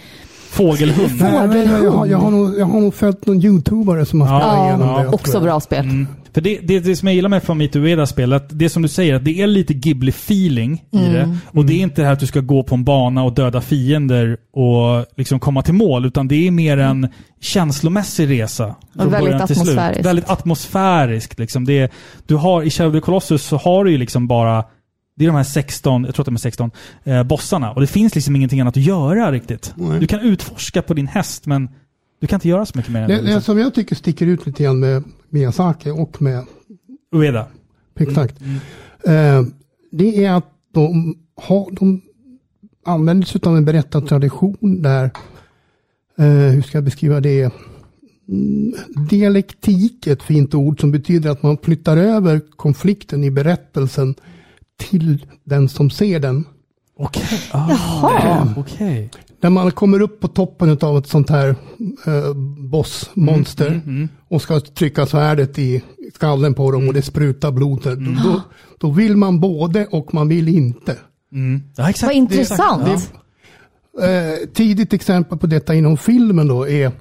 Speaker 1: Fågelhund.
Speaker 3: Nej, men jag, har- jag, har nog, jag har nog följt någon youtubare som har
Speaker 1: Ja,
Speaker 3: spelat igenom det.
Speaker 1: ja.
Speaker 3: tror jag.
Speaker 2: också bra spel.
Speaker 1: För det, det, det som jag gillar med Famito Uedas spel, att det som du säger, att det är lite Ghibli-feeling
Speaker 2: Mm.
Speaker 1: i det. Och det är inte det här att du ska gå på en bana och döda fiender och liksom komma till mål, utan det är mer en känslomässig resa. från
Speaker 2: väldigt
Speaker 1: början till slut.
Speaker 2: atmosfäriskt.
Speaker 1: Väldigt atmosfäriskt. Liksom. Det, är- du har, I Shadow of the Colossus så har du ju liksom bara det är de här 16, jag tror att de är 16, eh, bossarna. Och det finns liksom ingenting annat att göra riktigt.
Speaker 3: Nej.
Speaker 1: Du kan utforska på din häst, men du kan inte göra så mycket mer. än
Speaker 3: Det, det
Speaker 1: liksom.
Speaker 3: som jag tycker sticker ut lite grann med Miyazaki och med
Speaker 1: Ueda.
Speaker 3: Exakt. Eh, det är att de, har, de använder sig av en berättartradition där, eh, hur ska jag beskriva det? Mm, Dialektik är ett fint ord som betyder att man flyttar över konflikten i berättelsen till den som ser den.
Speaker 1: Okej. Ah, Okej.
Speaker 3: När man kommer upp på toppen av ett sånt här eh, bossmonster och ska trycka svärdet i skallen på dem och det sprutar blod. där, Då, då vill man både och man vill inte.
Speaker 1: Ja, exakt.
Speaker 2: Vad intressant!
Speaker 3: Eh, tidigt exempel på detta inom filmen då är,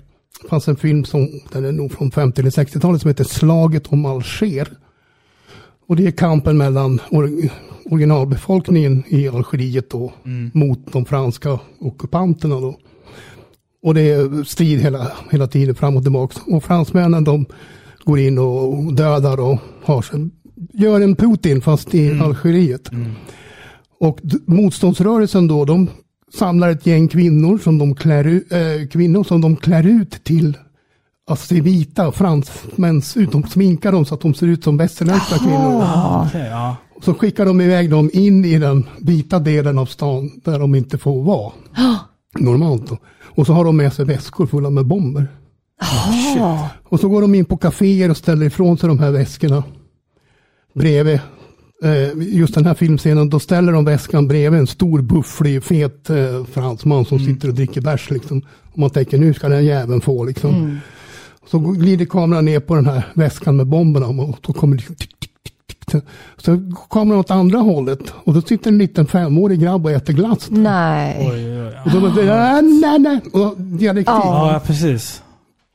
Speaker 3: det fanns en film som, den är nog från 50 eller 60-talet som heter Slaget om Alger. Och det är kampen mellan or- originalbefolkningen i Algeriet då mot de franska ockupanterna då. Och det är strid hela, hela tiden fram och tillbaka. Och fransmännen de går in och dödar och har sig, gör en Putin fast i Algeriet. Och d- motståndsrörelsen då, de samlar ett gäng kvinnor som de klär, u- eh, kvinnor som de klär ut till att se vita fransmän ut. De sminkar dem så att de ser ut som västerländska kvinnor.
Speaker 1: Okej, ja.
Speaker 3: Så skickar de iväg dem in i den vita delen av stan där de inte får vara. Normalt då. Och så har de med sig väskor fulla med bomber. Oh, Och så går de in på kaféer och ställer ifrån sig de här väskorna. Bredvid, eh, just den här filmscenen, då ställer de väskan bredvid en stor bufflig fet eh, fransman som sitter och dricker bärs. Liksom. Och man tänker nu ska den jäveln få liksom. Så går- glider kameran ner på den här väskan med bomberna och då kommer det liksom tick, tick, tick, tick, tick. Så kommer den åt andra hållet och då sitter en liten femårig grabb och äter glass.
Speaker 2: Nej.
Speaker 3: Och då blir det "Ah, nej, nej. Och dialektik.
Speaker 2: Ja.
Speaker 1: Ja, precis.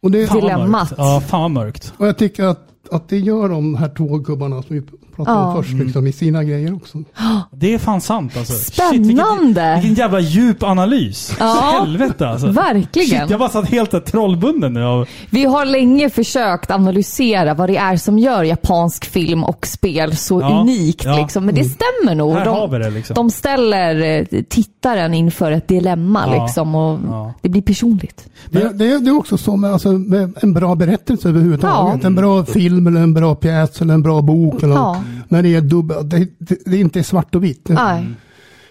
Speaker 3: Och det,
Speaker 1: Fan vad
Speaker 2: Dilemmat.
Speaker 1: mörkt. Ja, fan vad mörkt.
Speaker 3: Och jag tycker att att det gör de här tåggubbarna som vi pratade
Speaker 2: Ja.
Speaker 3: om först, liksom, i sina grejer också.
Speaker 1: Det är fan sant alltså. Shit, vilken,
Speaker 2: Spännande!
Speaker 1: vilken jävla djup analys.
Speaker 2: Ja.
Speaker 1: Helvete alltså.
Speaker 2: Verkligen.
Speaker 1: Shit, jag bara satt helt där trollbunden nu av...
Speaker 2: Vi har länge försökt analysera vad det är som gör japansk film och spel så
Speaker 1: Ja,
Speaker 2: unikt.
Speaker 1: ja.
Speaker 2: Liksom. Men det
Speaker 1: Mm.
Speaker 2: stämmer nog.
Speaker 1: Här
Speaker 2: de,
Speaker 1: har vi det, liksom.
Speaker 2: de ställer eh, tittaren inför ett dilemma.
Speaker 1: Ja,
Speaker 2: Liksom, och
Speaker 1: ja.
Speaker 2: Det blir personligt.
Speaker 3: Det, det, det är också så med, alltså, med en bra berättelse överhuvudtaget. En bra film eller en bra pjäs eller en bra bok. Eller
Speaker 2: Ja.
Speaker 3: När det är dubbel, det, det, det är inte svart och vitt.
Speaker 1: Mm.
Speaker 2: Nej.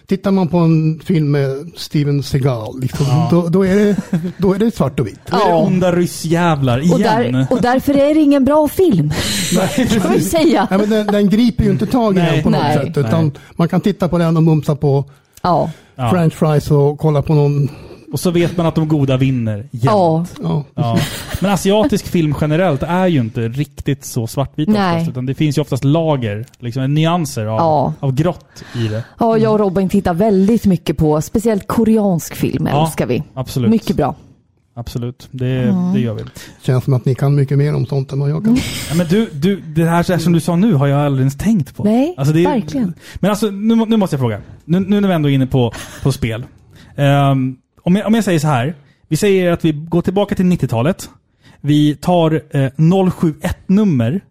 Speaker 3: Tittar man på en film med Steven Seagal, liksom, då, då, är det, då är det svart och vitt.
Speaker 1: Då är det onda ryssjävlar igen.
Speaker 2: Och, där, och därför är det ingen bra film. kan vi säga.
Speaker 3: Nej, men den, den griper ju inte tag i
Speaker 1: Nej.
Speaker 3: den på något
Speaker 2: Nej.
Speaker 3: sätt. Utan man kan titta på den och mumsa på
Speaker 2: Ja.
Speaker 1: Ja.
Speaker 3: french fries och kolla på någon.
Speaker 1: Och så vet man att de goda vinner. Ja.
Speaker 2: ja.
Speaker 3: Ja.
Speaker 1: Ja. Men asiatisk film generellt är ju inte riktigt så svartvit
Speaker 2: Nej.
Speaker 1: oftast, utan det finns ju oftast lager, liksom nyanser av,
Speaker 2: Ja.
Speaker 1: av grått i det.
Speaker 2: ja, jag och
Speaker 1: Mm.
Speaker 2: Robin tittar väldigt mycket på speciellt koreansk film.
Speaker 1: Ja,
Speaker 2: älskar vi.
Speaker 1: absolut.
Speaker 2: Mycket bra.
Speaker 1: Absolut, det, det gör vi.
Speaker 3: Känns som att ni kan mycket mer om sånt än vad jag kan.
Speaker 1: Ja, men du, du, det här så här som du sa nu har jag aldrig ens tänkt på.
Speaker 2: Nej,
Speaker 1: Alltså, det är-
Speaker 2: verkligen.
Speaker 1: Men alltså, nu, må- nu måste jag fråga. Nu, nu när vi ändå är inne på, på spel. Ehm, om, jag, om jag säger så här. Vi säger att vi går tillbaka till 90-talet. Vi tar eh, 071-nummer,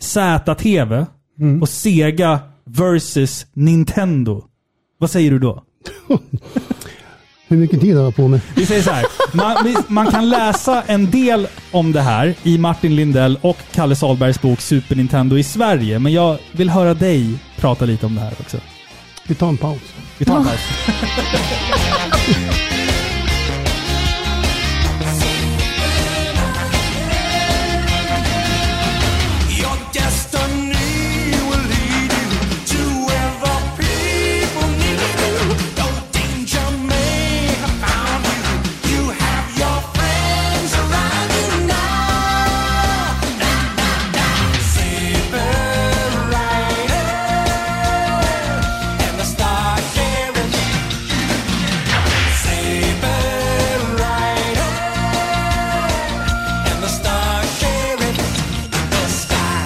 Speaker 1: ZTV och Sega versus Nintendo. Vad säger du då?
Speaker 3: Hur mycket tid har jag på mig?
Speaker 1: Vi säger så här. Man, vi, man kan läsa en del om det här i Martin Lindell och Kalle Salbergs bok Super Nintendo i Sverige. Men jag vill höra dig prata lite om det här också.
Speaker 3: Vi tar en paus.
Speaker 1: Vi tar en paus.
Speaker 12: Your destiny will lead you to where the people need you. No danger may have found you. You have your friends around you now. Da, da, da. Saber rider and the star carrier. Saber rider and the star carrier. The sky.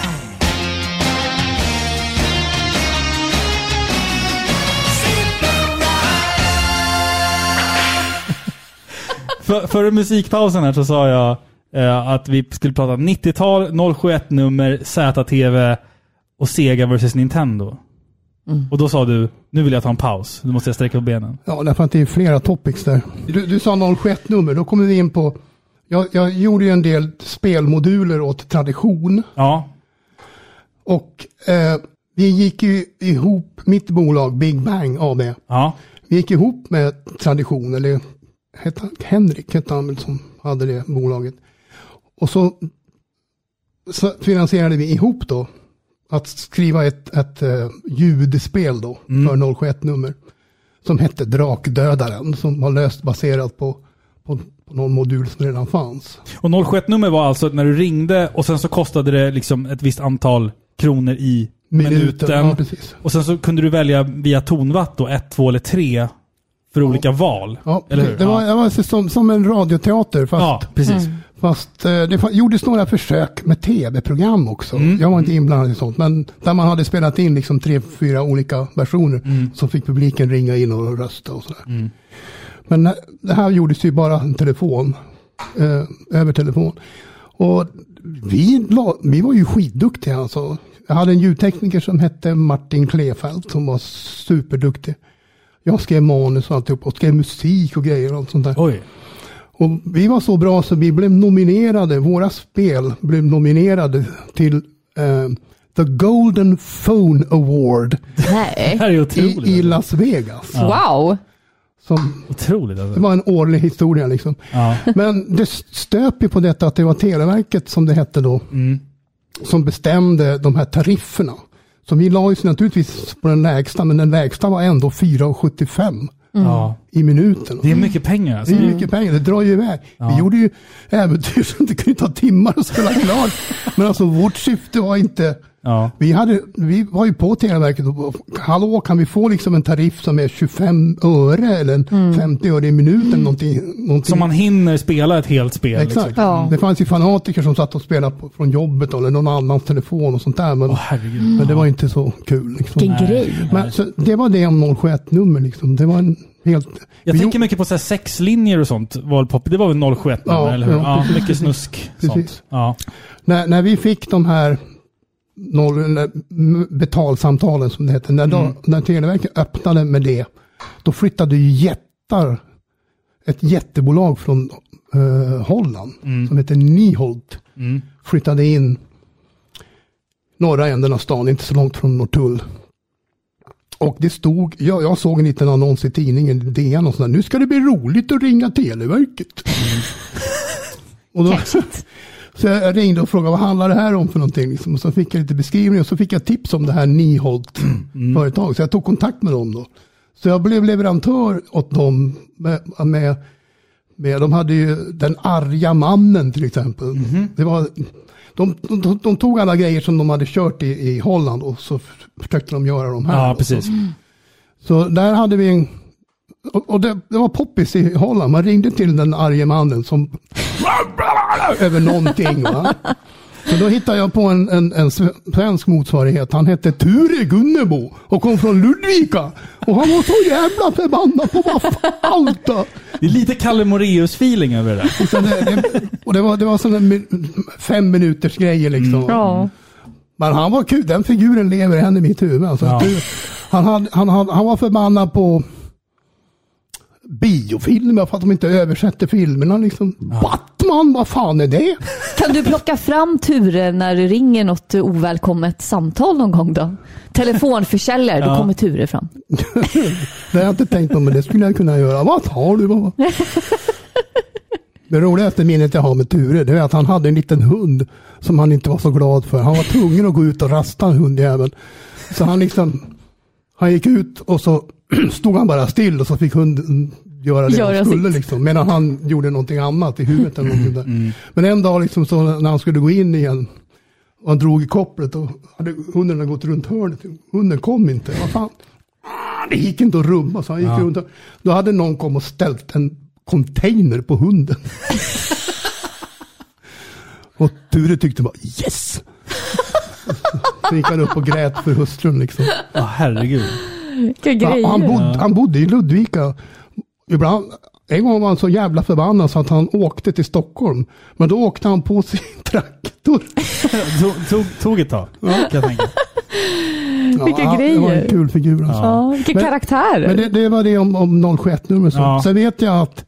Speaker 1: För, före musikpausen här så sa jag eh, att vi skulle prata 90-tal, 071-nummer, ZTV och Sega versus Nintendo. Och då sa du, nu vill jag ta en paus. Nu måste jag sträcka på benen.
Speaker 3: Ja, därför att det är flera topics där. Du, du sa 071-nummer, då kommer vi in på... Jag, jag gjorde ju en del spelmoduler åt tradition.
Speaker 1: Ja.
Speaker 3: Och eh, vi gick ju ihop, mitt bolag Big Bang AB,
Speaker 1: Ja.
Speaker 3: vi gick ihop med tradition, eller hette han, Henrik hette han väl som hade det bolaget. Och så, så finansierade vi ihop då att skriva ett, ett eh, ljudspel då
Speaker 1: Mm.
Speaker 3: för 071-nummer. Som hette Drakdödaren, som var löst baserat på, på, på någon modul som redan fanns.
Speaker 1: Och 071-nummer var alltså när du ringde och sen så kostade det liksom ett visst antal kronor i minuten.
Speaker 3: Minuten, ja, precis.
Speaker 1: och sen så kunde du välja via tonwatt då, ett, två eller tre för olika val.
Speaker 3: Ja,
Speaker 1: eller hur?
Speaker 3: Det var,
Speaker 1: ja.
Speaker 3: det var så- som, som en radioteater fast
Speaker 1: ja, precis.
Speaker 3: Fast eh, det fa- gjordes några försök med tv-program också. Jag var inte inblandad i sånt, men där man hade spelat in liksom tre, fyra olika versioner så fick publiken ringa in och rösta och sådär. Men eh, det här gjordes ju bara en telefon, eh, över telefon. Och vi, la, vi var ju skitduktiga alltså. Jag hade en ljudtekniker som hette Martin Klefelt som var superduktig. Jag skrev manus och alltihop och skrev musik och grejer och allt sånt där.
Speaker 1: Oj.
Speaker 3: Och vi var så bra så vi blev nominerade, våra spel blev nominerade till eh, The Golden Phone Award
Speaker 1: Det
Speaker 2: Nej.
Speaker 1: här är
Speaker 3: i,
Speaker 1: otroligt.
Speaker 3: i Las Vegas.
Speaker 2: Wow.
Speaker 3: Som,
Speaker 1: Otroligt
Speaker 3: det
Speaker 1: alltså.
Speaker 3: var en årlig historia liksom.
Speaker 1: Ja.
Speaker 3: Men det stöp ju på detta att det var Televerket som det hette då,
Speaker 1: Mm.
Speaker 3: som bestämde de här tarifferna. Så vi la ju sig naturligtvis på den lägsta, men den lägsta var ändå 4,75
Speaker 1: Ja.
Speaker 3: i minuten.
Speaker 1: Det är mycket pengar alltså.
Speaker 3: Det är ju mycket pengar, det drar ju iväg. Vi gjorde ju äventyr som det kunde ta timmar att spela klart. Men alltså vårt syfte var inte
Speaker 1: Ja.
Speaker 3: Vi, hade, vi var ju på Televerket och bara, hallå kan vi få liksom en tariff som är 25 öre eller en 50 öre i minuten någonting, någonting.
Speaker 1: Så Mm. man hinner spela ett helt spel.
Speaker 3: Exakt.
Speaker 1: Liksom.
Speaker 3: Det fanns ju fanatiker som satt och spelade på, från jobbet eller någon annans telefon och sånt där. Men, men
Speaker 1: Mm.
Speaker 3: det var inte så kul. Liksom.
Speaker 1: Vilken Nej, grej.
Speaker 3: Men, så, det var det om 071-nummer liksom. Det var en helt...
Speaker 1: Jag tänker mycket på så här sexlinjer och sånt. Valpop. Det var väl 071
Speaker 3: Ja,
Speaker 1: eller hur?
Speaker 3: ja,
Speaker 1: Ja,
Speaker 3: precis,
Speaker 1: mycket
Speaker 3: precis.
Speaker 1: snusk.
Speaker 3: Precis.
Speaker 1: Sånt. Ja.
Speaker 3: När, när vi fick de här noll, eller, m- betalsamtalen som det heter, när, de,
Speaker 1: Mm.
Speaker 3: när Televerket öppnade med det, då flyttade ju jättar, ett jättebolag från eh, Holland som heter Niholt, flyttade in norra änden av stan, inte så långt från Norrtull. Och det stod, jag, jag såg en liten annons i tidningen, DN och sådär, nu ska det bli roligt att ringa Televerket. Och då, så jag ringde och frågade vad handlar det här om för någonting? Liksom. Och så fick jag lite beskrivning och så fick jag tips om det här Niholt
Speaker 1: Mm.
Speaker 3: företag. Så jag tog kontakt med dem då. Så jag blev leverantör åt dem. Med, med, med, de hade ju den arga mannen till exempel.
Speaker 1: Mm-hmm.
Speaker 3: Det var, de, de, de, de tog alla grejer som de hade kört i, i Holland och så f- försökte de göra de här.
Speaker 1: Ja, precis.
Speaker 3: Så där hade vi en och och det, det var poppis i Holland. Man ringde till den arge mannen som över någonting. Va? Så då hittade jag på en, en, en sve- svensk motsvarighet. Han hette Ture Gunnebo och kom från Ludvika. Och han var så jävla förbannad på vad fan allt. då.
Speaker 1: Det är lite Kalle Moraeus-feeling över det där.
Speaker 3: Och, sen det, det, och det var, det var sådana min- fem minuters grejer liksom.
Speaker 1: Ja.
Speaker 3: Men han var kul. Den figuren lever än i mitt huvud. Alltså.
Speaker 1: Ja.
Speaker 3: Du, han, hade, han, hade, han var förbannad på biofilmer för att de inte översätter filmerna. Liksom. Batman, vad fan är det?
Speaker 2: Kan du plocka fram Ture när det ringer något ovälkommet samtal någon gång då? Telefonförsäljare, då
Speaker 3: Ja.
Speaker 2: kommer Ture fram.
Speaker 3: Det har jag inte tänkt på, men det skulle jag kunna göra. Vad tar du? Vad? Det roligaste minnet jag har med Ture, det är att han hade en liten hund som han inte var så glad för. Han var tvungen att gå ut och rasta hundjäveln. Så han liksom, han gick ut och så stod han bara still och så fick hunden göra det
Speaker 2: Göra
Speaker 3: han skulle
Speaker 2: sitt.
Speaker 3: liksom. Medan han gjorde någonting annat i huvudet eller någonting där. Men en dag liksom så när han skulle gå in igen och han drog i kopplet och hade hunden hade gått runt hörnet. Hunden kom inte. Vad fan? Ah, Det gick inte att rubba så han gick
Speaker 1: Ja.
Speaker 3: runt. och- Då hade någon kommit och ställt en container på hunden. och Ture tyckte bara yes! Så gick han upp och grät för hustrun liksom.
Speaker 1: Ja, herregud.
Speaker 2: Vilka
Speaker 3: Ja, och Han bodde, han bodde i Ludvika. Ibland, en gång var han så jävla förbannad så att han åkte till Stockholm. Men då åkte han på sin traktor.
Speaker 1: tog, tog, tog ett tag, kan jag tänka.
Speaker 2: Vilka
Speaker 3: han- Det var
Speaker 2: grejer.
Speaker 3: en kul figur. Alltså.
Speaker 2: Ja, vilken
Speaker 3: Men-
Speaker 2: karaktär.
Speaker 3: Men det, det var det om, om 071-nummer.
Speaker 1: Ja.
Speaker 3: Ja. Sen vet jag att,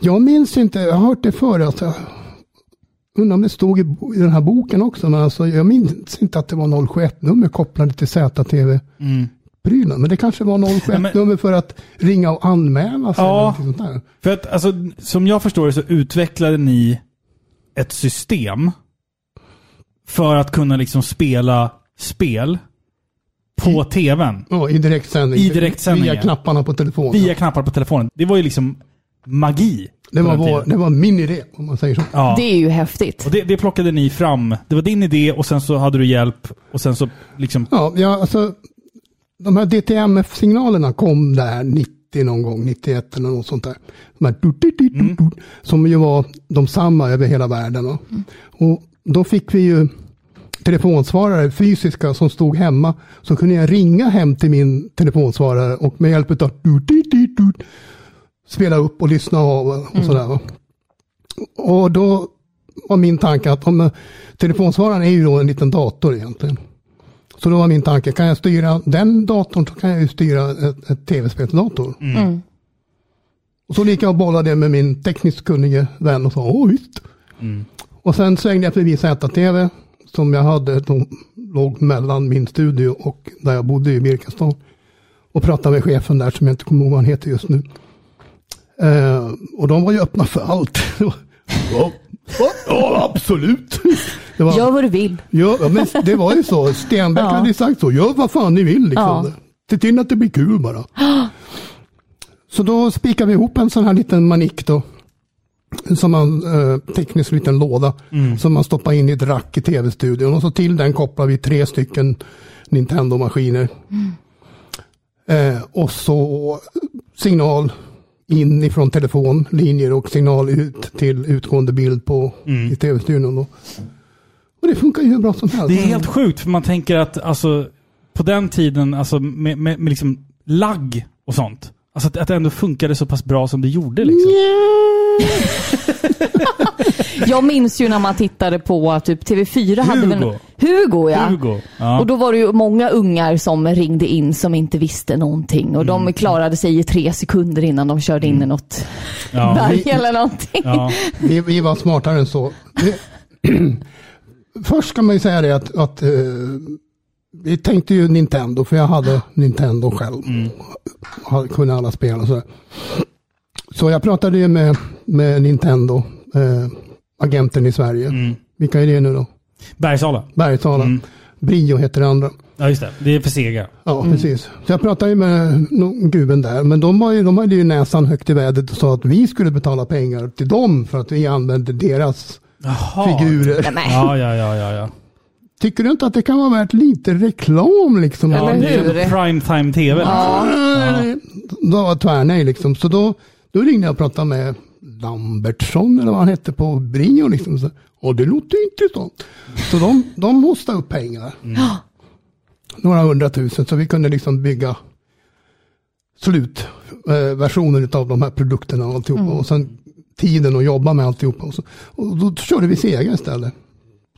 Speaker 3: jag minns inte, jag har hört det förr, alltså, jag undrar om det stod i, bo- i den här boken också, men alltså, jag minns inte att det var 071-nummer kopplade till ZTV.
Speaker 1: Mm.
Speaker 3: Prylen, men det kanske var 071-nummer för att ringa och anmäla sig.
Speaker 1: Ja.
Speaker 3: eller någonting sånt där.
Speaker 1: För att, alltså, som jag förstår det så utvecklade ni ett system för att kunna liksom spela spel
Speaker 3: Mm.
Speaker 1: på tvn.
Speaker 3: Ja, I direktsändning.
Speaker 1: I direktsändning,
Speaker 3: Via
Speaker 1: ja.
Speaker 3: knapparna på telefonen.
Speaker 1: Via knappar på telefonen. Det var ju liksom magi.
Speaker 3: Det,
Speaker 1: på
Speaker 3: var
Speaker 1: den
Speaker 3: vår,
Speaker 1: tiden.
Speaker 3: det var min idé, om man säger så.
Speaker 1: Ja.
Speaker 2: Det är ju häftigt.
Speaker 1: Och det, det plockade ni fram. Det var din idé och sen så hade du hjälp och sen så liksom...
Speaker 3: Ja, ja alltså, de här DTMF-signalerna kom där 90 någon gång, 91 eller något sånt där. De här tut, tut, tut, tut, tut, Som ju var de samma över hela världen. va. Och då fick vi ju telefonsvarare, fysiska, som stod hemma. Så kunde jag ringa hem till min telefonsvarare och med hjälp av tut, tut, tut, tut, spela upp och lyssna av och sådär. Va? Och då var min tanke att om, eh, telefonsvararen är ju då en liten dator egentligen. Så då var min tanke, kan jag styra den datorn så kan jag ju styra ett, ett tv-spelsdator.
Speaker 2: Mm.
Speaker 3: Och så gick jag och bollade det med min tekniskt kunnige vän och sa, åh visst. Mm. Och sen svängde jag förbi ZTV som jag hade, de låg mellan min studio och där jag bodde i Birkastan. Och pratade med chefen där som jag inte kommer ihåg vad han heter just nu. Eh, och de var ju öppna för allt. ja, ja, ja, absolut. Det var-
Speaker 2: Gör vad du vill.
Speaker 3: Ja, ja, men det var ju så. Stenbeck
Speaker 2: Ja.
Speaker 3: hade ju sagt så. Gör vad fan ni vill liksom.
Speaker 2: Ja.
Speaker 3: Se till att det blir kul bara. Så då spikade vi ihop en sån här liten manik då. som man eh, teknisk liten låda
Speaker 1: Mm.
Speaker 3: som man stoppar in i ett rack i tv-studion. Och så till den kopplar vi tre stycken Nintendo-maskiner. Eh, och så signal in ifrån telefonlinjer och signal ut till utgående bild på,
Speaker 1: Mm.
Speaker 3: i tv-studion. Då. Och det funkar ju hur bra som helst.
Speaker 1: Det är helt sjukt, för man tänker att alltså, på den tiden, alltså, med, med, med liksom lagg och sånt, alltså att, att det ändå funkade så pass bra som det gjorde. Liksom.
Speaker 2: Jag minns ju när man tittade på typ TV4 hade väl...
Speaker 1: Hugo.
Speaker 2: Hugo ja.
Speaker 1: Hugo, ja.
Speaker 2: Och då var det ju många ungar som ringde in som inte visste någonting och
Speaker 1: Mm.
Speaker 2: de klarade sig i tre sekunder innan de körde in i något
Speaker 3: Ja.
Speaker 2: berg
Speaker 3: Vi-
Speaker 2: eller någonting.
Speaker 3: Vi, vi var smartare än så. Vi, först ska man ju säga det att, att eh, vi tänkte ju Nintendo, för jag hade Nintendo själv. Hade, kunde alla spel och sådär. Så jag pratade ju med, med Nintendo, eh, agenten i Sverige. Vilka är det nu då?
Speaker 1: Bergsala.
Speaker 3: Bergsala. Brio heter det andra.
Speaker 1: Ja, just det. Det är för sega.
Speaker 3: Ja, precis. Så jag pratade ju med någon guben där, men de, var ju, de hade ju näsan högt i vädret och sa att vi skulle betala pengar till dem för att vi använde deras figurer.
Speaker 1: Ja, ja, ja, ja. ja.
Speaker 3: Tycker du inte att det kan vara värt lite reklam liksom?
Speaker 1: ja det är prime time tv.
Speaker 3: Ja.
Speaker 1: Ja.
Speaker 3: Då var tvärnej liksom. Så då, då ringde jag och pratade med Lambertsson eller vad han hette på Brio liksom. Så, och det låter ju intressant. Så de, de hostade upp pengar. Några hundratusen så vi kunde liksom bygga slutversionen av de här produkterna och alltihopa.
Speaker 11: Mm.
Speaker 3: Och sen tiden att jobba med alltihopa. Och, så, och då körde vi Sega istället.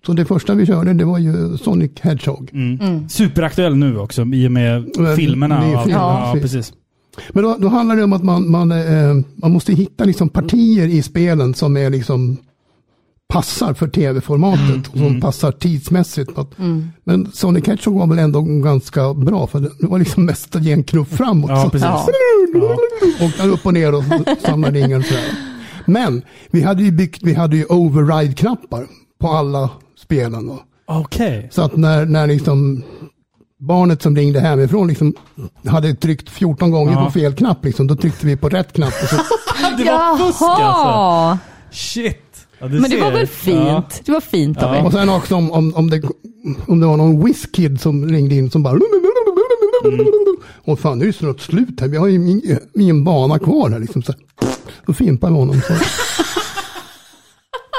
Speaker 3: Så det första vi körde det var ju Sonic Hedgehog.
Speaker 1: Mm. Superaktuell nu också i och med
Speaker 3: Men-
Speaker 1: filmerna.
Speaker 3: det är
Speaker 1: och allt.
Speaker 3: filmer,
Speaker 1: ja,
Speaker 3: precis.
Speaker 1: precis.
Speaker 3: Men då, då handlar det om att man, man, eh, man måste hitta liksom partier i spelen som är liksom passar för tv-formatet och
Speaker 1: Mm.
Speaker 3: som passar tidsmässigt. Att, Men Sonic Hedgehog var väl ändå ganska bra för det det var liksom mest genknuff framåt.
Speaker 1: Ja,
Speaker 3: Så-
Speaker 1: precis. Ja.
Speaker 3: Och där upp och ner och samlade ingen. Sådär. Men vi hade ju byggt, vi hade ju override-knappar på alla spelen. Då.
Speaker 1: Okej.
Speaker 3: Så att när, när liksom barnet som ringde hemifrån liksom hade tryckt 14 gånger
Speaker 1: Ja.
Speaker 3: på fel knapp, liksom, då tryckte vi på rätt knapp. Och så,
Speaker 1: Det var fusk
Speaker 2: Jaha.
Speaker 1: alltså. Shit. Ja, du
Speaker 2: Men det
Speaker 1: ser.
Speaker 2: var väl fint?
Speaker 1: Ja.
Speaker 2: Det var fint av
Speaker 3: Och sen också om, om, om, det, om det var någon whiskid som ringde in som bara... Och fan, nu är det snart slut här. Vi har ju ingen, ingen bana kvar här. Liksom. Så, då fimpar vi honom. Så.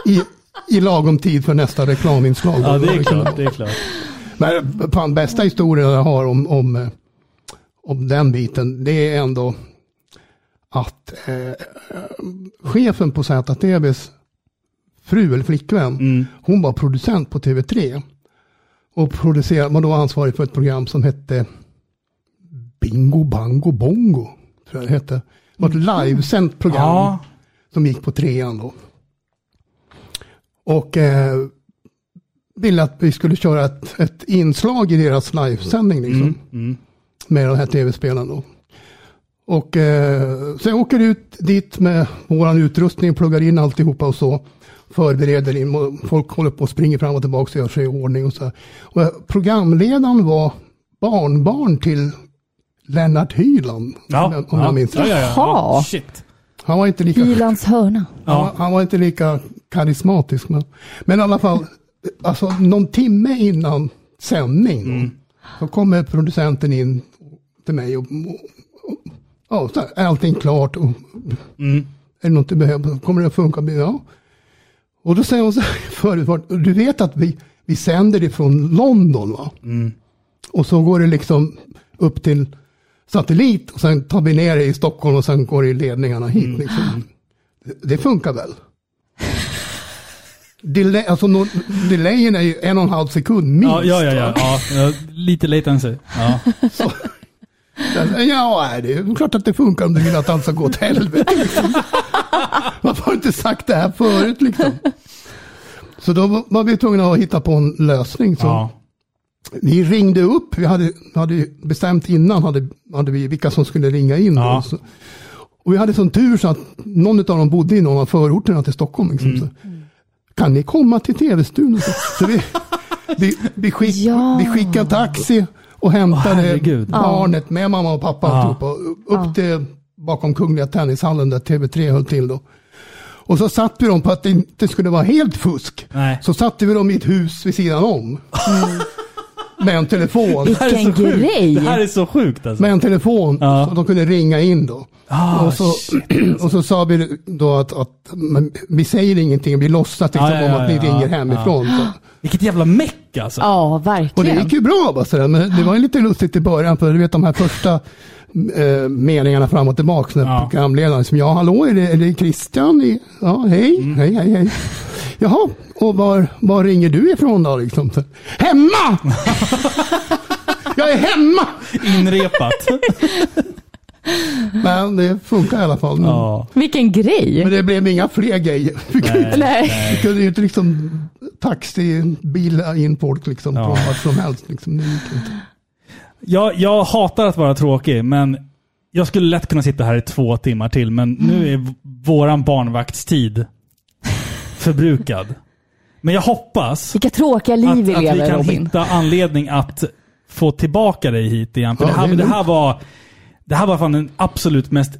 Speaker 3: I, I lagom tid för nästa reklaminslag.
Speaker 1: Ja, det är klart. Det är klart.
Speaker 3: Men fan, bästa historien jag har om, om, eh, om den biten, det är ändå att eh, chefen på ZTVs fru eller flickvän, hon var producent på TV3. Och producerade, var då ansvarig för ett program som hette Bingo Bango Bongo. Tror jag det hette. Det var ett livesänt program
Speaker 1: Ja.
Speaker 3: som gick på trean då. Och eh, ville att vi skulle köra ett, ett inslag i deras livesändning. Liksom,
Speaker 1: Mm,
Speaker 3: Med de här tv-spelen då. Och eh, så jag åker ut dit med våran utrustning, pluggar in alltihopa och så. Förbereder in, och folk håller på och springer fram och tillbaka och gör sig i ordning och så. Här. Och eh, programledaren var barnbarn till Lennart Hyland, om, jag, om
Speaker 1: ja.
Speaker 3: jag minns
Speaker 1: Ja, ja, ja. Jaha. Shit.
Speaker 3: Han var inte lika...
Speaker 2: Hylands hörna.
Speaker 3: Han, var- han var inte lika karismatisk. Men, men i alla fall, alltså, någon timme innan sändning så kommer producenten in till mig och, och, och ja, så här, är allting klart? Och,
Speaker 1: Mm.
Speaker 3: Är det något du behöver? Kommer det att funka? Ja. Och då säger hon så här förut, var- du vet att vi, vi sänder ifrån London va?
Speaker 1: Mm.
Speaker 3: Och så går det liksom upp till satellit och sen tar vi ner det i Stockholm och sen går det i ledningarna hit.
Speaker 1: Mm.
Speaker 3: Liksom. Det- Det funkar väl? Delay, alltså, no, delayen är ju en och en halv sekund minst.
Speaker 1: Ja, ja, ja, ja, ja. ja. Lite latency. Ja.
Speaker 3: Ja, nej, det är klart att det funkar om du vill att allt ska gå åt helvete. Liksom. Varför har du inte sagt det här förut liksom? Så då var- var vi tvungna att hitta på en lösning. Så Vi ringde upp, vi hade, hade ju bestämt innan hade, hade vi vilka som skulle ringa in. Då, så, och vi hade sån tur så att någon av dem bodde i någon av förorterna till Stockholm. Liksom,
Speaker 1: Mm.
Speaker 3: så. Kan ni komma till tv-studion? Så, så vi, vi, vi, skick, vi skickade taxi och hämtade
Speaker 1: herregud.
Speaker 3: barnet med mamma och pappa
Speaker 1: Ja.
Speaker 3: alltihopa, upp till bakom Kungliga Tennishallen där TV3 höll till. Då. Och så satte vi dem på att det inte skulle vara helt fusk.
Speaker 1: Nej.
Speaker 3: Så satte vi dem i ett hus vid sidan om. Med en telefon.
Speaker 1: Det här är så sjukt. Det här är så sjukt alltså.
Speaker 3: Med en telefon. Så de kunde ringa in då.
Speaker 1: Ah,
Speaker 3: och, så, och så sa vi då att, att men, vi säger ingenting, vi låtsas liksom
Speaker 1: Ah, Ja, ja, ja,
Speaker 3: om att ni
Speaker 1: ja, Ah.
Speaker 3: ringer
Speaker 1: ja.
Speaker 3: hemifrån. Så.
Speaker 1: Vilket jävla meck alltså.
Speaker 2: Ja, verkligen.
Speaker 3: Och det gick ju bra bara sådär, men det var ju lite lustigt i början för du vet de här första eh, meningarna fram och tillbaka när programledaren som ja hallå är det, är det Christian? I, ja hej,
Speaker 1: Mm.
Speaker 3: hej, hej, hej. Jaha, och var, var ringer du ifrån då liksom? Så, Hemma! Jag är hemma!
Speaker 1: Inrepat.
Speaker 3: Men det funkar i alla fall. Men,
Speaker 2: Vilken grej!
Speaker 3: men det blev inga fler grejer. Vi kunde ju
Speaker 2: Nej,
Speaker 3: inte-
Speaker 2: nej.
Speaker 3: vi kunde ju inte liksom taxibila in folk liksom från vart som helst. Liksom. Det gick inte.
Speaker 1: Jag, jag hatar att vara tråkig, men jag skulle lätt kunna sitta här i två timmar till, men nu är v- våran barnvaktstid förbrukad. Men jag hoppas
Speaker 2: Vilka tråkiga liv vi
Speaker 1: att vi
Speaker 2: lever
Speaker 1: kan
Speaker 2: Robin.
Speaker 1: hitta anledning att få tillbaka dig hit igen. För
Speaker 3: Ja,
Speaker 1: det, här,
Speaker 3: det är
Speaker 1: det, här var, det här var fan den absolut mest,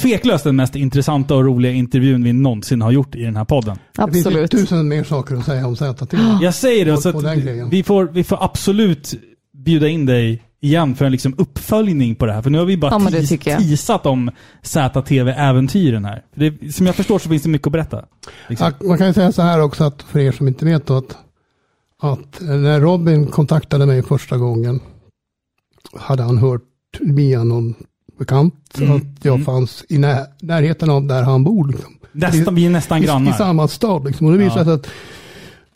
Speaker 1: tveklöst den mest intressanta och roliga intervjun vi någonsin har gjort i den här podden.
Speaker 3: Det finns ju tusen mer saker att säga om Z till.
Speaker 1: Jag säger det,
Speaker 3: På-
Speaker 1: så
Speaker 3: på
Speaker 1: att
Speaker 3: den grejen.
Speaker 1: vi, får, vi får absolut bjuda in dig igen för en liksom uppföljning på det här. För nu har vi bara
Speaker 2: Ja, men det
Speaker 1: tis-
Speaker 2: tycker jag.
Speaker 1: teasat om ZTV-äventyren här. För det, som jag förstår så finns det mycket att berätta. Liksom.
Speaker 3: Ja, Man kan ju säga så här också att för er som inte vet då att, att när Robin kontaktade mig första gången hade han hört via någon bekant
Speaker 1: Mm,
Speaker 3: att jag fanns i när, närheten av där han bor. Liksom.
Speaker 1: Nästan, vi är nästan
Speaker 3: I,
Speaker 1: grannar.
Speaker 3: I samma stad liksom. Och det visade
Speaker 1: Ja.
Speaker 3: sig att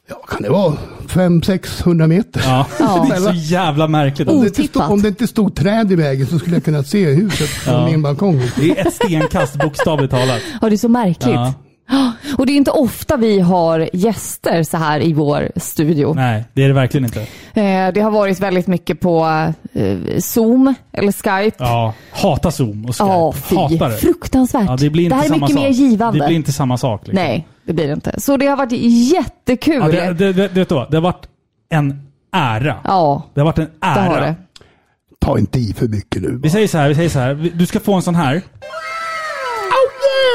Speaker 3: ja, kan det vara 500-600 meter?
Speaker 1: Ja.
Speaker 3: Ja.
Speaker 1: Det är så jävla märkligt.
Speaker 3: Om det, inte stod, om det inte stod träd i vägen så skulle jag kunna se huset från
Speaker 1: Ja.
Speaker 3: min balkong.
Speaker 1: Det är ett stenkast bokstavligt talat.
Speaker 2: Ja, det är så märkligt.
Speaker 1: Ja.
Speaker 2: Och det är inte ofta vi har gäster så här i vår studio.
Speaker 1: Nej, det är det verkligen inte.
Speaker 2: Eh, Det har varit väldigt mycket på eh, Zoom eller Skype.
Speaker 1: Ja, hata Zoom och Skype.
Speaker 2: Ja, fy.
Speaker 1: Hatar det.
Speaker 2: Fruktansvärt.
Speaker 1: Ja, det, blir inte
Speaker 2: Det här är
Speaker 1: samma
Speaker 2: mycket
Speaker 1: sak.
Speaker 2: mer givande.
Speaker 1: Det blir inte samma sak. Liksom.
Speaker 2: Nej, det blir det inte. Så det har varit jättekul.
Speaker 1: Ja, det, det, det, vet du vad? Det har varit en ära.
Speaker 2: Ja,
Speaker 1: Det har varit en
Speaker 2: det
Speaker 1: ära.
Speaker 2: har det.
Speaker 3: Ta inte i för mycket nu.
Speaker 1: Vi säger så här, vi säger så här. Vi- Du ska få en sån här.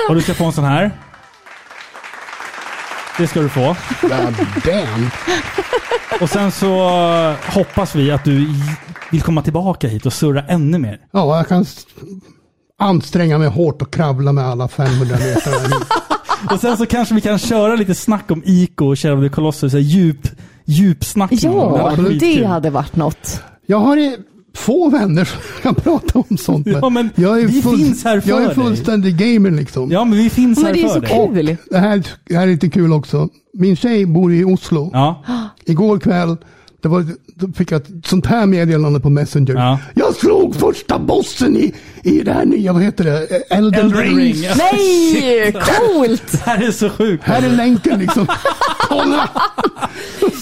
Speaker 1: Och du ska få en sån här. Det ska du få.
Speaker 3: Damn.
Speaker 1: Och sen så hoppas vi att du j- vill komma tillbaka hit och surra ännu mer.
Speaker 3: Ja, jag kan s- anstränga mig hårt och kravla med alla 500 meter.
Speaker 1: Och sen så kanske vi kan köra lite snack om Ico och Shadow of the Colossus. Så här djup, djupsnack. hade
Speaker 2: Ja,
Speaker 1: varit
Speaker 2: det
Speaker 1: skitkul.
Speaker 2: hade varit något.
Speaker 3: Jag har i- få vänner som kan prata om sånt med.
Speaker 1: Ja, men
Speaker 3: jag
Speaker 1: vi finns här för
Speaker 3: Jag är
Speaker 1: dig.
Speaker 3: fullständig gamer liksom.
Speaker 1: Ja, men vi finns
Speaker 2: Men
Speaker 1: här
Speaker 2: det är
Speaker 1: för
Speaker 2: så
Speaker 1: dig.
Speaker 2: kul. Kul.
Speaker 3: Det här, det här är lite kul också. Min tjej bor i Oslo.
Speaker 1: Ja.
Speaker 3: Igår kväll det var, då fick jag ett sånt här meddelande på Messenger.
Speaker 1: Ja.
Speaker 3: Jag slog första bossen i, i det här nya, vad heter det, Elden,
Speaker 1: Elden Ring.
Speaker 3: Rings.
Speaker 2: Nej, coolt!
Speaker 1: Det här är så sjukt.
Speaker 3: Här är länken liksom. Kolla!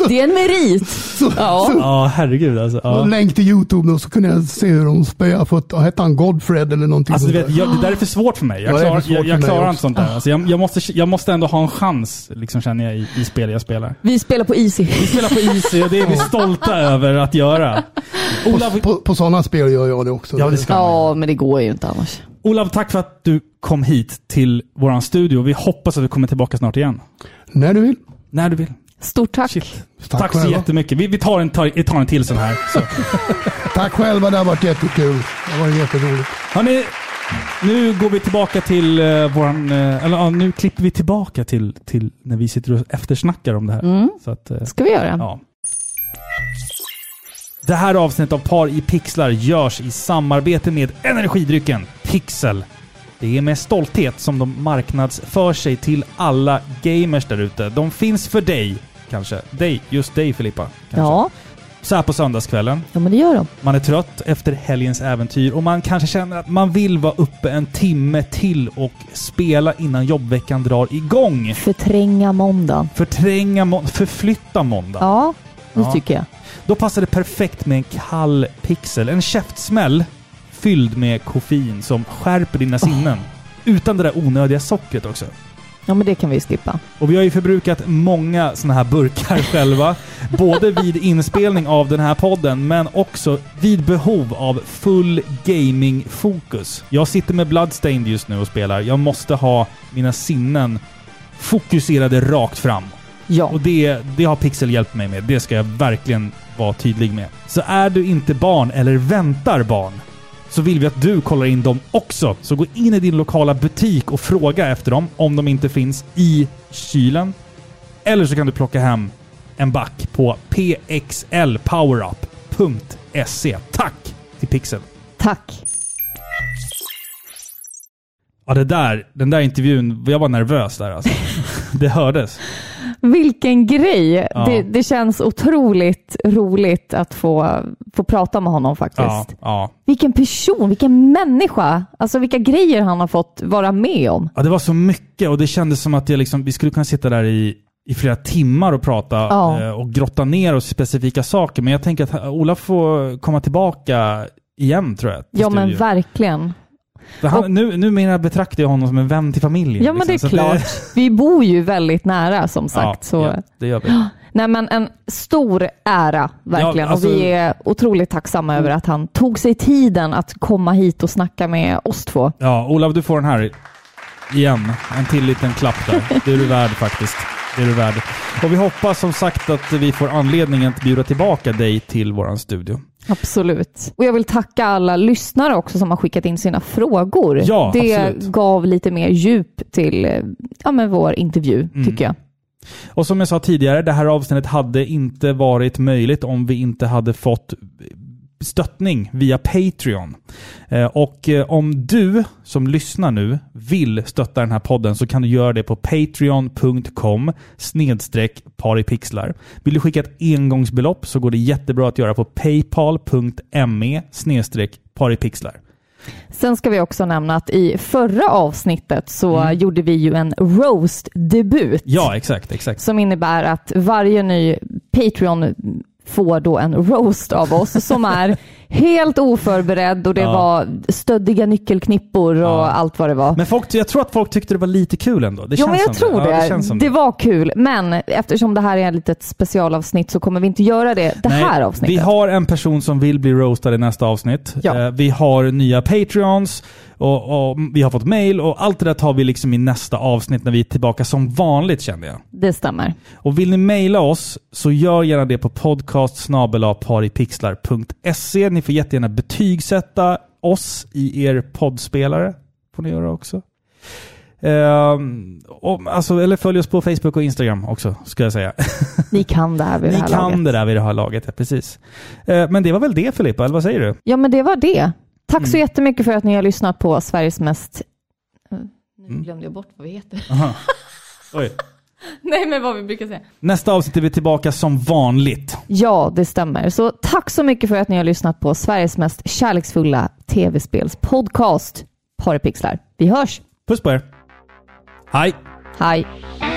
Speaker 2: Det är en merit. Ja.
Speaker 1: Ja, herregud alltså.
Speaker 3: Ja.
Speaker 1: Ja.
Speaker 3: länk till Youtube och så kunde jag se hur de spöade. För att, hette han Godfred eller någonting?
Speaker 1: Alltså, du
Speaker 3: sånt
Speaker 1: vet,
Speaker 3: där.
Speaker 1: jag, det där är för svårt för mig. Jag
Speaker 3: Ja, det är
Speaker 1: klarar,
Speaker 3: för svårt
Speaker 1: jag, jag
Speaker 3: för mig
Speaker 1: klarar
Speaker 3: också.
Speaker 1: inte sånt där. Alltså, jag, jag, måste, jag måste ändå ha en chans, liksom, känner jag, i, i spel jag spelar.
Speaker 2: Vi spelar på Easy.
Speaker 1: Vi spelar på Easy och det är vi stolta över att göra. Olav,
Speaker 3: På, på sådana spel gör jag det också.
Speaker 1: Ja, det ska man.
Speaker 2: Ja, men det går ju inte annars.
Speaker 1: Olav, tack för att du kom hit till våran studio. Vi hoppas att du kommer tillbaka snart igen.
Speaker 3: När du vill.
Speaker 1: När du vill.
Speaker 2: Stort tack.
Speaker 1: Shit. Tack,
Speaker 3: Tack
Speaker 1: så
Speaker 3: själva.
Speaker 1: jättemycket. Vi, vi tar, en, tar, vi tar en till sån här. Så.
Speaker 3: Tack själva, det har varit jättekul. Det har varit jätteroligt.
Speaker 1: Hörrni, nu går vi tillbaka till eh, våran... Eh, eller ja, nu klipper vi tillbaka till, till när vi sitter och eftersnackar om det här. Så att, eh,
Speaker 2: ska vi göra.
Speaker 1: Ja. Det här avsnittet av Par i pixlar görs i samarbete med energidrycken Pixel. Det är med stolthet som de marknadsför sig till alla gamers där ute. De finns för dig, kanske. Dig, just dig Filippa. Kanske.
Speaker 2: Ja.
Speaker 1: Så här på söndagskvällen.
Speaker 2: ja, men det gör de.
Speaker 1: Man är trött efter helgens äventyr och man kanske känner att man vill vara uppe en timme till och spela innan jobbveckan drar igång.
Speaker 2: Förtränga måndagen.
Speaker 1: Förtränga må- förflytta måndag.
Speaker 2: Ja, det
Speaker 1: Ja.
Speaker 2: tycker jag.
Speaker 1: Då passar det perfekt med en kall pixel. En käftsmäll fylld med koffein som skärper dina sinnen. Utan det där onödiga sockret också.
Speaker 2: Ja, men det kan vi slippa.
Speaker 1: Och vi har ju förbrukat många sådana här burkar själva. Både vid inspelning av den här podden, men också vid behov av full gaming-fokus. Jag sitter med Bloodstained just nu och spelar. Jag måste ha mina sinnen fokuserade rakt fram.
Speaker 2: Ja.
Speaker 1: Och det, det har Pixel hjälpt mig med. Det ska jag verkligen vara tydlig med. Så är du inte barn eller väntar barn så vill vi att du kollar in dem också. Så gå in i din lokala butik och fråga efter dem om de inte finns i kylen. Eller så kan du plocka hem en back på pxlpowerup.se. Tack till Pixel!
Speaker 2: Tack!
Speaker 1: Ja, det där, den där intervjun, jag var nervös där alltså. Det hördes.
Speaker 2: Vilken grej!
Speaker 1: Ja.
Speaker 2: Det, det känns otroligt roligt att få, få prata med honom faktiskt.
Speaker 1: Ja, ja.
Speaker 2: Vilken person, vilken människa! Alltså vilka grejer han har fått vara med om.
Speaker 1: ja, det var så mycket och det kändes som att jag liksom, vi skulle kunna sitta där i, i flera timmar och prata
Speaker 2: Ja.
Speaker 1: eh, och grotta ner oss i specifika saker. Men jag tänker att ha- Ola får komma tillbaka igen tror jag. till
Speaker 2: Ja men
Speaker 1: studion.
Speaker 2: verkligen.
Speaker 1: För han, nu, numera betraktar jag honom som en vän till familjen.
Speaker 2: Ja men
Speaker 1: liksom.
Speaker 2: det
Speaker 1: Så
Speaker 2: är
Speaker 1: att
Speaker 2: klart. Vi bor ju väldigt nära som sagt.
Speaker 1: Ja,
Speaker 2: så.
Speaker 1: ja, det gör vi.
Speaker 2: Nej men en stor ära verkligen.
Speaker 1: Ja, alltså-
Speaker 2: Och vi är otroligt tacksamma över att han tog sig tiden att komma hit och snacka med oss två.
Speaker 1: Ja, Olav du får den här igen. En till liten klapp där. Det är du värd faktiskt. Det är du värd. Och vi hoppas som sagt att vi får anledningen att bjuda tillbaka dig till våran studio.
Speaker 2: Absolut. Och jag vill tacka alla lyssnare också som har skickat in sina frågor.
Speaker 1: Ja,
Speaker 2: det
Speaker 1: absolut.
Speaker 2: gav lite mer djup till eh, ja, men vår intervju,
Speaker 1: Mm.
Speaker 2: tycker jag.
Speaker 1: Och som jag sa tidigare, det här avsnittet hade inte varit möjligt om vi inte hade fått stöttning via Patreon. Eh, Och eh, om du som lyssnar nu vill stötta den här podden så kan du göra det på patreon.com snedstreck paripixlar. Vill du skicka ett engångsbelopp så går det jättebra att göra på paypal.me snedstreck paripixlar.
Speaker 2: Sen ska vi också nämna att i förra avsnittet så
Speaker 1: Mm.
Speaker 2: gjorde vi ju en roast-debut
Speaker 1: Ja, exakt, exakt.
Speaker 2: som innebär att varje ny Patreon får då en roast av oss som är helt oförberedd och det
Speaker 1: Ja.
Speaker 2: var stöddiga nyckelknippor och allt vad det var.
Speaker 1: Men folk, jag tror att folk tyckte det var lite kul ändå. Det
Speaker 2: ja,
Speaker 1: känns
Speaker 2: men jag
Speaker 1: som
Speaker 2: tror det.
Speaker 1: det. Ja,
Speaker 2: det,
Speaker 1: det känns som det.
Speaker 2: var kul, men eftersom det här är ett litet specialavsnitt så kommer vi inte göra det det
Speaker 1: Nej,
Speaker 2: här avsnittet.
Speaker 1: Vi har en person som vill bli roastad i nästa avsnitt. Eh, Vi har nya Patreons och, och vi har fått mail och allt det där tar vi liksom i nästa avsnitt när vi är tillbaka som vanligt kände jag.
Speaker 2: Det stämmer.
Speaker 1: Och vill ni mejla oss så gör gärna det på podcast paripixlar.se. Ni får jättegärna betygsätta oss i er poddspelare. Får ni göra också. Ehm, och, alltså, eller följ oss på Facebook och Instagram också, ska jag säga.
Speaker 2: Ni kan det här vid det
Speaker 1: Ni
Speaker 2: här
Speaker 1: kan
Speaker 2: laget.
Speaker 1: det där vid det här laget, ja precis. Eh, Men det var väl det Filippa, eller vad säger du?
Speaker 2: Ja, men det var det. Tack så jättemycket för att ni har lyssnat på Sveriges mest...
Speaker 1: Mm.
Speaker 2: Nu glömde jag bort vad vi heter.
Speaker 1: Aha. Oj.
Speaker 2: Nej, men vad vi brukar säga.
Speaker 1: Nästa avsnitt är vi tillbaka som vanligt.
Speaker 2: Ja, det stämmer. Så tack så mycket för att ni har lyssnat på Sveriges mest kärleksfulla tv-spelspodcast, Paripixlar. Vi hörs!
Speaker 1: Puss på er! Hej!
Speaker 2: Hej!
Speaker 12: Hej!